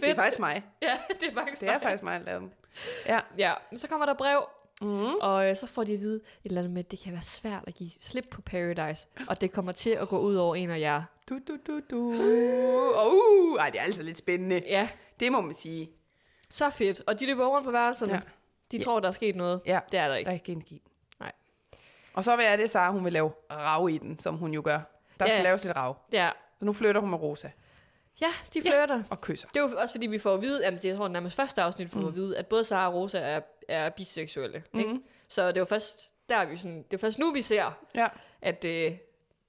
[SPEAKER 2] det er faktisk mig.
[SPEAKER 1] Ja, det er faktisk
[SPEAKER 2] Det er
[SPEAKER 1] dig.
[SPEAKER 2] faktisk mig, der lavede dem. Ja,
[SPEAKER 1] Ja, men så kommer der brev, mm. og øh, så får de at vide et eller andet med, at det kan være svært at give slip på Paradise, og det kommer til at gå ud over en af jer.
[SPEAKER 2] Du, du, du, du. Og uh, ej, det er altså lidt spændende.
[SPEAKER 1] Ja,
[SPEAKER 2] Det må man sige.
[SPEAKER 1] så fedt. Og de løber rundt på værelserne.
[SPEAKER 2] Ja.
[SPEAKER 1] Ja. De tror, der er sket noget.
[SPEAKER 2] Ja.
[SPEAKER 1] Det er der
[SPEAKER 2] Der
[SPEAKER 1] ikke.
[SPEAKER 2] er ikke energi.
[SPEAKER 1] Nej.
[SPEAKER 2] Og så vil jeg det, Sara, hun vil lave rav i den, som hun jo gør. Der
[SPEAKER 1] Ja.
[SPEAKER 2] skal laves lidt rav.
[SPEAKER 1] Ja,
[SPEAKER 2] Så nu flytter hun med Rosa
[SPEAKER 1] ja de flirter.
[SPEAKER 2] og kysser.
[SPEAKER 1] Det er jo også fordi, vi får at vide, at det tror jeg, nærmest første afsnit får mm. at vide, at både Sara og Rosa er, er biseksuelle. Mm.
[SPEAKER 2] Mm-hmm.
[SPEAKER 1] Ikke? Så det er jo først, der er vi sådan, det er først nu, vi ser,
[SPEAKER 2] Ja.
[SPEAKER 1] at øh,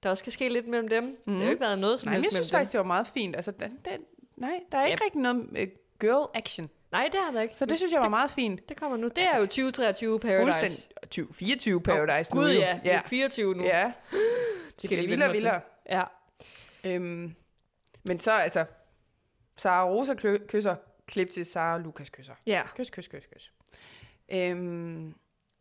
[SPEAKER 1] der også kan ske lidt mellem dem. Mm. Det har jo ikke været noget som
[SPEAKER 2] Mm-hmm. Nej,
[SPEAKER 1] helst
[SPEAKER 2] men jeg
[SPEAKER 1] mellem
[SPEAKER 2] synes faktisk, det var meget fint. Altså, den, den, nej, der er ikke rigtig noget øh, girl action.
[SPEAKER 1] dem. Nej, det har der ikke.
[SPEAKER 2] Så det synes jeg var meget fint.
[SPEAKER 1] det kommer nu. Det er jo 2023 Paradise.
[SPEAKER 2] Fuldstændig 20, 24 Paradise nu.
[SPEAKER 1] Gud
[SPEAKER 2] jo.
[SPEAKER 1] ja, det
[SPEAKER 2] ja.
[SPEAKER 1] er 24 nu.
[SPEAKER 2] ja.
[SPEAKER 1] det
[SPEAKER 2] bliver
[SPEAKER 1] vi vende
[SPEAKER 2] vildere og
[SPEAKER 1] mig til.
[SPEAKER 2] vildere.
[SPEAKER 1] Ja.
[SPEAKER 2] Øhm, men så altså, Sara og Rosa klø- kysser, klip til Sara og Lukas kysser.
[SPEAKER 1] ja.
[SPEAKER 2] Kys, kys, kys, kys. Øhm,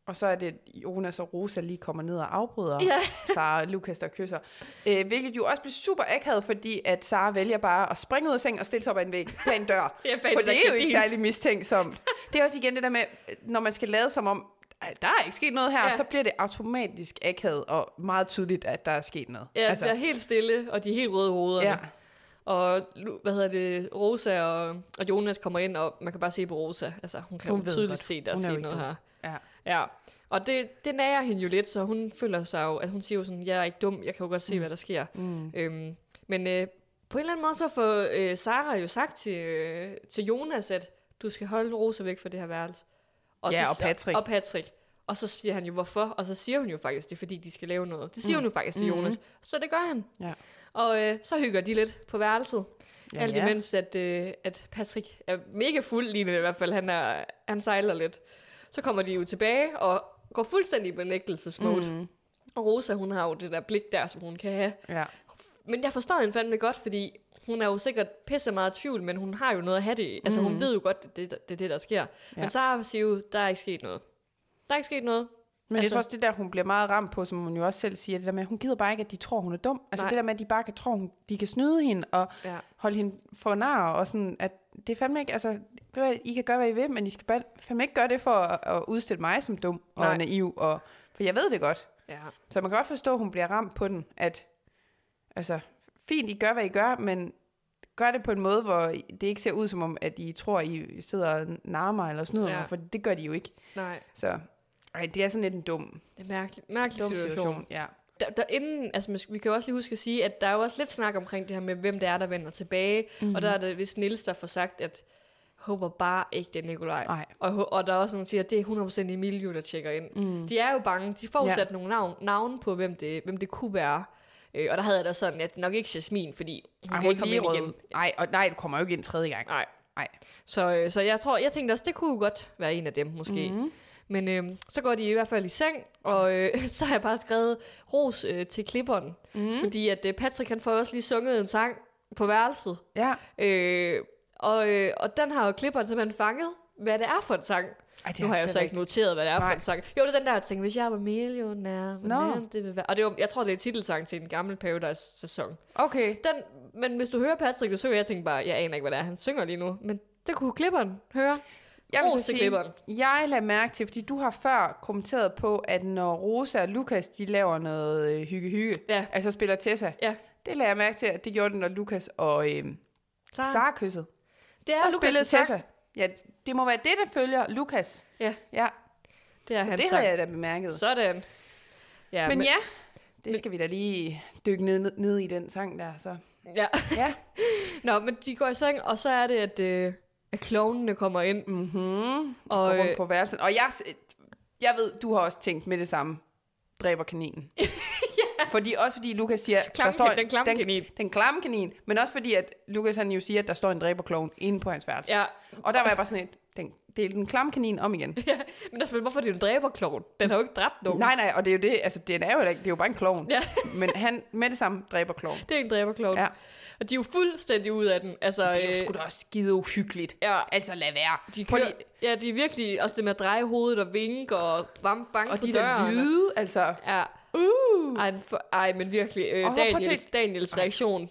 [SPEAKER 2] og så er det, at Jonas og Rosa lige kommer ned og afbryder ja. Sara og Lukas, der kysser. Øh, hvilket jo også bliver super akavet, fordi at Sara vælger bare at springe ud af sengen og stille sig op ad en væg bag en dør.
[SPEAKER 1] Ja, bag
[SPEAKER 2] for
[SPEAKER 1] det
[SPEAKER 2] det
[SPEAKER 1] der
[SPEAKER 2] er jo
[SPEAKER 1] gardin.
[SPEAKER 2] ikke særlig mistænksomt. Det er også igen det der med, når man skal lade som om, "Ej, der er ikke sket noget her, ja.
[SPEAKER 1] Ja.
[SPEAKER 2] så bliver det automatisk akavet og meget tydeligt, at der er sket noget.
[SPEAKER 1] Ja, altså. der er helt stille, og de er helt røde i hovederne.
[SPEAKER 2] ja.
[SPEAKER 1] Ja. Og, Lu- hvad hedder det, Rosa og, og Jonas kommer ind, og man kan bare se på Rosa. Altså, hun kan
[SPEAKER 2] Hun
[SPEAKER 1] hun
[SPEAKER 2] ved
[SPEAKER 1] tydeligt
[SPEAKER 2] godt.
[SPEAKER 1] se, der er
[SPEAKER 2] Hun er jo
[SPEAKER 1] sket
[SPEAKER 2] ikke
[SPEAKER 1] noget
[SPEAKER 2] dum.
[SPEAKER 1] her.
[SPEAKER 2] ja.
[SPEAKER 1] Ja. Og det, det nager hende jo lidt, så hun føler sig jo, at hun siger jo sådan, jeg er ikke dum, jeg kan jo godt se, mm. hvad der sker. Mm. Øhm, men øh, på en eller anden måde så får øh, Sara jo sagt til, øh, til Jonas, at du skal holde Rosa væk fra det her værelse.
[SPEAKER 2] Ja,
[SPEAKER 1] så,
[SPEAKER 2] og Patrick.
[SPEAKER 1] Og, og Patrick. Og så siger han jo, hvorfor? Og så siger hun jo faktisk, det er fordi, de skal lave noget. Det siger mm. hun jo faktisk til Jonas. Så det gør han.
[SPEAKER 2] Ja.
[SPEAKER 1] Og øh, så hygger de lidt på værelset.
[SPEAKER 2] Ja,
[SPEAKER 1] Ja, Alt
[SPEAKER 2] ja.
[SPEAKER 1] imens, at, øh, at Patrick er mega fuld lige nu i hvert fald. Han, er, han sejler lidt. Så kommer de jo tilbage og går fuldstændig i benægtelsesmode. Mm. Og Rosa, hun har jo det der blik der, som hun kan have.
[SPEAKER 2] ja.
[SPEAKER 1] Men jeg forstår hende fandme godt, fordi hun er jo sikkert pisse meget i tvivl, men hun har jo noget at have det i. Altså,
[SPEAKER 2] Mm.
[SPEAKER 1] hun ved jo godt, at det, det er det, der sker. Ja. Men Sara siger jo, der er ikke sket noget. Der er ikke sket noget.
[SPEAKER 2] Men altså, det
[SPEAKER 1] Altså-
[SPEAKER 2] er også det der, hun bliver meget ramt på, som hun jo også selv siger, det der med, at hun gider bare ikke, at de tror, hun er dum. Altså
[SPEAKER 1] Nej.
[SPEAKER 2] Nej. det der med, at de bare kan tro, hun, de kan snyde hende og
[SPEAKER 1] Ja.
[SPEAKER 2] ja. holde hende for nar, og sådan, at det er fandme ikke, altså, ved du hvad, I kan gøre, hvad I vil, men I skal bare, fandme ikke gøre det for at, at udstille mig som dum Nej.
[SPEAKER 1] Nej.
[SPEAKER 2] og naiv, og, for jeg ved det godt.
[SPEAKER 1] Ja.
[SPEAKER 2] Så man kan godt forstå, at hun bliver ramt på den, at altså, fint, I gør, hvad I gør, men gør det på en måde, hvor det ikke ser ud som om, at I tror, I sidder og narrer mig eller snyder
[SPEAKER 1] Ja.
[SPEAKER 2] ja. mig, for det gør de jo ikke.
[SPEAKER 1] Nej,
[SPEAKER 2] Så ej, det er sådan lidt en dum,
[SPEAKER 1] det er mærkelig, mærkelig
[SPEAKER 2] dum
[SPEAKER 1] situation.
[SPEAKER 2] situation. Ja.
[SPEAKER 1] Der, der inden, altså, man skal- vi kan jo også lige huske at sige, at der er jo også lidt snak omkring det her med, hvem det er, der vender tilbage. Mm-hmm. Og der er det vist Nils, der får sagt, at håber bare ikke, det er Nikolaj.
[SPEAKER 2] Nej.
[SPEAKER 1] Og, ho- og der er også nogen, der siger, at det er 100% Emilio, der tjekker ind. Mm. De er jo bange. De får
[SPEAKER 2] Ja.
[SPEAKER 1] ja. sat nogle navn, navn på, hvem det, hvem det kunne være. Øh, og der havde jeg da sådan, at det nok ikke Jasmin, fordi hun
[SPEAKER 2] Ej,
[SPEAKER 1] kan ikke komme ind
[SPEAKER 2] rød.
[SPEAKER 1] igen.
[SPEAKER 2] Nej, og nej, du kommer jo ikke ind tredje gang.
[SPEAKER 1] Nej.
[SPEAKER 2] Nej.
[SPEAKER 1] Så, øh, så jeg tror, jeg tænkte også, det kunne jo godt være en af dem måske.
[SPEAKER 2] Mhm.
[SPEAKER 1] Mm-hmm. Men øh, så går de i hvert fald i seng, og øh, så har jeg bare skrevet ros øh, til klipperen.
[SPEAKER 2] Mhm.
[SPEAKER 1] Mm-hmm. Fordi at øh, Patrick han får også lige sunget en sang på værelset.
[SPEAKER 2] Ja.
[SPEAKER 1] Øh, og, øh, og den har jo klipperen simpelthen fanget, hvad det er for en sang.
[SPEAKER 2] Ej, det
[SPEAKER 1] nu
[SPEAKER 2] er altså
[SPEAKER 1] har jeg jo
[SPEAKER 2] slet
[SPEAKER 1] så ikke
[SPEAKER 2] ikke-
[SPEAKER 1] noteret, hvad det er Nej.
[SPEAKER 2] Nej.
[SPEAKER 1] for en sang. Jo, det er den der, jeg tænkte, hvis jeg var millionær,
[SPEAKER 2] Nå.
[SPEAKER 1] no. det vil være. Og det var, jeg tror, det er titelsang til en gammel Paradise-sæson.
[SPEAKER 2] Okay.
[SPEAKER 1] Den, men hvis du hører Patrick, du så jeg tænker bare, jeg aner ikke, hvad det er, han synger lige nu. Men det kunne klipperen høre.
[SPEAKER 2] Jeg vil
[SPEAKER 1] Ros til
[SPEAKER 2] så sige,
[SPEAKER 1] klipperen.
[SPEAKER 2] jeg lader mærke til, fordi du har før kommenteret på, at når Rosa og Lukas, de laver noget øh, hygge-hygge,
[SPEAKER 1] Ja.
[SPEAKER 2] altså spiller Tessa,
[SPEAKER 1] Ja.
[SPEAKER 2] det lader jeg mærke til, at det gjorde den, når Lukas og øh,
[SPEAKER 1] Sara.
[SPEAKER 2] Sara kyssede.
[SPEAKER 1] Det er
[SPEAKER 2] Så
[SPEAKER 1] Lukas'
[SPEAKER 2] spillede
[SPEAKER 1] sang.
[SPEAKER 2] Tessa. Ja, det må være det, der følger Lukas.
[SPEAKER 1] Ja,
[SPEAKER 2] Ja,
[SPEAKER 1] det er hans
[SPEAKER 2] det
[SPEAKER 1] sang.
[SPEAKER 2] har jeg da bemærket.
[SPEAKER 1] Sådan. Ja,
[SPEAKER 2] men, men ja, det skal vi da lige dykke ned, ned, ned i den sang der, så.
[SPEAKER 1] ja.
[SPEAKER 2] Ja.
[SPEAKER 1] Nå, men de går i seng, og så er det, at, øh, at klovnene kommer ind.
[SPEAKER 2] Mm-hmm.
[SPEAKER 1] Og,
[SPEAKER 2] Og,
[SPEAKER 1] øh,
[SPEAKER 2] rundt på værelsen. Og jeg, jeg ved, du har også tænkt med det samme. Dræber kaninen. ja. Fordi, også fordi Lukas siger...
[SPEAKER 1] Klamme- den klamme
[SPEAKER 2] den,
[SPEAKER 1] kanin.
[SPEAKER 2] Den klamme kanin. Men også fordi, at Lukas han jo siger, at der står en dræberklovn inde på hans værelse.
[SPEAKER 1] øh, Ja,
[SPEAKER 2] Og der var jeg bare sådan et... Den, det er den klamme kanin om igen.
[SPEAKER 1] ja. men altså, hvorfor er det en dræberklovn? Den har jo ikke dræbt nogen.
[SPEAKER 2] Nej, nej, og det er jo det, altså den er jo heller ikke, det er jo bare en klovn.
[SPEAKER 1] Ja.
[SPEAKER 2] Men han med det samme dræber klovn.
[SPEAKER 1] Det er en dræberklovn.
[SPEAKER 2] Ja.
[SPEAKER 1] Og de er jo fuldstændig ud af den. Altså,
[SPEAKER 2] Det er jo
[SPEAKER 1] øh,
[SPEAKER 2] sgu da også skide uhyggeligt.
[SPEAKER 1] Ja.
[SPEAKER 2] Altså lad være.
[SPEAKER 1] de
[SPEAKER 2] Prøv
[SPEAKER 1] kører,
[SPEAKER 2] lige-
[SPEAKER 1] ja, de er virkelig også det med at dreje hovedet og vinke og bam, bank
[SPEAKER 2] og
[SPEAKER 1] på
[SPEAKER 2] de der
[SPEAKER 1] døren.
[SPEAKER 2] lyde, altså.
[SPEAKER 1] Ja. Uh. Ej, for, ej, men virkelig. Øh,
[SPEAKER 2] Og prøv at
[SPEAKER 1] Daniels,
[SPEAKER 2] tænke-
[SPEAKER 1] Daniels reaktion,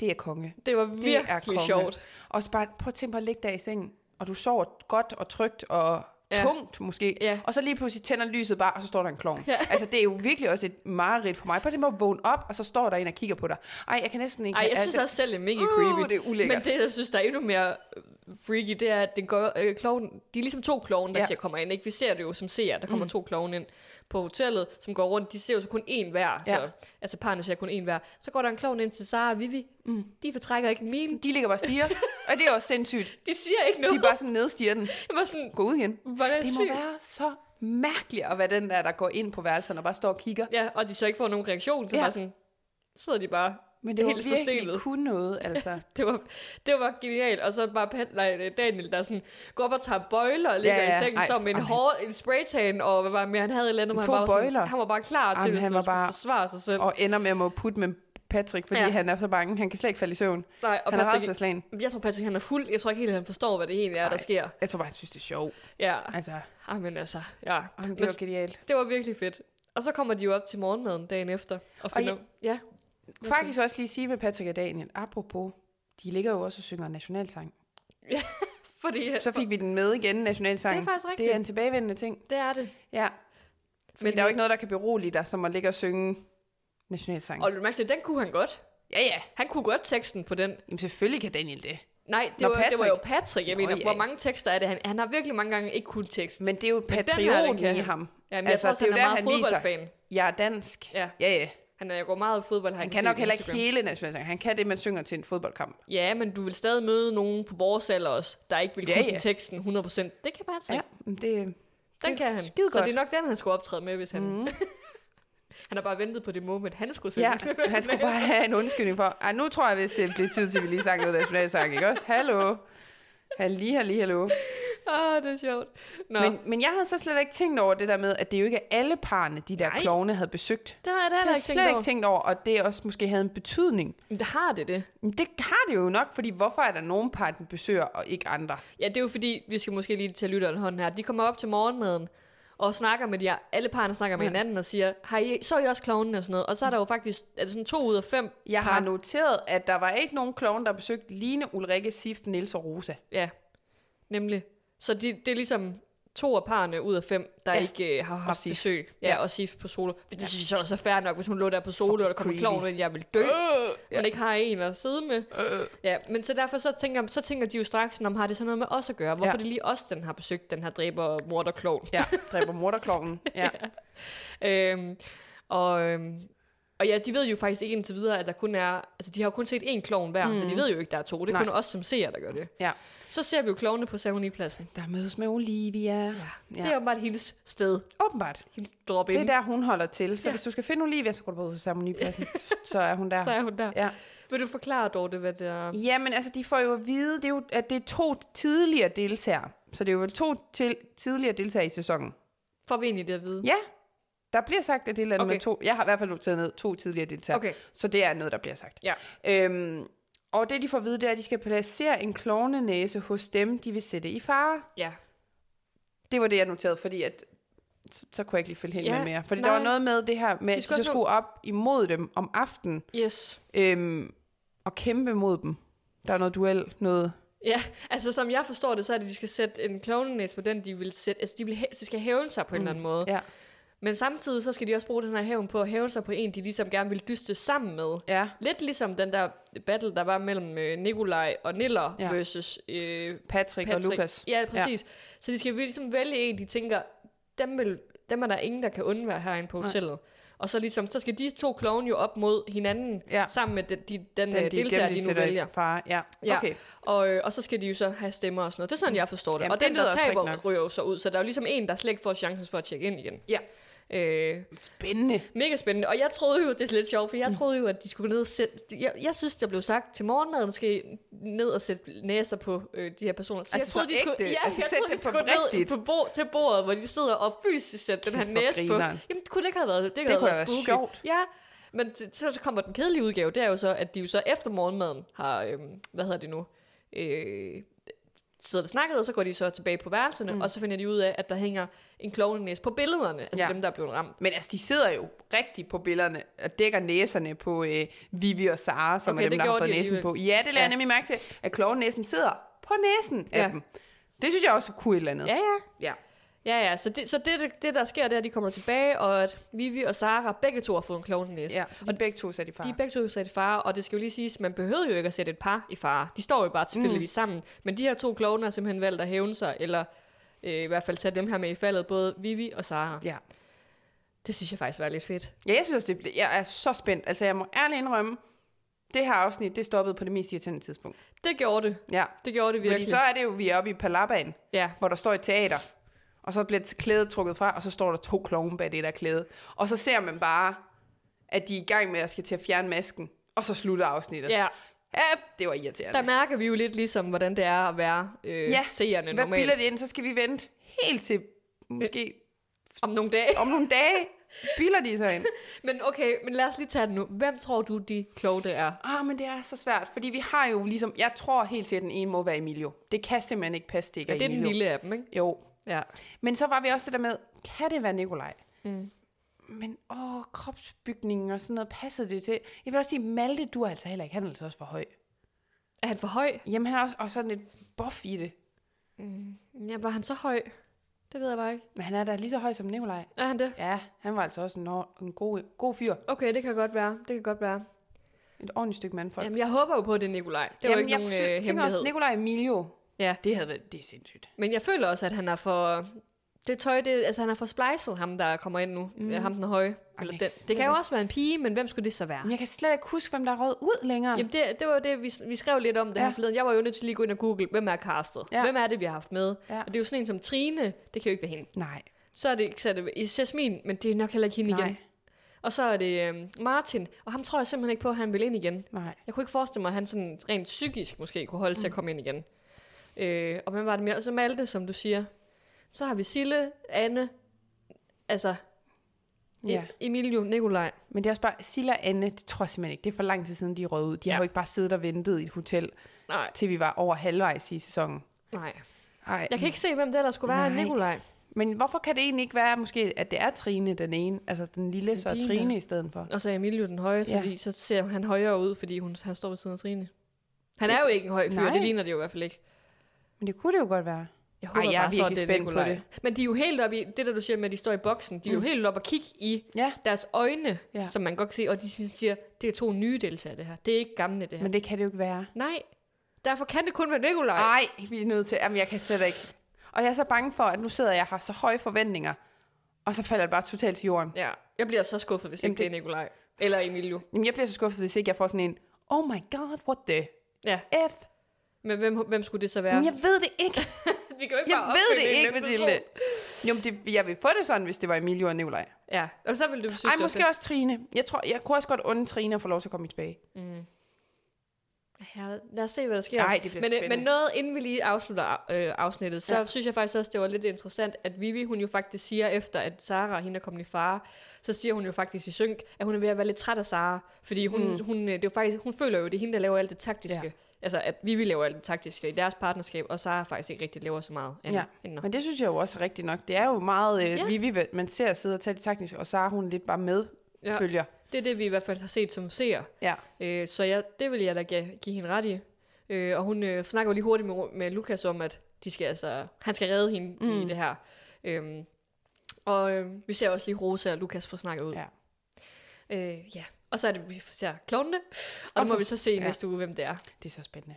[SPEAKER 2] Det er konge.
[SPEAKER 1] det var
[SPEAKER 2] Det er
[SPEAKER 1] virkelig
[SPEAKER 2] konge.
[SPEAKER 1] sjovt.
[SPEAKER 2] Og så bare, prøv at tænke på at ligge der i sengen, og du sover godt og trygt og
[SPEAKER 1] Ja.
[SPEAKER 2] ja. tungt måske,
[SPEAKER 1] Ja.
[SPEAKER 2] og så lige pludselig tænder lyset bare, og så står der en klovn. Ja. Altså, det er jo virkelig også et mareridt for mig. Prøv at tænke på at vågne op, og så står der en og kigger på dig. Ej, jeg kan næsten ikke...
[SPEAKER 1] Ej, jeg synes
[SPEAKER 2] altså,
[SPEAKER 1] også selv, det er mega
[SPEAKER 2] Uh,
[SPEAKER 1] creepy.
[SPEAKER 2] det er ulækkert.
[SPEAKER 1] Men det, jeg synes, der er endnu mere øh, freaky, det er, at den går, øh, kloven, de er ligesom to kloven, der ja.
[SPEAKER 2] Ja.
[SPEAKER 1] siger, kommer ind. Ikke? Vi ser det jo som seer, der kommer mm. to kloven ind på hotellet, som går rundt. De ser jo så kun én hver. Ja.
[SPEAKER 2] Ja.
[SPEAKER 1] Så, altså parrene ser kun én hver. Så går der en kloven ind til Sara og Vivi. Mm. De fortrækker ikke en mine.
[SPEAKER 2] De ligger bare og stiger, og det er også sindssygt.
[SPEAKER 1] De siger ikke
[SPEAKER 2] De
[SPEAKER 1] noget.
[SPEAKER 2] er bare sådan nedstiger den.
[SPEAKER 1] Jeg var sådan,
[SPEAKER 2] Gå ud igen.
[SPEAKER 1] hvordan
[SPEAKER 2] Det må
[SPEAKER 1] sygt.
[SPEAKER 2] være så mærkeligt at være den der, der går ind på værelserne og bare står og kigger.
[SPEAKER 1] Ja, og de så ikke får nogen reaktion, så ja.
[SPEAKER 2] Ja.
[SPEAKER 1] bare sådan, sidder de bare
[SPEAKER 2] Men det var
[SPEAKER 1] helt
[SPEAKER 2] virkelig
[SPEAKER 1] forstenet.
[SPEAKER 2] kun noget, altså.
[SPEAKER 1] Det var, det var genialt. Og så bare Pat, nej, øh, Daniel, der sådan, går op og tager bøjler og ligger ja,
[SPEAKER 2] Ja,
[SPEAKER 1] ja.
[SPEAKER 2] ja.
[SPEAKER 1] i sengen,
[SPEAKER 2] Ej,
[SPEAKER 1] står med en,
[SPEAKER 2] jamen,
[SPEAKER 1] hår, en spraytan, og hvad var det mere, han havde et eller andet. hvor
[SPEAKER 2] To
[SPEAKER 1] han var sådan-
[SPEAKER 2] bøjler.
[SPEAKER 1] Han var bare klar til,
[SPEAKER 2] Jamen,
[SPEAKER 1] hvis
[SPEAKER 2] han
[SPEAKER 1] han
[SPEAKER 2] var
[SPEAKER 1] skulle bare...
[SPEAKER 2] bare-
[SPEAKER 1] forsvare sig selv. Og,
[SPEAKER 2] Og ender med at må putte med Patrick, fordi
[SPEAKER 1] Ja.
[SPEAKER 2] ja. han er så bange. Han kan slet ikke falde i søvn.
[SPEAKER 1] nej, og
[SPEAKER 2] han er
[SPEAKER 1] Patrick,
[SPEAKER 2] rædselsslagen.
[SPEAKER 1] jeg tror, Patrick han er fuld. Jeg tror ikke helt, han forstår, hvad det egentlig er, der
[SPEAKER 2] Nej.
[SPEAKER 1] sker.
[SPEAKER 2] Jeg tror bare, han synes, det er sjovt.
[SPEAKER 1] Ja,
[SPEAKER 2] Altså,
[SPEAKER 1] Ej, men altså, ja.
[SPEAKER 2] jamen,
[SPEAKER 1] Men
[SPEAKER 2] det var genialt.
[SPEAKER 1] det var virkelig fedt. Og så kommer de jo op til morgenmaden dagen efter. Og finder,
[SPEAKER 2] jeg-
[SPEAKER 1] ja,
[SPEAKER 2] Faktisk også lige sige med Patrick og Daniel, apropos, de ligger jo også og synger nationalsang.
[SPEAKER 1] fordi
[SPEAKER 2] Så fik vi den med igen, nationalsang.
[SPEAKER 1] Det er faktisk rigtigt.
[SPEAKER 2] Det er en tilbagevendende ting.
[SPEAKER 1] det er det.
[SPEAKER 2] Ja.
[SPEAKER 1] Fordi
[SPEAKER 2] Men der er jo ikke noget, der kan berolige dig, som at ligge og synge nationalsang.
[SPEAKER 1] Og mærke den kunne han godt.
[SPEAKER 2] Ja, ja.
[SPEAKER 1] Han kunne godt teksten på den.
[SPEAKER 2] Jamen, selvfølgelig kan Daniel det.
[SPEAKER 1] Nej, det,
[SPEAKER 2] Nå,
[SPEAKER 1] Nå, var, det var jo
[SPEAKER 2] Patrick.
[SPEAKER 1] Patrick, jeg
[SPEAKER 2] Nå,
[SPEAKER 1] mener.
[SPEAKER 2] ja,
[SPEAKER 1] Hvor
[SPEAKER 2] ja.
[SPEAKER 1] mange tekster er det? Han, han har virkelig mange gange ikke kun tekst.
[SPEAKER 2] Men altså, det er jo
[SPEAKER 1] den her, den
[SPEAKER 2] patrioten
[SPEAKER 1] kan
[SPEAKER 2] i
[SPEAKER 1] han.
[SPEAKER 2] ham.
[SPEAKER 1] Jamen, jeg tror også, han er meget fodboldfan.
[SPEAKER 2] jeg er dansk.
[SPEAKER 1] Ja.
[SPEAKER 2] ja. ja.
[SPEAKER 1] Han er jo går meget i fodbold. har jeg
[SPEAKER 2] Han
[SPEAKER 1] kunnet
[SPEAKER 2] kan
[SPEAKER 1] se
[SPEAKER 2] nok
[SPEAKER 1] på
[SPEAKER 2] heller ikke
[SPEAKER 1] Instagram.
[SPEAKER 2] hele nationalsangen. Han kan det, man synger til en fodboldkamp.
[SPEAKER 1] Ja, men du vil stadig møde nogen på vores alder også, der ikke vil
[SPEAKER 2] Ja,
[SPEAKER 1] kunne
[SPEAKER 2] ja.
[SPEAKER 1] teksten 100%. Det kan Patrick.
[SPEAKER 2] Ja, men det,
[SPEAKER 1] Den kan han.
[SPEAKER 2] skide
[SPEAKER 1] Så det er
[SPEAKER 2] godt. Mhm.
[SPEAKER 1] nok den, han skulle optræde med, hvis han... Mm. han har bare ventet på det moment, han skulle sende.
[SPEAKER 2] ja, han skulle bare have en undskyldning for, ej, nu tror jeg, hvis det bliver tid til, at vi lige sang noget nationalsang, ikke også? Hallo. Halli, halli, hallo.
[SPEAKER 1] Åh, oh, det er sjovt. Nå, men,
[SPEAKER 2] Men, men jeg har så slet ikke tænkt over det der med, at det jo ikke er alle parne, de der
[SPEAKER 1] Nej.
[SPEAKER 2] klovne havde besøgt. Det
[SPEAKER 1] der er det
[SPEAKER 2] har
[SPEAKER 1] heller
[SPEAKER 2] jeg
[SPEAKER 1] ikke
[SPEAKER 2] slet
[SPEAKER 1] tænkt
[SPEAKER 2] ikke
[SPEAKER 1] over.
[SPEAKER 2] tænkt over, og det også måske havde en betydning.
[SPEAKER 1] Men det har det, det.
[SPEAKER 2] Men det har det jo nok, fordi hvorfor er der nogen par, den besøger, og ikke andre?
[SPEAKER 1] Ja, det er jo fordi, vi skal måske lige tage lytteren hånden her. De kommer op til morgenmaden og snakker med de her, alle parrene snakker med hinanden og siger, har I, så er I også klovnen og sådan noget. Og så er der jo faktisk, er det sådan to ud af fem
[SPEAKER 2] Jeg
[SPEAKER 1] par-
[SPEAKER 2] har noteret, at der var ikke nogen klovne, der besøgte Line, Ulrikke, Sif, Nils og Rosa.
[SPEAKER 1] Ja, nemlig. Så de, det er ligesom to af parerne ud af fem, der ja.
[SPEAKER 2] Ja.
[SPEAKER 1] ikke øh, har haft
[SPEAKER 2] Sif.
[SPEAKER 1] besøg. Ja,
[SPEAKER 2] Ja.
[SPEAKER 1] ja, og Sif på solo. For det ja. synes jeg også er fair nok, hvis hun lå der på solo, og der kom en
[SPEAKER 2] creepy.
[SPEAKER 1] klovn, ind, jeg vil dø. Øh, ja. Hun ikke har en at sidde med. Øh. Ja, men så derfor så tænker, så tænker de jo straks, om har det så noget med os at gøre? Hvorfor ja.
[SPEAKER 2] Ja.
[SPEAKER 1] er det lige os, den har besøgt, den her dræber mor og klovn?
[SPEAKER 2] Ja, dræber morderklovnen. Ja.
[SPEAKER 1] Øhm, og, øhm, og ja, de ved jo faktisk ikke indtil videre, at der kun er... Altså, de har jo kun set én klovn hver, mm. så de ved jo ikke, der er to. Det er
[SPEAKER 2] Nej.
[SPEAKER 1] kun os, som ser, der gør det.
[SPEAKER 2] ja.
[SPEAKER 1] Så ser vi jo klovnene på ceremonipladsen.
[SPEAKER 2] Der mødes med Olivia. Ja.
[SPEAKER 1] Ja. Det er åbenbart hendes sted.
[SPEAKER 2] Åbenbart.
[SPEAKER 1] Hendes drop
[SPEAKER 2] Det
[SPEAKER 1] ind.
[SPEAKER 2] er der, hun holder til. Så ja. hvis du skal finde Olivia, så går du bare ud til ceremonipladsen. så er hun der.
[SPEAKER 1] Så er hun der.
[SPEAKER 2] Ja.
[SPEAKER 1] Vil du forklare, Dorte, hvad det er?
[SPEAKER 2] Jamen, altså, de får jo at vide, det er jo, at det er to tidligere deltagere. Så det er jo to til, tidligere deltagere i sæsonen.
[SPEAKER 1] Får vi egentlig det at vide?
[SPEAKER 2] Ja, der bliver sagt, at det er et eller andet
[SPEAKER 1] Okay.
[SPEAKER 2] med to. Jeg har i hvert fald noteret ned to tidligere deltagere.
[SPEAKER 1] Okay.
[SPEAKER 2] Så det er noget, der bliver sagt.
[SPEAKER 1] Ja.
[SPEAKER 2] Øhm, og det, de får at vide, det er, at de skal placere en klovnenæse hos dem, de vil sætte i fare.
[SPEAKER 1] Ja.
[SPEAKER 2] Det var det, jeg noterede, fordi at så, så kunne jeg ikke lige følge helt
[SPEAKER 1] Ja,
[SPEAKER 2] med mere. Fordi
[SPEAKER 1] nej.
[SPEAKER 2] der var noget med det her med,
[SPEAKER 1] De
[SPEAKER 2] at
[SPEAKER 1] skulle
[SPEAKER 2] de
[SPEAKER 1] også
[SPEAKER 2] så skulle op imod dem om aftenen
[SPEAKER 1] Yes.
[SPEAKER 2] øhm, og kæmpe mod dem. Der er noget duel, noget...
[SPEAKER 1] Ja, altså som jeg forstår det, så er det, at de skal sætte en klovnenæs på den, de vil sætte. Altså, de, vil hæ- så skal hævne sig på en eller anden måde.
[SPEAKER 2] Mm. Ja.
[SPEAKER 1] Men samtidig, så skal de også bruge den her hævn på at hævne sig på en, de ligesom gerne vil dyste sammen med.
[SPEAKER 2] Ja.
[SPEAKER 1] Lidt ligesom den der battle, der var mellem øh, Nikolaj og Niller ja.
[SPEAKER 2] Ja.
[SPEAKER 1] versus øh,
[SPEAKER 2] Patrick,
[SPEAKER 1] Patrick.
[SPEAKER 2] og Lukas.
[SPEAKER 1] Ja, præcis. Ja. Så de skal ligesom vælge en, de tænker, dem, vil, dem er der ingen, der kan undvære herinde på hotellet. Nej. Og så, ligesom, så skal de to klovne jo op mod hinanden, ja.
[SPEAKER 2] Ja.
[SPEAKER 1] sammen med de, de, den, den
[SPEAKER 2] Den,
[SPEAKER 1] de,
[SPEAKER 2] de,
[SPEAKER 1] deltager,
[SPEAKER 2] dem, de
[SPEAKER 1] de nu
[SPEAKER 2] sætter
[SPEAKER 1] vælger.
[SPEAKER 2] i fare. Ja,
[SPEAKER 1] Ja.
[SPEAKER 2] okay.
[SPEAKER 1] Og, øh, og så skal de jo så have stemmer og sådan noget. Det er sådan, jeg forstår det.
[SPEAKER 2] Jamen,
[SPEAKER 1] og
[SPEAKER 2] det
[SPEAKER 1] den, der
[SPEAKER 2] lyder også rigtigt
[SPEAKER 1] taber,
[SPEAKER 2] nok.
[SPEAKER 1] ryger jo så ud. Så der er jo ligesom en, der slet ikke får chancen for at tjekke ind igen.
[SPEAKER 2] Ja.
[SPEAKER 1] Øh,
[SPEAKER 2] Spændende.
[SPEAKER 1] mega spændende. Og jeg troede jo, det er lidt sjovt, for jeg troede jo, at de skulle ned og sætte... Jeg, jeg synes, der blev sagt, til morgenmaden skal I ned og sætte næser på øh, de her personer. Så jeg
[SPEAKER 2] Altså,
[SPEAKER 1] troede,
[SPEAKER 2] så
[SPEAKER 1] de skulle,
[SPEAKER 2] ægte.
[SPEAKER 1] ja,
[SPEAKER 2] Altså,
[SPEAKER 1] jeg
[SPEAKER 2] sæt
[SPEAKER 1] troede,
[SPEAKER 2] det
[SPEAKER 1] de
[SPEAKER 2] på
[SPEAKER 1] skulle ned
[SPEAKER 2] rigtigt.
[SPEAKER 1] på bo, til bordet, hvor de sidder og fysisk sætter den her
[SPEAKER 2] Kæft, hvor
[SPEAKER 1] næse på.
[SPEAKER 2] grineren.
[SPEAKER 1] Jamen, det kunne ikke have været... Det,
[SPEAKER 2] Det
[SPEAKER 1] have
[SPEAKER 2] kunne
[SPEAKER 1] været
[SPEAKER 2] have været
[SPEAKER 1] spooky.
[SPEAKER 2] sjovt.
[SPEAKER 1] Ja, men t- så kommer den kedelige udgave, det er jo så, at de jo så efter morgenmaden har... Øhm, hvad hedder det nu? Øh, sidder og snakker, og så går de så tilbage på værelserne, mm. og så finder de ud af, at der hænger en klovnenæs på billederne, altså ja.
[SPEAKER 2] Ja.
[SPEAKER 1] dem, der er blevet ramt.
[SPEAKER 2] Men altså, de sidder jo rigtigt på billederne og dækker næserne på øh, Vivi og Sara, som
[SPEAKER 1] Okay,
[SPEAKER 2] okay, er dem,
[SPEAKER 1] det
[SPEAKER 2] der har
[SPEAKER 1] gjorde
[SPEAKER 2] fået
[SPEAKER 1] de
[SPEAKER 2] næsen på. Ja, det lader ja. jeg nemlig mærke til, at klovnenæsen sidder på næsen af
[SPEAKER 1] Ja.
[SPEAKER 2] ja. dem. Det synes jeg også kunne et eller andet.
[SPEAKER 1] Ja, ja.
[SPEAKER 2] ja.
[SPEAKER 1] Ja, ja, så det, så det, det- det der sker, det er, at de kommer tilbage, og at Vivi og Sara begge to har fået en klovn næse.
[SPEAKER 2] ja. Så de begge to sat i far.
[SPEAKER 1] De er begge to sat i fare, og det skal jo lige siges, man behøvede jo ikke at sætte et par i fare. De står jo bare tilfældigvis mm. sammen. Men de her to klovne har simpelthen valgt at hævne sig, eller øh, i hvert fald tage dem her med i faldet, både Vivi og Sara. Ja.
[SPEAKER 2] ja.
[SPEAKER 1] Det synes jeg faktisk var lidt fedt.
[SPEAKER 2] ja, jeg synes også, det, blev- jeg er så spændt. Altså, jeg må ærligt indrømme, det her afsnit, det stoppede på det mest irriterende tidspunkt.
[SPEAKER 1] Det gjorde det.
[SPEAKER 2] Ja.
[SPEAKER 1] Det gjorde det virkelig.
[SPEAKER 2] Fordi så er det jo, vi er oppe i Palabaen,
[SPEAKER 1] Ja.
[SPEAKER 2] hvor der står et teater, og så bliver klædet trukket fra, og så står der to klovne bag det der klæde. Og så ser man bare, at de er i gang med at skal til at fjerne masken, og så slutter afsnittet.
[SPEAKER 1] ja.
[SPEAKER 2] Ja, det var irriterende.
[SPEAKER 1] Der mærker vi jo lidt ligesom, hvordan det er at være øh, ja. seerne
[SPEAKER 2] hvad
[SPEAKER 1] normalt.
[SPEAKER 2] bilder det ind? Så skal vi vente helt til, måske
[SPEAKER 1] Om nogle dage.
[SPEAKER 2] om nogle dage, bilder de sig ind.
[SPEAKER 1] Men okay, men lad os lige tage den nu. Hvem tror du, de klovne er?
[SPEAKER 2] Ah, men det er så svært, fordi vi har jo ligesom, jeg tror helt sikkert, at den ene må være Emilio. Det kan simpelthen ikke passe, det ikke
[SPEAKER 1] Ja, det er den
[SPEAKER 2] Emilio.
[SPEAKER 1] lille af dem, ikke?
[SPEAKER 2] Jo,
[SPEAKER 1] Ja.
[SPEAKER 2] men så var vi også det der med, kan det være Nikolaj? Mm. Men åh, kropsbygningen og sådan noget, passede det til? Jeg vil også sige, Malte, du er altså heller ikke, han er altså også for høj.
[SPEAKER 1] Er han for høj?
[SPEAKER 2] Jamen, han er også, også sådan lidt buff i det.
[SPEAKER 1] Ja, var han så høj? Det ved jeg bare ikke.
[SPEAKER 2] Men han er da lige så høj som Nikolaj.
[SPEAKER 1] Er han det?
[SPEAKER 2] Ja, han var altså også en, hår- en god, god fyr.
[SPEAKER 1] Okay, det kan godt være. Det kan godt være.
[SPEAKER 2] et ordentligt stykke mandfolk.
[SPEAKER 1] Jamen, jeg håber jo på det, Nikolaj. Det var jo ikke
[SPEAKER 2] jeg
[SPEAKER 1] nogen
[SPEAKER 2] sy-
[SPEAKER 1] øh,
[SPEAKER 2] tænker
[SPEAKER 1] hemmelighed.
[SPEAKER 2] også, Nikolaj Emilio,
[SPEAKER 1] Ja,
[SPEAKER 2] det havde været, det er sindssygt.
[SPEAKER 1] men jeg føler også, at han er for... Det tøj, det, altså han er for splejset, ham der kommer ind nu. Mm. Ham den høje. Eller
[SPEAKER 2] jeg
[SPEAKER 1] den.
[SPEAKER 2] kan slet
[SPEAKER 1] Det kan jo
[SPEAKER 2] ikke-
[SPEAKER 1] også være en pige, men hvem skulle det så være?
[SPEAKER 2] Men jeg kan slet ikke huske, hvem der er røget ud længere.
[SPEAKER 1] Ah. Jamen det, det var jo det, vi, vi skrev lidt om det ja.
[SPEAKER 2] Ja.
[SPEAKER 1] her forleden. Jeg var jo nødt til lige at gå ind og google, hvem er castet? Ja.
[SPEAKER 2] Ja.
[SPEAKER 1] Hvem er det, vi har haft med? Ja.
[SPEAKER 2] Ja.
[SPEAKER 1] Og det er jo sådan en som Trine, det kan jo ikke være hende.
[SPEAKER 2] Nej,
[SPEAKER 1] Så er det, så er det Jasmin, men det er nok heller ikke hende
[SPEAKER 2] nej,
[SPEAKER 1] igen. Og så er det øhm, Martin, og ham tror jeg simpelthen ikke på, at han vil ind igen.
[SPEAKER 2] nej.
[SPEAKER 1] Jeg kunne ikke forestille mig, at han sådan rent psykisk måske kunne holde mm. til at komme ind igen. Øh, og hvem var det mere? Og så Malte, som du siger. Så har vi Sille, Anne, altså ja.
[SPEAKER 2] Ja.
[SPEAKER 1] Emilio, Nikolaj.
[SPEAKER 2] Men det er også bare, Silla og Anne, det tror jeg simpelthen ikke, det er for lang tid siden, de er røget ud. De ja. har jo ikke bare siddet og ventet i et hotel,
[SPEAKER 1] Nej,
[SPEAKER 2] til vi var over halvvejs i sæsonen.
[SPEAKER 1] nej.
[SPEAKER 2] Ej.
[SPEAKER 1] Jeg kan ikke se, hvem det ellers skulle være.
[SPEAKER 2] Nej.
[SPEAKER 1] Nikolaj.
[SPEAKER 2] Men hvorfor kan det egentlig ikke være, måske, at det er Trine, den ene, altså den lille, så er
[SPEAKER 1] Regina.
[SPEAKER 2] Trine i stedet for?
[SPEAKER 1] Og så er Emilio den høje,
[SPEAKER 2] Ja.
[SPEAKER 1] fordi så ser han højere ud, fordi hun, han står ved siden af Trine. Han er jo ikke en høj fyr,
[SPEAKER 2] Nej.
[SPEAKER 1] det ligner det jo i hvert fald ikke.
[SPEAKER 2] Men det kunne det jo godt være.
[SPEAKER 1] Jeg håber
[SPEAKER 2] Ej, jeg er
[SPEAKER 1] bare, så, at
[SPEAKER 2] virkelig
[SPEAKER 1] det
[SPEAKER 2] spændt på
[SPEAKER 1] Nikolaj.
[SPEAKER 2] det. Mm.
[SPEAKER 1] Men de er jo helt oppe i, det der du siger med, at de står i boksen, de er jo helt oppe og kigge i
[SPEAKER 2] Ja,
[SPEAKER 1] deres øjne, ja.
[SPEAKER 2] Ja.
[SPEAKER 1] som man godt kan se, og de synes- siger, det er to nye deltagere det her, det er ikke gamle det her. Men...
[SPEAKER 2] men Ah. det kan det jo ikke være.
[SPEAKER 1] Nej, derfor kan det kun være Nikolaj.
[SPEAKER 2] Nej, vi er nødt til, jamen jeg kan slet ikke. Og jeg er så bange for, at nu sidder jeg og har så høje forventninger, og så falder det bare totalt til jorden.
[SPEAKER 1] Ja, jeg bliver så skuffet, hvis
[SPEAKER 2] Jamen,
[SPEAKER 1] ikke det... det er Nikolaj. Eller Emilio.
[SPEAKER 2] Jamen, jeg bliver så skuffet, hvis ikke jeg får sådan en, oh my god, what the
[SPEAKER 1] Ja,
[SPEAKER 2] F?
[SPEAKER 1] men hvem, hvem skulle det så være?
[SPEAKER 2] Jamen, jeg ved det ikke.
[SPEAKER 1] Vi kan jo ikke
[SPEAKER 2] Jeg
[SPEAKER 1] bare
[SPEAKER 2] ved
[SPEAKER 1] opfinde
[SPEAKER 2] det
[SPEAKER 1] en
[SPEAKER 2] ikke,
[SPEAKER 1] anden
[SPEAKER 2] Mathilde.
[SPEAKER 1] person.
[SPEAKER 2] Jo, men det, jeg vil få det sådan, hvis det var Emilio og Nikolaj.
[SPEAKER 1] Ja, og så ville du synes,
[SPEAKER 2] Ej,
[SPEAKER 1] det var
[SPEAKER 2] måske også Trine. Jeg, tror, jeg kunne også godt unde Trine at få lov til at komme tilbage.
[SPEAKER 1] Ja, lad os se, hvad der sker.
[SPEAKER 2] Ej, det bliver
[SPEAKER 1] men, øh,
[SPEAKER 2] spændende.
[SPEAKER 1] Men noget, inden vi lige afslutter øh, afsnittet, så ja.
[SPEAKER 2] Ja.
[SPEAKER 1] synes jeg faktisk også, det var lidt interessant, at Vivi, hun jo faktisk siger, efter at Sara hende er kommet i fare, så siger hun jo faktisk i synk, at hun er ved at være lidt træt af Sara, fordi hun, mm. hun, øh, det er jo faktisk, hun føler jo, det er hende, der laver alt det taktiske. Ja.
[SPEAKER 2] Ja.
[SPEAKER 1] Altså, at Vivi laver alt det taktiske i deres partnerskab, og Sara faktisk ikke rigtig laver så meget andet.
[SPEAKER 2] Ja.
[SPEAKER 1] end når-
[SPEAKER 2] Men det synes jeg jo også er rigtigt nok. Det er jo meget, øh,
[SPEAKER 1] Ja.
[SPEAKER 2] ja. vi, vi, man ser sidde og tage det taktisk, og så er hun lidt bare med
[SPEAKER 1] Ja.
[SPEAKER 2] ja. følger.
[SPEAKER 1] Det er det, vi i hvert fald har set som seer.
[SPEAKER 2] Ja.
[SPEAKER 1] Øh, så jeg, det vil jeg da give, give hende ret i. Øh, og hun øh, snakker jo lige hurtigt med, med Lukas om, at de skal, altså, han skal redde hende mm. i det her. Øhm, og øh, vi ser også lige Rosa og Lukas få snakket ud.
[SPEAKER 2] Ja.
[SPEAKER 1] Øh, ja. Og så er det, vi ser klovnene, og, og
[SPEAKER 2] Og
[SPEAKER 1] nu må
[SPEAKER 2] så-
[SPEAKER 1] vi så se ja.
[SPEAKER 2] ja.
[SPEAKER 1] næste uge, hvem det er.
[SPEAKER 2] Det er så spændende.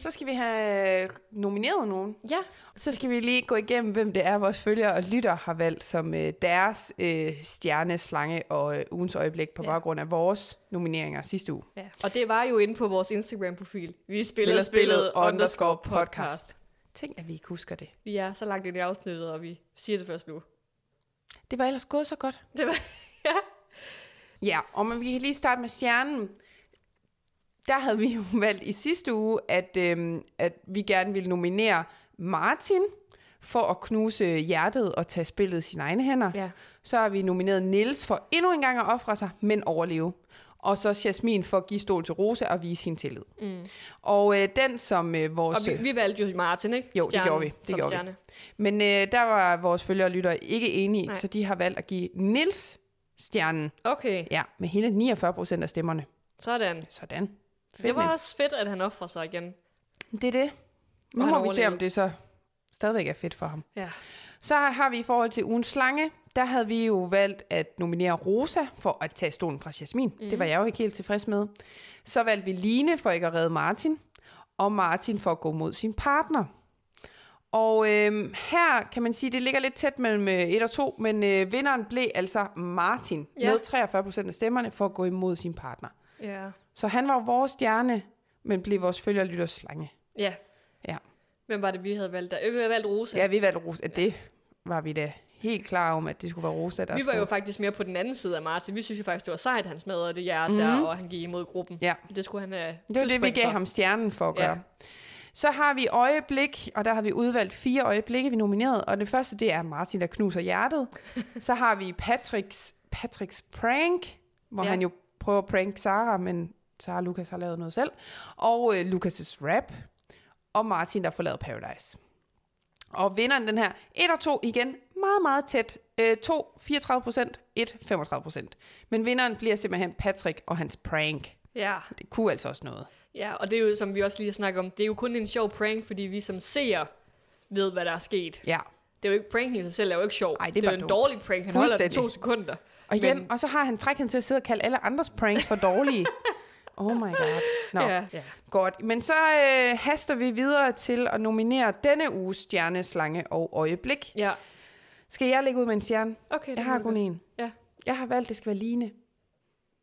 [SPEAKER 2] Så skal vi have øh, nomineret nogen.
[SPEAKER 1] Ja,
[SPEAKER 2] Så skal vi lige gå igennem, hvem det er, vores følgere og lytter har valgt som øh, deres øh, stjerne, slange og øh, ugens øjeblik på
[SPEAKER 1] Ja.
[SPEAKER 2] ja. baggrund af vores nomineringer sidste uge.
[SPEAKER 1] ja. Og det var jo inde på vores Instagram-profil. Vi spiller
[SPEAKER 2] Spiller
[SPEAKER 1] spillet
[SPEAKER 2] spillet
[SPEAKER 1] underscore
[SPEAKER 2] underscore
[SPEAKER 1] podcast.
[SPEAKER 2] Tænk, at vi ikke husker det.
[SPEAKER 1] Vi er så langt ind i afsnittet, og vi siger det først nu.
[SPEAKER 2] Det var ellers gået så godt.
[SPEAKER 1] Det var, ja.
[SPEAKER 2] Ja, og men vi kan lige starte med stjernen. Der havde vi jo valgt i sidste uge, at, øhm, at vi gerne ville nominere Martin for at knuse hjertet og tage spillet i sine egne hænder.
[SPEAKER 1] Ja.
[SPEAKER 2] Så har vi nomineret Niels for endnu en gang at ofre sig, men overleve. Og så Jasmin for at give stol til Rosa og vise sin tillid. Mm. Og øh, den, som øh, vores...
[SPEAKER 1] Og vi, vi valgte jo Martin, ikke?
[SPEAKER 2] Jo, det gjorde vi. Det
[SPEAKER 1] som
[SPEAKER 2] gjorde vi.
[SPEAKER 1] stjerne.
[SPEAKER 2] Men øh, der var vores følgere og lyttere ikke enige,
[SPEAKER 1] Nej.
[SPEAKER 2] Nej. så de har valgt at give Nils stjernen.
[SPEAKER 1] Okay,
[SPEAKER 2] Ja, med hele 49 procent af stemmerne.
[SPEAKER 1] sådan.
[SPEAKER 2] Sådan. Fedt,
[SPEAKER 1] Det var
[SPEAKER 2] Niels.
[SPEAKER 1] også fedt, at han offrer sig igen.
[SPEAKER 2] det er det. Nu
[SPEAKER 1] Og han
[SPEAKER 2] må vi se,
[SPEAKER 1] overlevede.
[SPEAKER 2] om det så stadigvæk er fedt for ham.
[SPEAKER 1] Ja.
[SPEAKER 2] Så har vi i forhold til ugens slange, der havde vi jo valgt at nominere Rosa for at tage stolen fra Jasmin. Mm. Det var jeg jo ikke helt tilfreds med. Så valgte vi Line for ikke at redde Martin, og Martin for at gå mod sin partner. Og øhm, her kan man sige, det ligger lidt tæt mellem 1 og 2, men øh, vinderen blev altså Martin
[SPEAKER 1] Ja.
[SPEAKER 2] ja. med 43 procent af stemmerne for at gå imod sin partner.
[SPEAKER 1] Ja.
[SPEAKER 2] Så han var vores stjerne, men blev vores følger lytters slange.
[SPEAKER 1] Ja.
[SPEAKER 2] Ja.
[SPEAKER 1] Hvem var det, vi havde valgt der? Øh, Vi havde valgt Rosa.
[SPEAKER 2] Ja, vi valgte Rosa. Det var vi da helt klar om, at det skulle være Rosa, der
[SPEAKER 1] vi var
[SPEAKER 2] skulle...
[SPEAKER 1] jo faktisk mere på den anden side af Martin. Vi synes jo faktisk, det var sejt, han smadrede det hjerte mm-hmm. der, og han gik imod gruppen.
[SPEAKER 2] Mhm. Ja.
[SPEAKER 1] Det skulle han øh, have
[SPEAKER 2] Det var det, vi
[SPEAKER 1] dødspoint
[SPEAKER 2] gav
[SPEAKER 1] for.
[SPEAKER 2] ham stjernen for at
[SPEAKER 1] Ja.
[SPEAKER 2] gøre. Så har vi øjeblik, og der har vi udvalgt fire øjeblikke, vi nomineret. Og det første, det er Martin, der knuser hjertet. Så har vi Patricks, Patricks prank, hvor
[SPEAKER 1] Ja.
[SPEAKER 2] ja. han jo prøver at prank Sara, men Sara og Lukas har lavet noget selv. Og øh, Lukas' rap. Og Martin, der forlader Paradise. Og vinderen den her, 1 og 2 igen, meget, meget tæt. 2, 34 procent, 1, 35 procent. Men vinderen bliver simpelthen Patrick og hans prank.
[SPEAKER 1] Ja.
[SPEAKER 2] Det kunne altså også noget.
[SPEAKER 1] ja, og det er jo, som vi også lige har snakket om, det er jo kun en sjov prank, fordi vi som seer ved, hvad der er sket.
[SPEAKER 2] Ja.
[SPEAKER 1] Det er jo ikke pranken i sig selv, det er jo ikke sjov.
[SPEAKER 2] Ej, det er
[SPEAKER 1] det er
[SPEAKER 2] bare
[SPEAKER 1] jo en
[SPEAKER 2] dumt.
[SPEAKER 1] dårlig prank, han holder den
[SPEAKER 2] Fuldstændig.
[SPEAKER 1] to sekunder.
[SPEAKER 2] Og,
[SPEAKER 1] Men-
[SPEAKER 2] hjem, og så har han frækheden til at sidde og kalde alle andres pranks for dårlige. oh my god. Nå,
[SPEAKER 1] Ja.
[SPEAKER 2] ja. godt. Men så øh, haster vi videre til at nominere denne uges stjerne, slange og øjeblik.
[SPEAKER 1] Ja,
[SPEAKER 2] Skal jeg lægge ud med en stjerne?
[SPEAKER 1] okay.
[SPEAKER 2] Jeg har kun
[SPEAKER 1] en.
[SPEAKER 2] en.
[SPEAKER 1] Ja,
[SPEAKER 2] Jeg har valgt, at det skal være Line.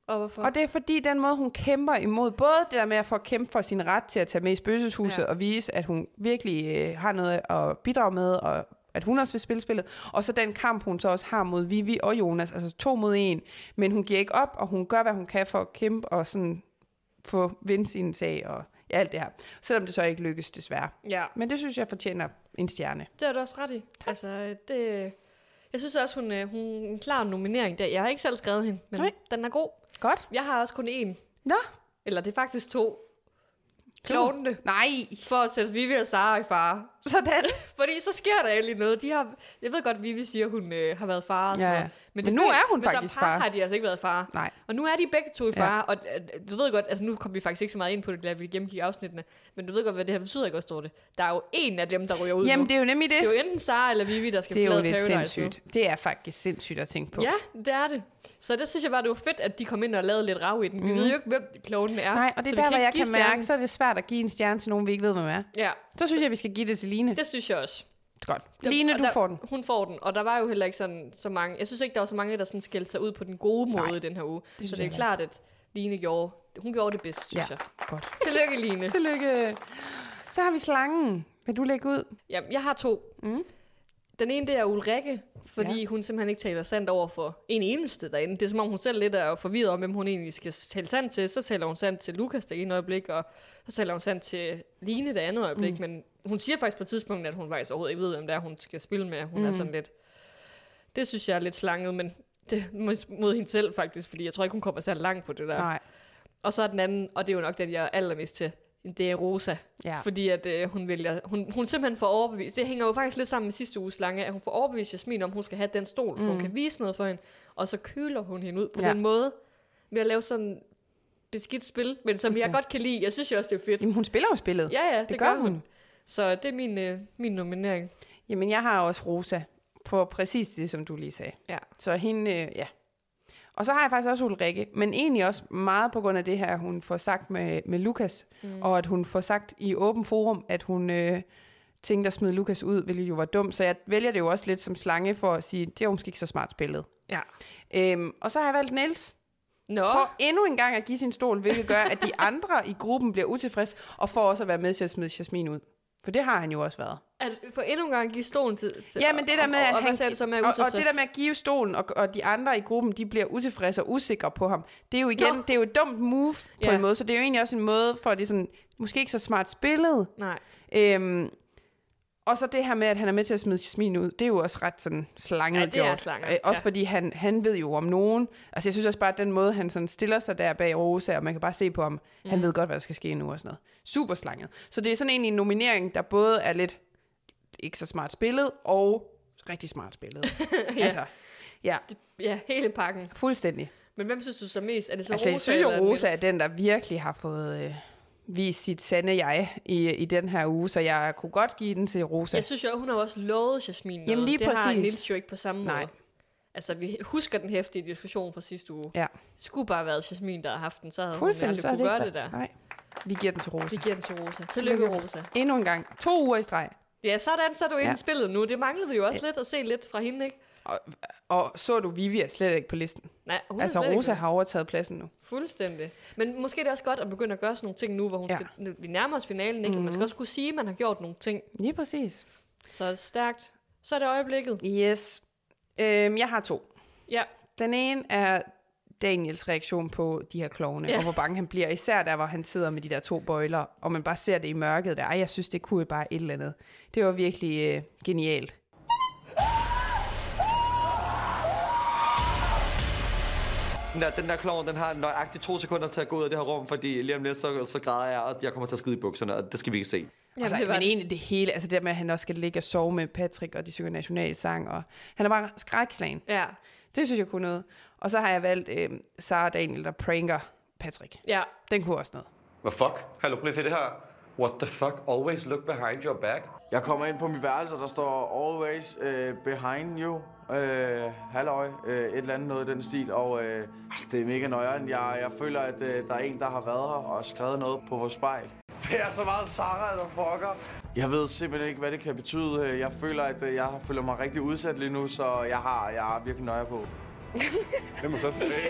[SPEAKER 1] og hvorfor?
[SPEAKER 2] Og det er fordi den måde, hun kæmper imod, både det der med at få kæmpe for sin ret til at tage med i spøgelseshuset
[SPEAKER 1] Ja.
[SPEAKER 2] ja. og vise, at hun virkelig øh, har noget at bidrage med, og at hun også vil spille spillet. Og så den kamp, hun så også har mod Vivi og Jonas, altså to mod en. Men hun giver ikke op, og hun gør, hvad hun kan for at kæmpe og sådan få vinde sin sag og ja, alt det her. Selvom det så ikke lykkes, desværre.
[SPEAKER 1] Ja,
[SPEAKER 2] Men det synes jeg fortjener en stjerne.
[SPEAKER 1] det er du også ret i. Altså, øh, det... Jeg synes også, hun, øh, hun er en klar nominering der. Jeg har ikke selv skrevet hende, men
[SPEAKER 2] Nej.
[SPEAKER 1] den er god.
[SPEAKER 2] Godt.
[SPEAKER 1] Jeg har også kun én.
[SPEAKER 2] Nå.
[SPEAKER 1] Eller det er faktisk to. Klovnene.
[SPEAKER 2] Nej,
[SPEAKER 1] For at sætte Vivi og Sara i fare.
[SPEAKER 2] sådan.
[SPEAKER 1] Fordi så sker der egentlig noget. De har, jeg ved godt, Vivi siger, hun øh, har været far og sådan
[SPEAKER 2] Ja, ja.
[SPEAKER 1] noget.
[SPEAKER 2] Men
[SPEAKER 1] det
[SPEAKER 2] nu
[SPEAKER 1] føles-
[SPEAKER 2] er hun
[SPEAKER 1] men så
[SPEAKER 2] faktisk
[SPEAKER 1] par
[SPEAKER 2] far.
[SPEAKER 1] har de altså ikke været far.
[SPEAKER 2] Nej.
[SPEAKER 1] Og nu er de begge to i
[SPEAKER 2] Ja.
[SPEAKER 1] fare. Ja. Og øh, du ved godt, altså nu kom vi faktisk ikke så meget ind på det, da vi gennemgik afsnittene. Men du ved godt, hvad det her betyder, ikke også, Dorte? Der er jo en af dem, der ryger ud nu.
[SPEAKER 2] Jamen, det er jo nemlig det.
[SPEAKER 1] det er jo enten Sara eller Vivi, der skal
[SPEAKER 2] Det er jo
[SPEAKER 1] forlade
[SPEAKER 2] lidt
[SPEAKER 1] Paradise nu.
[SPEAKER 2] sindssygt. Det er faktisk sindssygt at tænke på.
[SPEAKER 1] Ja, det er det. Så der synes jeg bare, det var fedt, at de kom ind og lavede lidt rav i den. Vi mm. ved jo ikke, hvem klovnen er.
[SPEAKER 2] Mhm. Nej, og det
[SPEAKER 1] så
[SPEAKER 2] er
[SPEAKER 1] vi
[SPEAKER 2] der, hvor
[SPEAKER 1] ikke
[SPEAKER 2] jeg
[SPEAKER 1] give
[SPEAKER 2] kan mærke,
[SPEAKER 1] stjernen.
[SPEAKER 2] så er det svært at give en stjerne til nogen, vi ikke ved, hvem er.
[SPEAKER 1] Ja,
[SPEAKER 2] Så synes jeg, vi skal give det til Line. Det
[SPEAKER 1] det synes jeg også.
[SPEAKER 2] er godt.
[SPEAKER 1] Der-
[SPEAKER 2] Line,
[SPEAKER 1] og
[SPEAKER 2] du
[SPEAKER 1] der,
[SPEAKER 2] får den.
[SPEAKER 1] Hun får den, og der var jo heller ikke sådan, så mange. Jeg synes ikke, der var så mange, der sådan skældte sig ud på den gode måde
[SPEAKER 2] Nej,
[SPEAKER 1] i den her uge. Det
[SPEAKER 2] synes
[SPEAKER 1] så det
[SPEAKER 2] jeg
[SPEAKER 1] er
[SPEAKER 2] heller
[SPEAKER 1] klart, at Line gjorde, hun gjorde det bedst, synes
[SPEAKER 2] Ja.
[SPEAKER 1] jeg.
[SPEAKER 2] Godt.
[SPEAKER 1] Tillykke, Line.
[SPEAKER 2] Tillykke. Så har vi slangen. Vil du lægge ud?
[SPEAKER 1] Jamen, jeg har to. Mm. Den ene, det er Ulrikke, fordi ja. hun simpelthen ikke taler sandt over for en eneste derinde. Det er som om, hun selv lidt er forvirret om, hvem hun egentlig skal tale sandt til. Så taler hun sandt til Lukas det ene øjeblik, og så taler hun sandt til Line det andet øjeblik. Mm. Men hun siger faktisk på et tidspunkt, at hun faktisk overhovedet ikke ved, hvem det er, hun skal spille med. Hun mm. er sådan lidt... Det synes jeg er lidt slanget, men det er mod- mod hende selv faktisk, fordi jeg tror ikke, hun kommer særlig langt på det der.
[SPEAKER 2] Nej.
[SPEAKER 1] Og så er den anden, og det er jo nok den, jeg er allermest til, det er Rosa.
[SPEAKER 2] Ja.
[SPEAKER 1] Fordi at øh, hun vælger, hun, hun simpelthen får overbevist, det hænger jo faktisk lidt sammen med sidste uges lange, at hun får overbevist Jasmin om, hun skal have den stol, mm. hun kan vise noget for hende, og så køler hun hende ud på ja.
[SPEAKER 2] Ja.
[SPEAKER 1] den måde, ved at lave sådan beskidt spil, men som jeg
[SPEAKER 2] Fuldstændig.
[SPEAKER 1] godt kan lide. Jeg synes jo også, det er fedt.
[SPEAKER 2] Jamen, hun spiller jo spillet.
[SPEAKER 1] Ja, ja, det,
[SPEAKER 2] det gør hun.
[SPEAKER 1] Så det er min, øh, min nominering.
[SPEAKER 2] Jamen, jeg har også Rosa på præcis det, som du lige sagde.
[SPEAKER 1] Ja.
[SPEAKER 2] Så hende, øh, ja. Og så har jeg faktisk også Ulrikke, men egentlig også meget på grund af det her, hun får sagt med, med Lukas, mm. og at hun får sagt i åben forum, at hun øh, tænkte at smide Lukas ud, hvilket jo var dumt. Så jeg vælger det jo også lidt som slange for at sige, det var måske ikke så smart spillet.
[SPEAKER 1] Ja.
[SPEAKER 2] Øhm, og så har jeg valgt Niels
[SPEAKER 1] Nå,
[SPEAKER 2] for endnu en gang at give sin stol, hvilket gør, at de andre i gruppen bliver utilfredse, og får også at være med til at smide Jasmin ud. For det har han jo også været.
[SPEAKER 1] at for endnu en gang give stolen til... til
[SPEAKER 2] Ja, men det der med,
[SPEAKER 1] og, og,
[SPEAKER 2] at
[SPEAKER 1] og, hvad
[SPEAKER 2] han-
[SPEAKER 1] sagde du så med, at
[SPEAKER 2] og, og det
[SPEAKER 1] utilfreds?
[SPEAKER 2] der med at give stolen, og, og de andre i gruppen, de bliver utilfredse og usikre på ham. Det er jo igen,
[SPEAKER 1] Nå.
[SPEAKER 2] det er jo et dumt move på
[SPEAKER 1] Ja.
[SPEAKER 2] en måde, så det er jo egentlig også en måde for, at det er sådan, måske ikke så smart spillet.
[SPEAKER 1] Nej.
[SPEAKER 2] Øhm, og så det her med, at han er med til at smide Jasmin ud, det er jo også ret sådan slanget
[SPEAKER 1] Ja, det er
[SPEAKER 2] gjort.
[SPEAKER 1] slanget,
[SPEAKER 2] Øh, også
[SPEAKER 1] ja.
[SPEAKER 2] fordi han, han ved jo om nogen. Altså jeg synes også bare, at den måde, han sådan stiller sig der bag Rosa, og man kan bare se på ham, mm. han ved godt, hvad der skal ske nu og sådan noget. Super slanget. Så det er sådan egentlig en nominering, der både er lidt ikke så smart spillet, og rigtig smart spillet. ja. Altså, ja,
[SPEAKER 1] Ja, hele pakken.
[SPEAKER 2] fuldstændig.
[SPEAKER 1] Men hvem synes du så mest? Er det så
[SPEAKER 2] Altså,
[SPEAKER 1] Rosa
[SPEAKER 2] jeg synes jo,
[SPEAKER 1] eller
[SPEAKER 2] Rosa er
[SPEAKER 1] Niels?
[SPEAKER 2] den, der virkelig har fået øh, vist sit sande jeg i, i den her uge, så jeg kunne godt give den til Rosa.
[SPEAKER 1] Jeg synes jo, hun har jo også lovet Jasmin noget.
[SPEAKER 2] Jamen, lige
[SPEAKER 1] det har
[SPEAKER 2] præcis.
[SPEAKER 1] Nils jo ikke på samme
[SPEAKER 2] Nej.
[SPEAKER 1] måde. Altså, vi husker den hæftige diskussion fra sidste uge.
[SPEAKER 2] Ja,
[SPEAKER 1] Skulle bare have været Jasmin, der har haft den, så havde hun
[SPEAKER 2] fuldstændig.
[SPEAKER 1] aldrig
[SPEAKER 2] Så er
[SPEAKER 1] kunne
[SPEAKER 2] det
[SPEAKER 1] gøre
[SPEAKER 2] ikke
[SPEAKER 1] det der.
[SPEAKER 2] Nej, vi giver den til Rosa.
[SPEAKER 1] Vi giver den til Rosa. Tillykke, Rosa.
[SPEAKER 2] Endnu en gang. To uger i streg.
[SPEAKER 1] Ja, sådan, så er du inde
[SPEAKER 2] Ja.
[SPEAKER 1] i spillet nu. Det manglede vi jo også lidt at se lidt fra hende, ikke?
[SPEAKER 2] Og så du, Vivi er slet ikke på listen.
[SPEAKER 1] Nej, hun er
[SPEAKER 2] altså,
[SPEAKER 1] slet ikke
[SPEAKER 2] Rosa
[SPEAKER 1] med.
[SPEAKER 2] har overtaget pladsen nu.
[SPEAKER 1] Fuldstændig. Men måske er det også godt at begynde at gøre sådan nogle ting nu, hvor hun
[SPEAKER 2] Ja. Mhm.
[SPEAKER 1] skal, vi nærmer os finalen, ikke? Mm-hmm. Man skal også kunne sige, at man har gjort nogle ting.
[SPEAKER 2] Lige præcis.
[SPEAKER 1] Så stærkt. Så er det øjeblikket.
[SPEAKER 2] Yes. Øhm, jeg har to.
[SPEAKER 1] Ja,
[SPEAKER 2] Den ene er Daniels reaktion på de her klovne,
[SPEAKER 1] Ja.
[SPEAKER 2] og hvor bange han bliver. Især der, hvor han sidder med de der to bøjler, og man bare ser det i mørket der. Ej, jeg synes, det kunne bare et eller andet. Det var virkelig øh, genialt.
[SPEAKER 5] Den der, den der klovn, den har nøjagtigt to sekunder til at gå ud af det her rum, fordi lige om lidt, så, så græder jeg, og jeg kommer til at skide i bukserne, og det skal vi ikke se.
[SPEAKER 1] Jamen,
[SPEAKER 2] altså,
[SPEAKER 1] det var
[SPEAKER 2] men
[SPEAKER 1] det.
[SPEAKER 2] egentlig det hele, altså det der med, at han også skal ligge og sove med Patrick, og de synger nationalsang, og han er bare skrækslagen.
[SPEAKER 1] ja,
[SPEAKER 2] Det synes jeg kunne noget. Og så har jeg valgt øh, Sara Daniel, der pranker Patrick.
[SPEAKER 1] ja.
[SPEAKER 2] Den kunne også noget.
[SPEAKER 5] Hvad fuck? Hallo, prøv lige at se det her. What the fuck? Always look behind your back.
[SPEAKER 6] Jeg kommer ind på mit værelse, og der står always øh, behind you. Øh, halløj, øh, et eller andet noget i den stil, og øh, det er mega nøjeren. Jeg, jeg føler, at øh, der er en, der har været her og skrevet noget på vores spejl. Det er så meget Sarah, der fucker. Jeg ved simpelthen ikke, hvad det kan betyde. Øh, Jeg føler, at øh, jeg føler mig rigtig udsat lige nu, så jeg har, jeg har virkelig nøje på.
[SPEAKER 4] Det må så tilbage.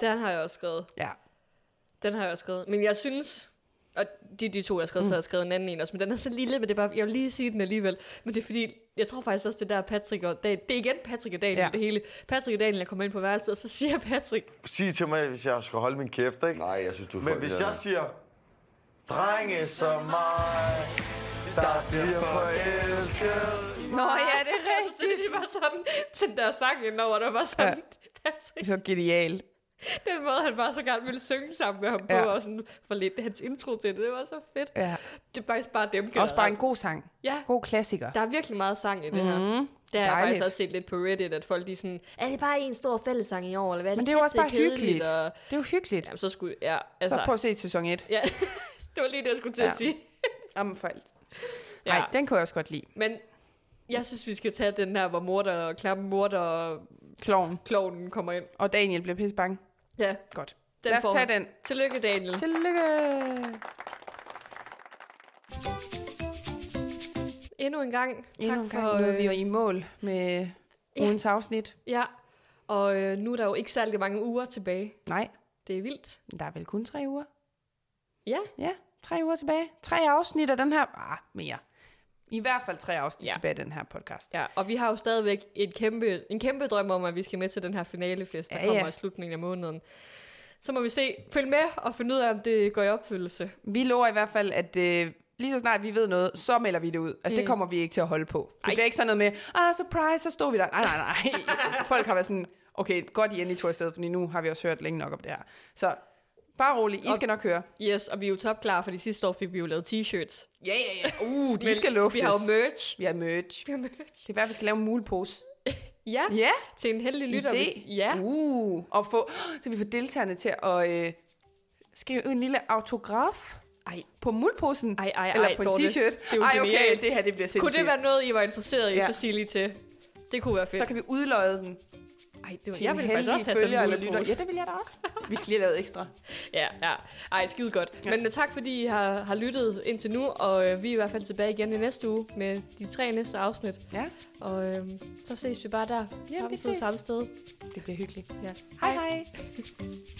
[SPEAKER 1] Den har jeg også skrevet.
[SPEAKER 2] Ja.
[SPEAKER 1] Den har jeg også skrevet. Men jeg synes, og de, de to, jeg har skrevet, mm. så har jeg skrevet en anden en også, men den er så lille, men det er bare, jeg vil lige sige den alligevel. Men det er fordi, jeg tror faktisk også, det der Patrick og Daniel, det er igen Patrick og Daniel, ja.
[SPEAKER 2] Ja.
[SPEAKER 1] det hele. Patrick og Daniel er kommet ind på værelset, og så siger Patrick,
[SPEAKER 6] Sig til mig, hvis jeg skal holde min kæft, ikke?
[SPEAKER 5] Nej, jeg synes, du er
[SPEAKER 6] Men hvis jeg siger, drenge som mig, der bliver forelsket.
[SPEAKER 2] Nå ja, det er
[SPEAKER 1] altså, så det var sådan, til den der sang indover, der var sådan, ja. Patrick,
[SPEAKER 2] Det var genialt.
[SPEAKER 1] den måde, han bare så gerne ville synge sammen med ham ja.
[SPEAKER 2] Ja.
[SPEAKER 1] på, og sådan for lidt hans intro til det, det var så fedt.
[SPEAKER 2] Ja.
[SPEAKER 1] Det er faktisk bare dem
[SPEAKER 2] Også bare en
[SPEAKER 1] generelt.
[SPEAKER 2] god sang.
[SPEAKER 1] Ja,
[SPEAKER 2] God klassiker.
[SPEAKER 1] Der er virkelig meget sang i det mm, her. Det har jeg
[SPEAKER 2] Mhm. dejligt.
[SPEAKER 1] faktisk også set lidt på Reddit, at folk de er sådan, er det bare en stor fællesang i år, eller hvad?
[SPEAKER 2] Men det er jo også
[SPEAKER 1] pisse
[SPEAKER 2] bare hyggeligt.
[SPEAKER 1] Og,
[SPEAKER 2] Det er jo hyggeligt.
[SPEAKER 1] jamen, så skulle, ja, altså,
[SPEAKER 2] Så prøv at se sæson 1.
[SPEAKER 1] ja, det var lige det, jeg skulle til ja.
[SPEAKER 2] Ja.
[SPEAKER 1] at sige.
[SPEAKER 2] Jamen for alt.
[SPEAKER 1] Ja.
[SPEAKER 2] Nej, ja. den kunne jeg også godt lide.
[SPEAKER 1] Men jeg synes, vi skal tage den her, hvor morder og klamme morder og
[SPEAKER 2] Kloven.
[SPEAKER 1] klovnen kommer ind.
[SPEAKER 2] Og Daniel bliver pisse bange.
[SPEAKER 1] Ja,
[SPEAKER 2] Godt.
[SPEAKER 1] den
[SPEAKER 2] Lad os
[SPEAKER 1] får
[SPEAKER 2] tage
[SPEAKER 1] hun.
[SPEAKER 2] den.
[SPEAKER 1] Tillykke, Daniel.
[SPEAKER 2] Tillykke.
[SPEAKER 1] Endnu en gang. Tak
[SPEAKER 2] Endnu en
[SPEAKER 1] for,
[SPEAKER 2] gang nåede vi jo
[SPEAKER 1] øh,
[SPEAKER 2] i mål med
[SPEAKER 1] ja.
[SPEAKER 2] ugens afsnit.
[SPEAKER 1] Ja, og øh, nu er der jo ikke særlig mange uger tilbage.
[SPEAKER 2] Nej,
[SPEAKER 1] Det er vildt.
[SPEAKER 2] der er vel kun tre uger.
[SPEAKER 1] Ja,
[SPEAKER 2] Ja, tre uger tilbage. Tre afsnit af den her... Ah, mere. I hvert fald tre afsnit
[SPEAKER 1] Ja.
[SPEAKER 2] ja. tilbage af den her podcast.
[SPEAKER 1] Ja, og vi har jo stadigvæk et kæmpe, en kæmpe drøm om, at vi skal med til den her finalefest, der ja,
[SPEAKER 2] Ja,
[SPEAKER 1] ja.
[SPEAKER 2] ja.
[SPEAKER 1] kommer i slutningen af måneden. Så må vi se, følg med og finde ud af, om det går i opfyldelse.
[SPEAKER 2] Vi lover i hvert fald, at øh, lige så snart vi ved noget, så melder vi det ud. Altså, mm. det kommer vi ikke til at holde på. Det
[SPEAKER 1] Ej.
[SPEAKER 2] Ej. bliver ikke sådan noget med, ah, surprise, så stod vi der. Nej, nej, nej. Folk har været sådan, okay, godt I endelig tog afsted, for nu har vi også hørt længe nok om det her. Så bare rolig, I skal nok høre.
[SPEAKER 1] Yes, og vi er jo topklar, for de sidste år fik vi jo lavet t-shirts.
[SPEAKER 2] Ja, ja, ja. Uh, de
[SPEAKER 1] Men
[SPEAKER 2] skal luftes.
[SPEAKER 1] Vi har jo merch.
[SPEAKER 2] vi har merch.
[SPEAKER 1] Vi har merch.
[SPEAKER 2] Det er i hvert fald, vi skal lave en mulepose.
[SPEAKER 1] Ja, ja,
[SPEAKER 2] Ja,
[SPEAKER 1] til en heldig lytter.
[SPEAKER 2] idé.
[SPEAKER 1] hvis- Ja,
[SPEAKER 2] Uh, og få, så vi får deltagerne til at øh, skrive en lille autograf
[SPEAKER 1] ej,
[SPEAKER 2] på muleposen.
[SPEAKER 1] Ej, ej, ej,
[SPEAKER 2] Eller på en
[SPEAKER 1] Dorte.
[SPEAKER 2] t-shirt.
[SPEAKER 1] Det er jo
[SPEAKER 2] ej, okay,
[SPEAKER 1] genialt.
[SPEAKER 2] det her det bliver sindssygt.
[SPEAKER 1] kunne det være noget, I var interesseret i,
[SPEAKER 2] Ja.
[SPEAKER 1] så sig lige til. Det kunne være fedt.
[SPEAKER 2] så kan vi udløje den
[SPEAKER 1] ej, det var,
[SPEAKER 2] til
[SPEAKER 1] jeg
[SPEAKER 2] en
[SPEAKER 1] ville faktisk
[SPEAKER 2] heldig
[SPEAKER 1] også have sådan
[SPEAKER 2] følger
[SPEAKER 1] en
[SPEAKER 2] eller
[SPEAKER 1] lille
[SPEAKER 2] lytter. Ja, det vil jeg da også. Vi skal lige have lavet ekstra.
[SPEAKER 1] Ja, ja. Ej, skide godt. Ja. Men øh, tak, fordi I har, har lyttet indtil nu, og øh, vi er i hvert fald tilbage igen i næste uge med de tre næste afsnit.
[SPEAKER 2] Ja,
[SPEAKER 1] Og øh, så ses vi bare der.
[SPEAKER 2] Ja,
[SPEAKER 1] samme
[SPEAKER 2] vi
[SPEAKER 1] tid,
[SPEAKER 2] ses.
[SPEAKER 1] samme sted.
[SPEAKER 2] det bliver hyggeligt.
[SPEAKER 1] Ja.
[SPEAKER 2] Hej hej.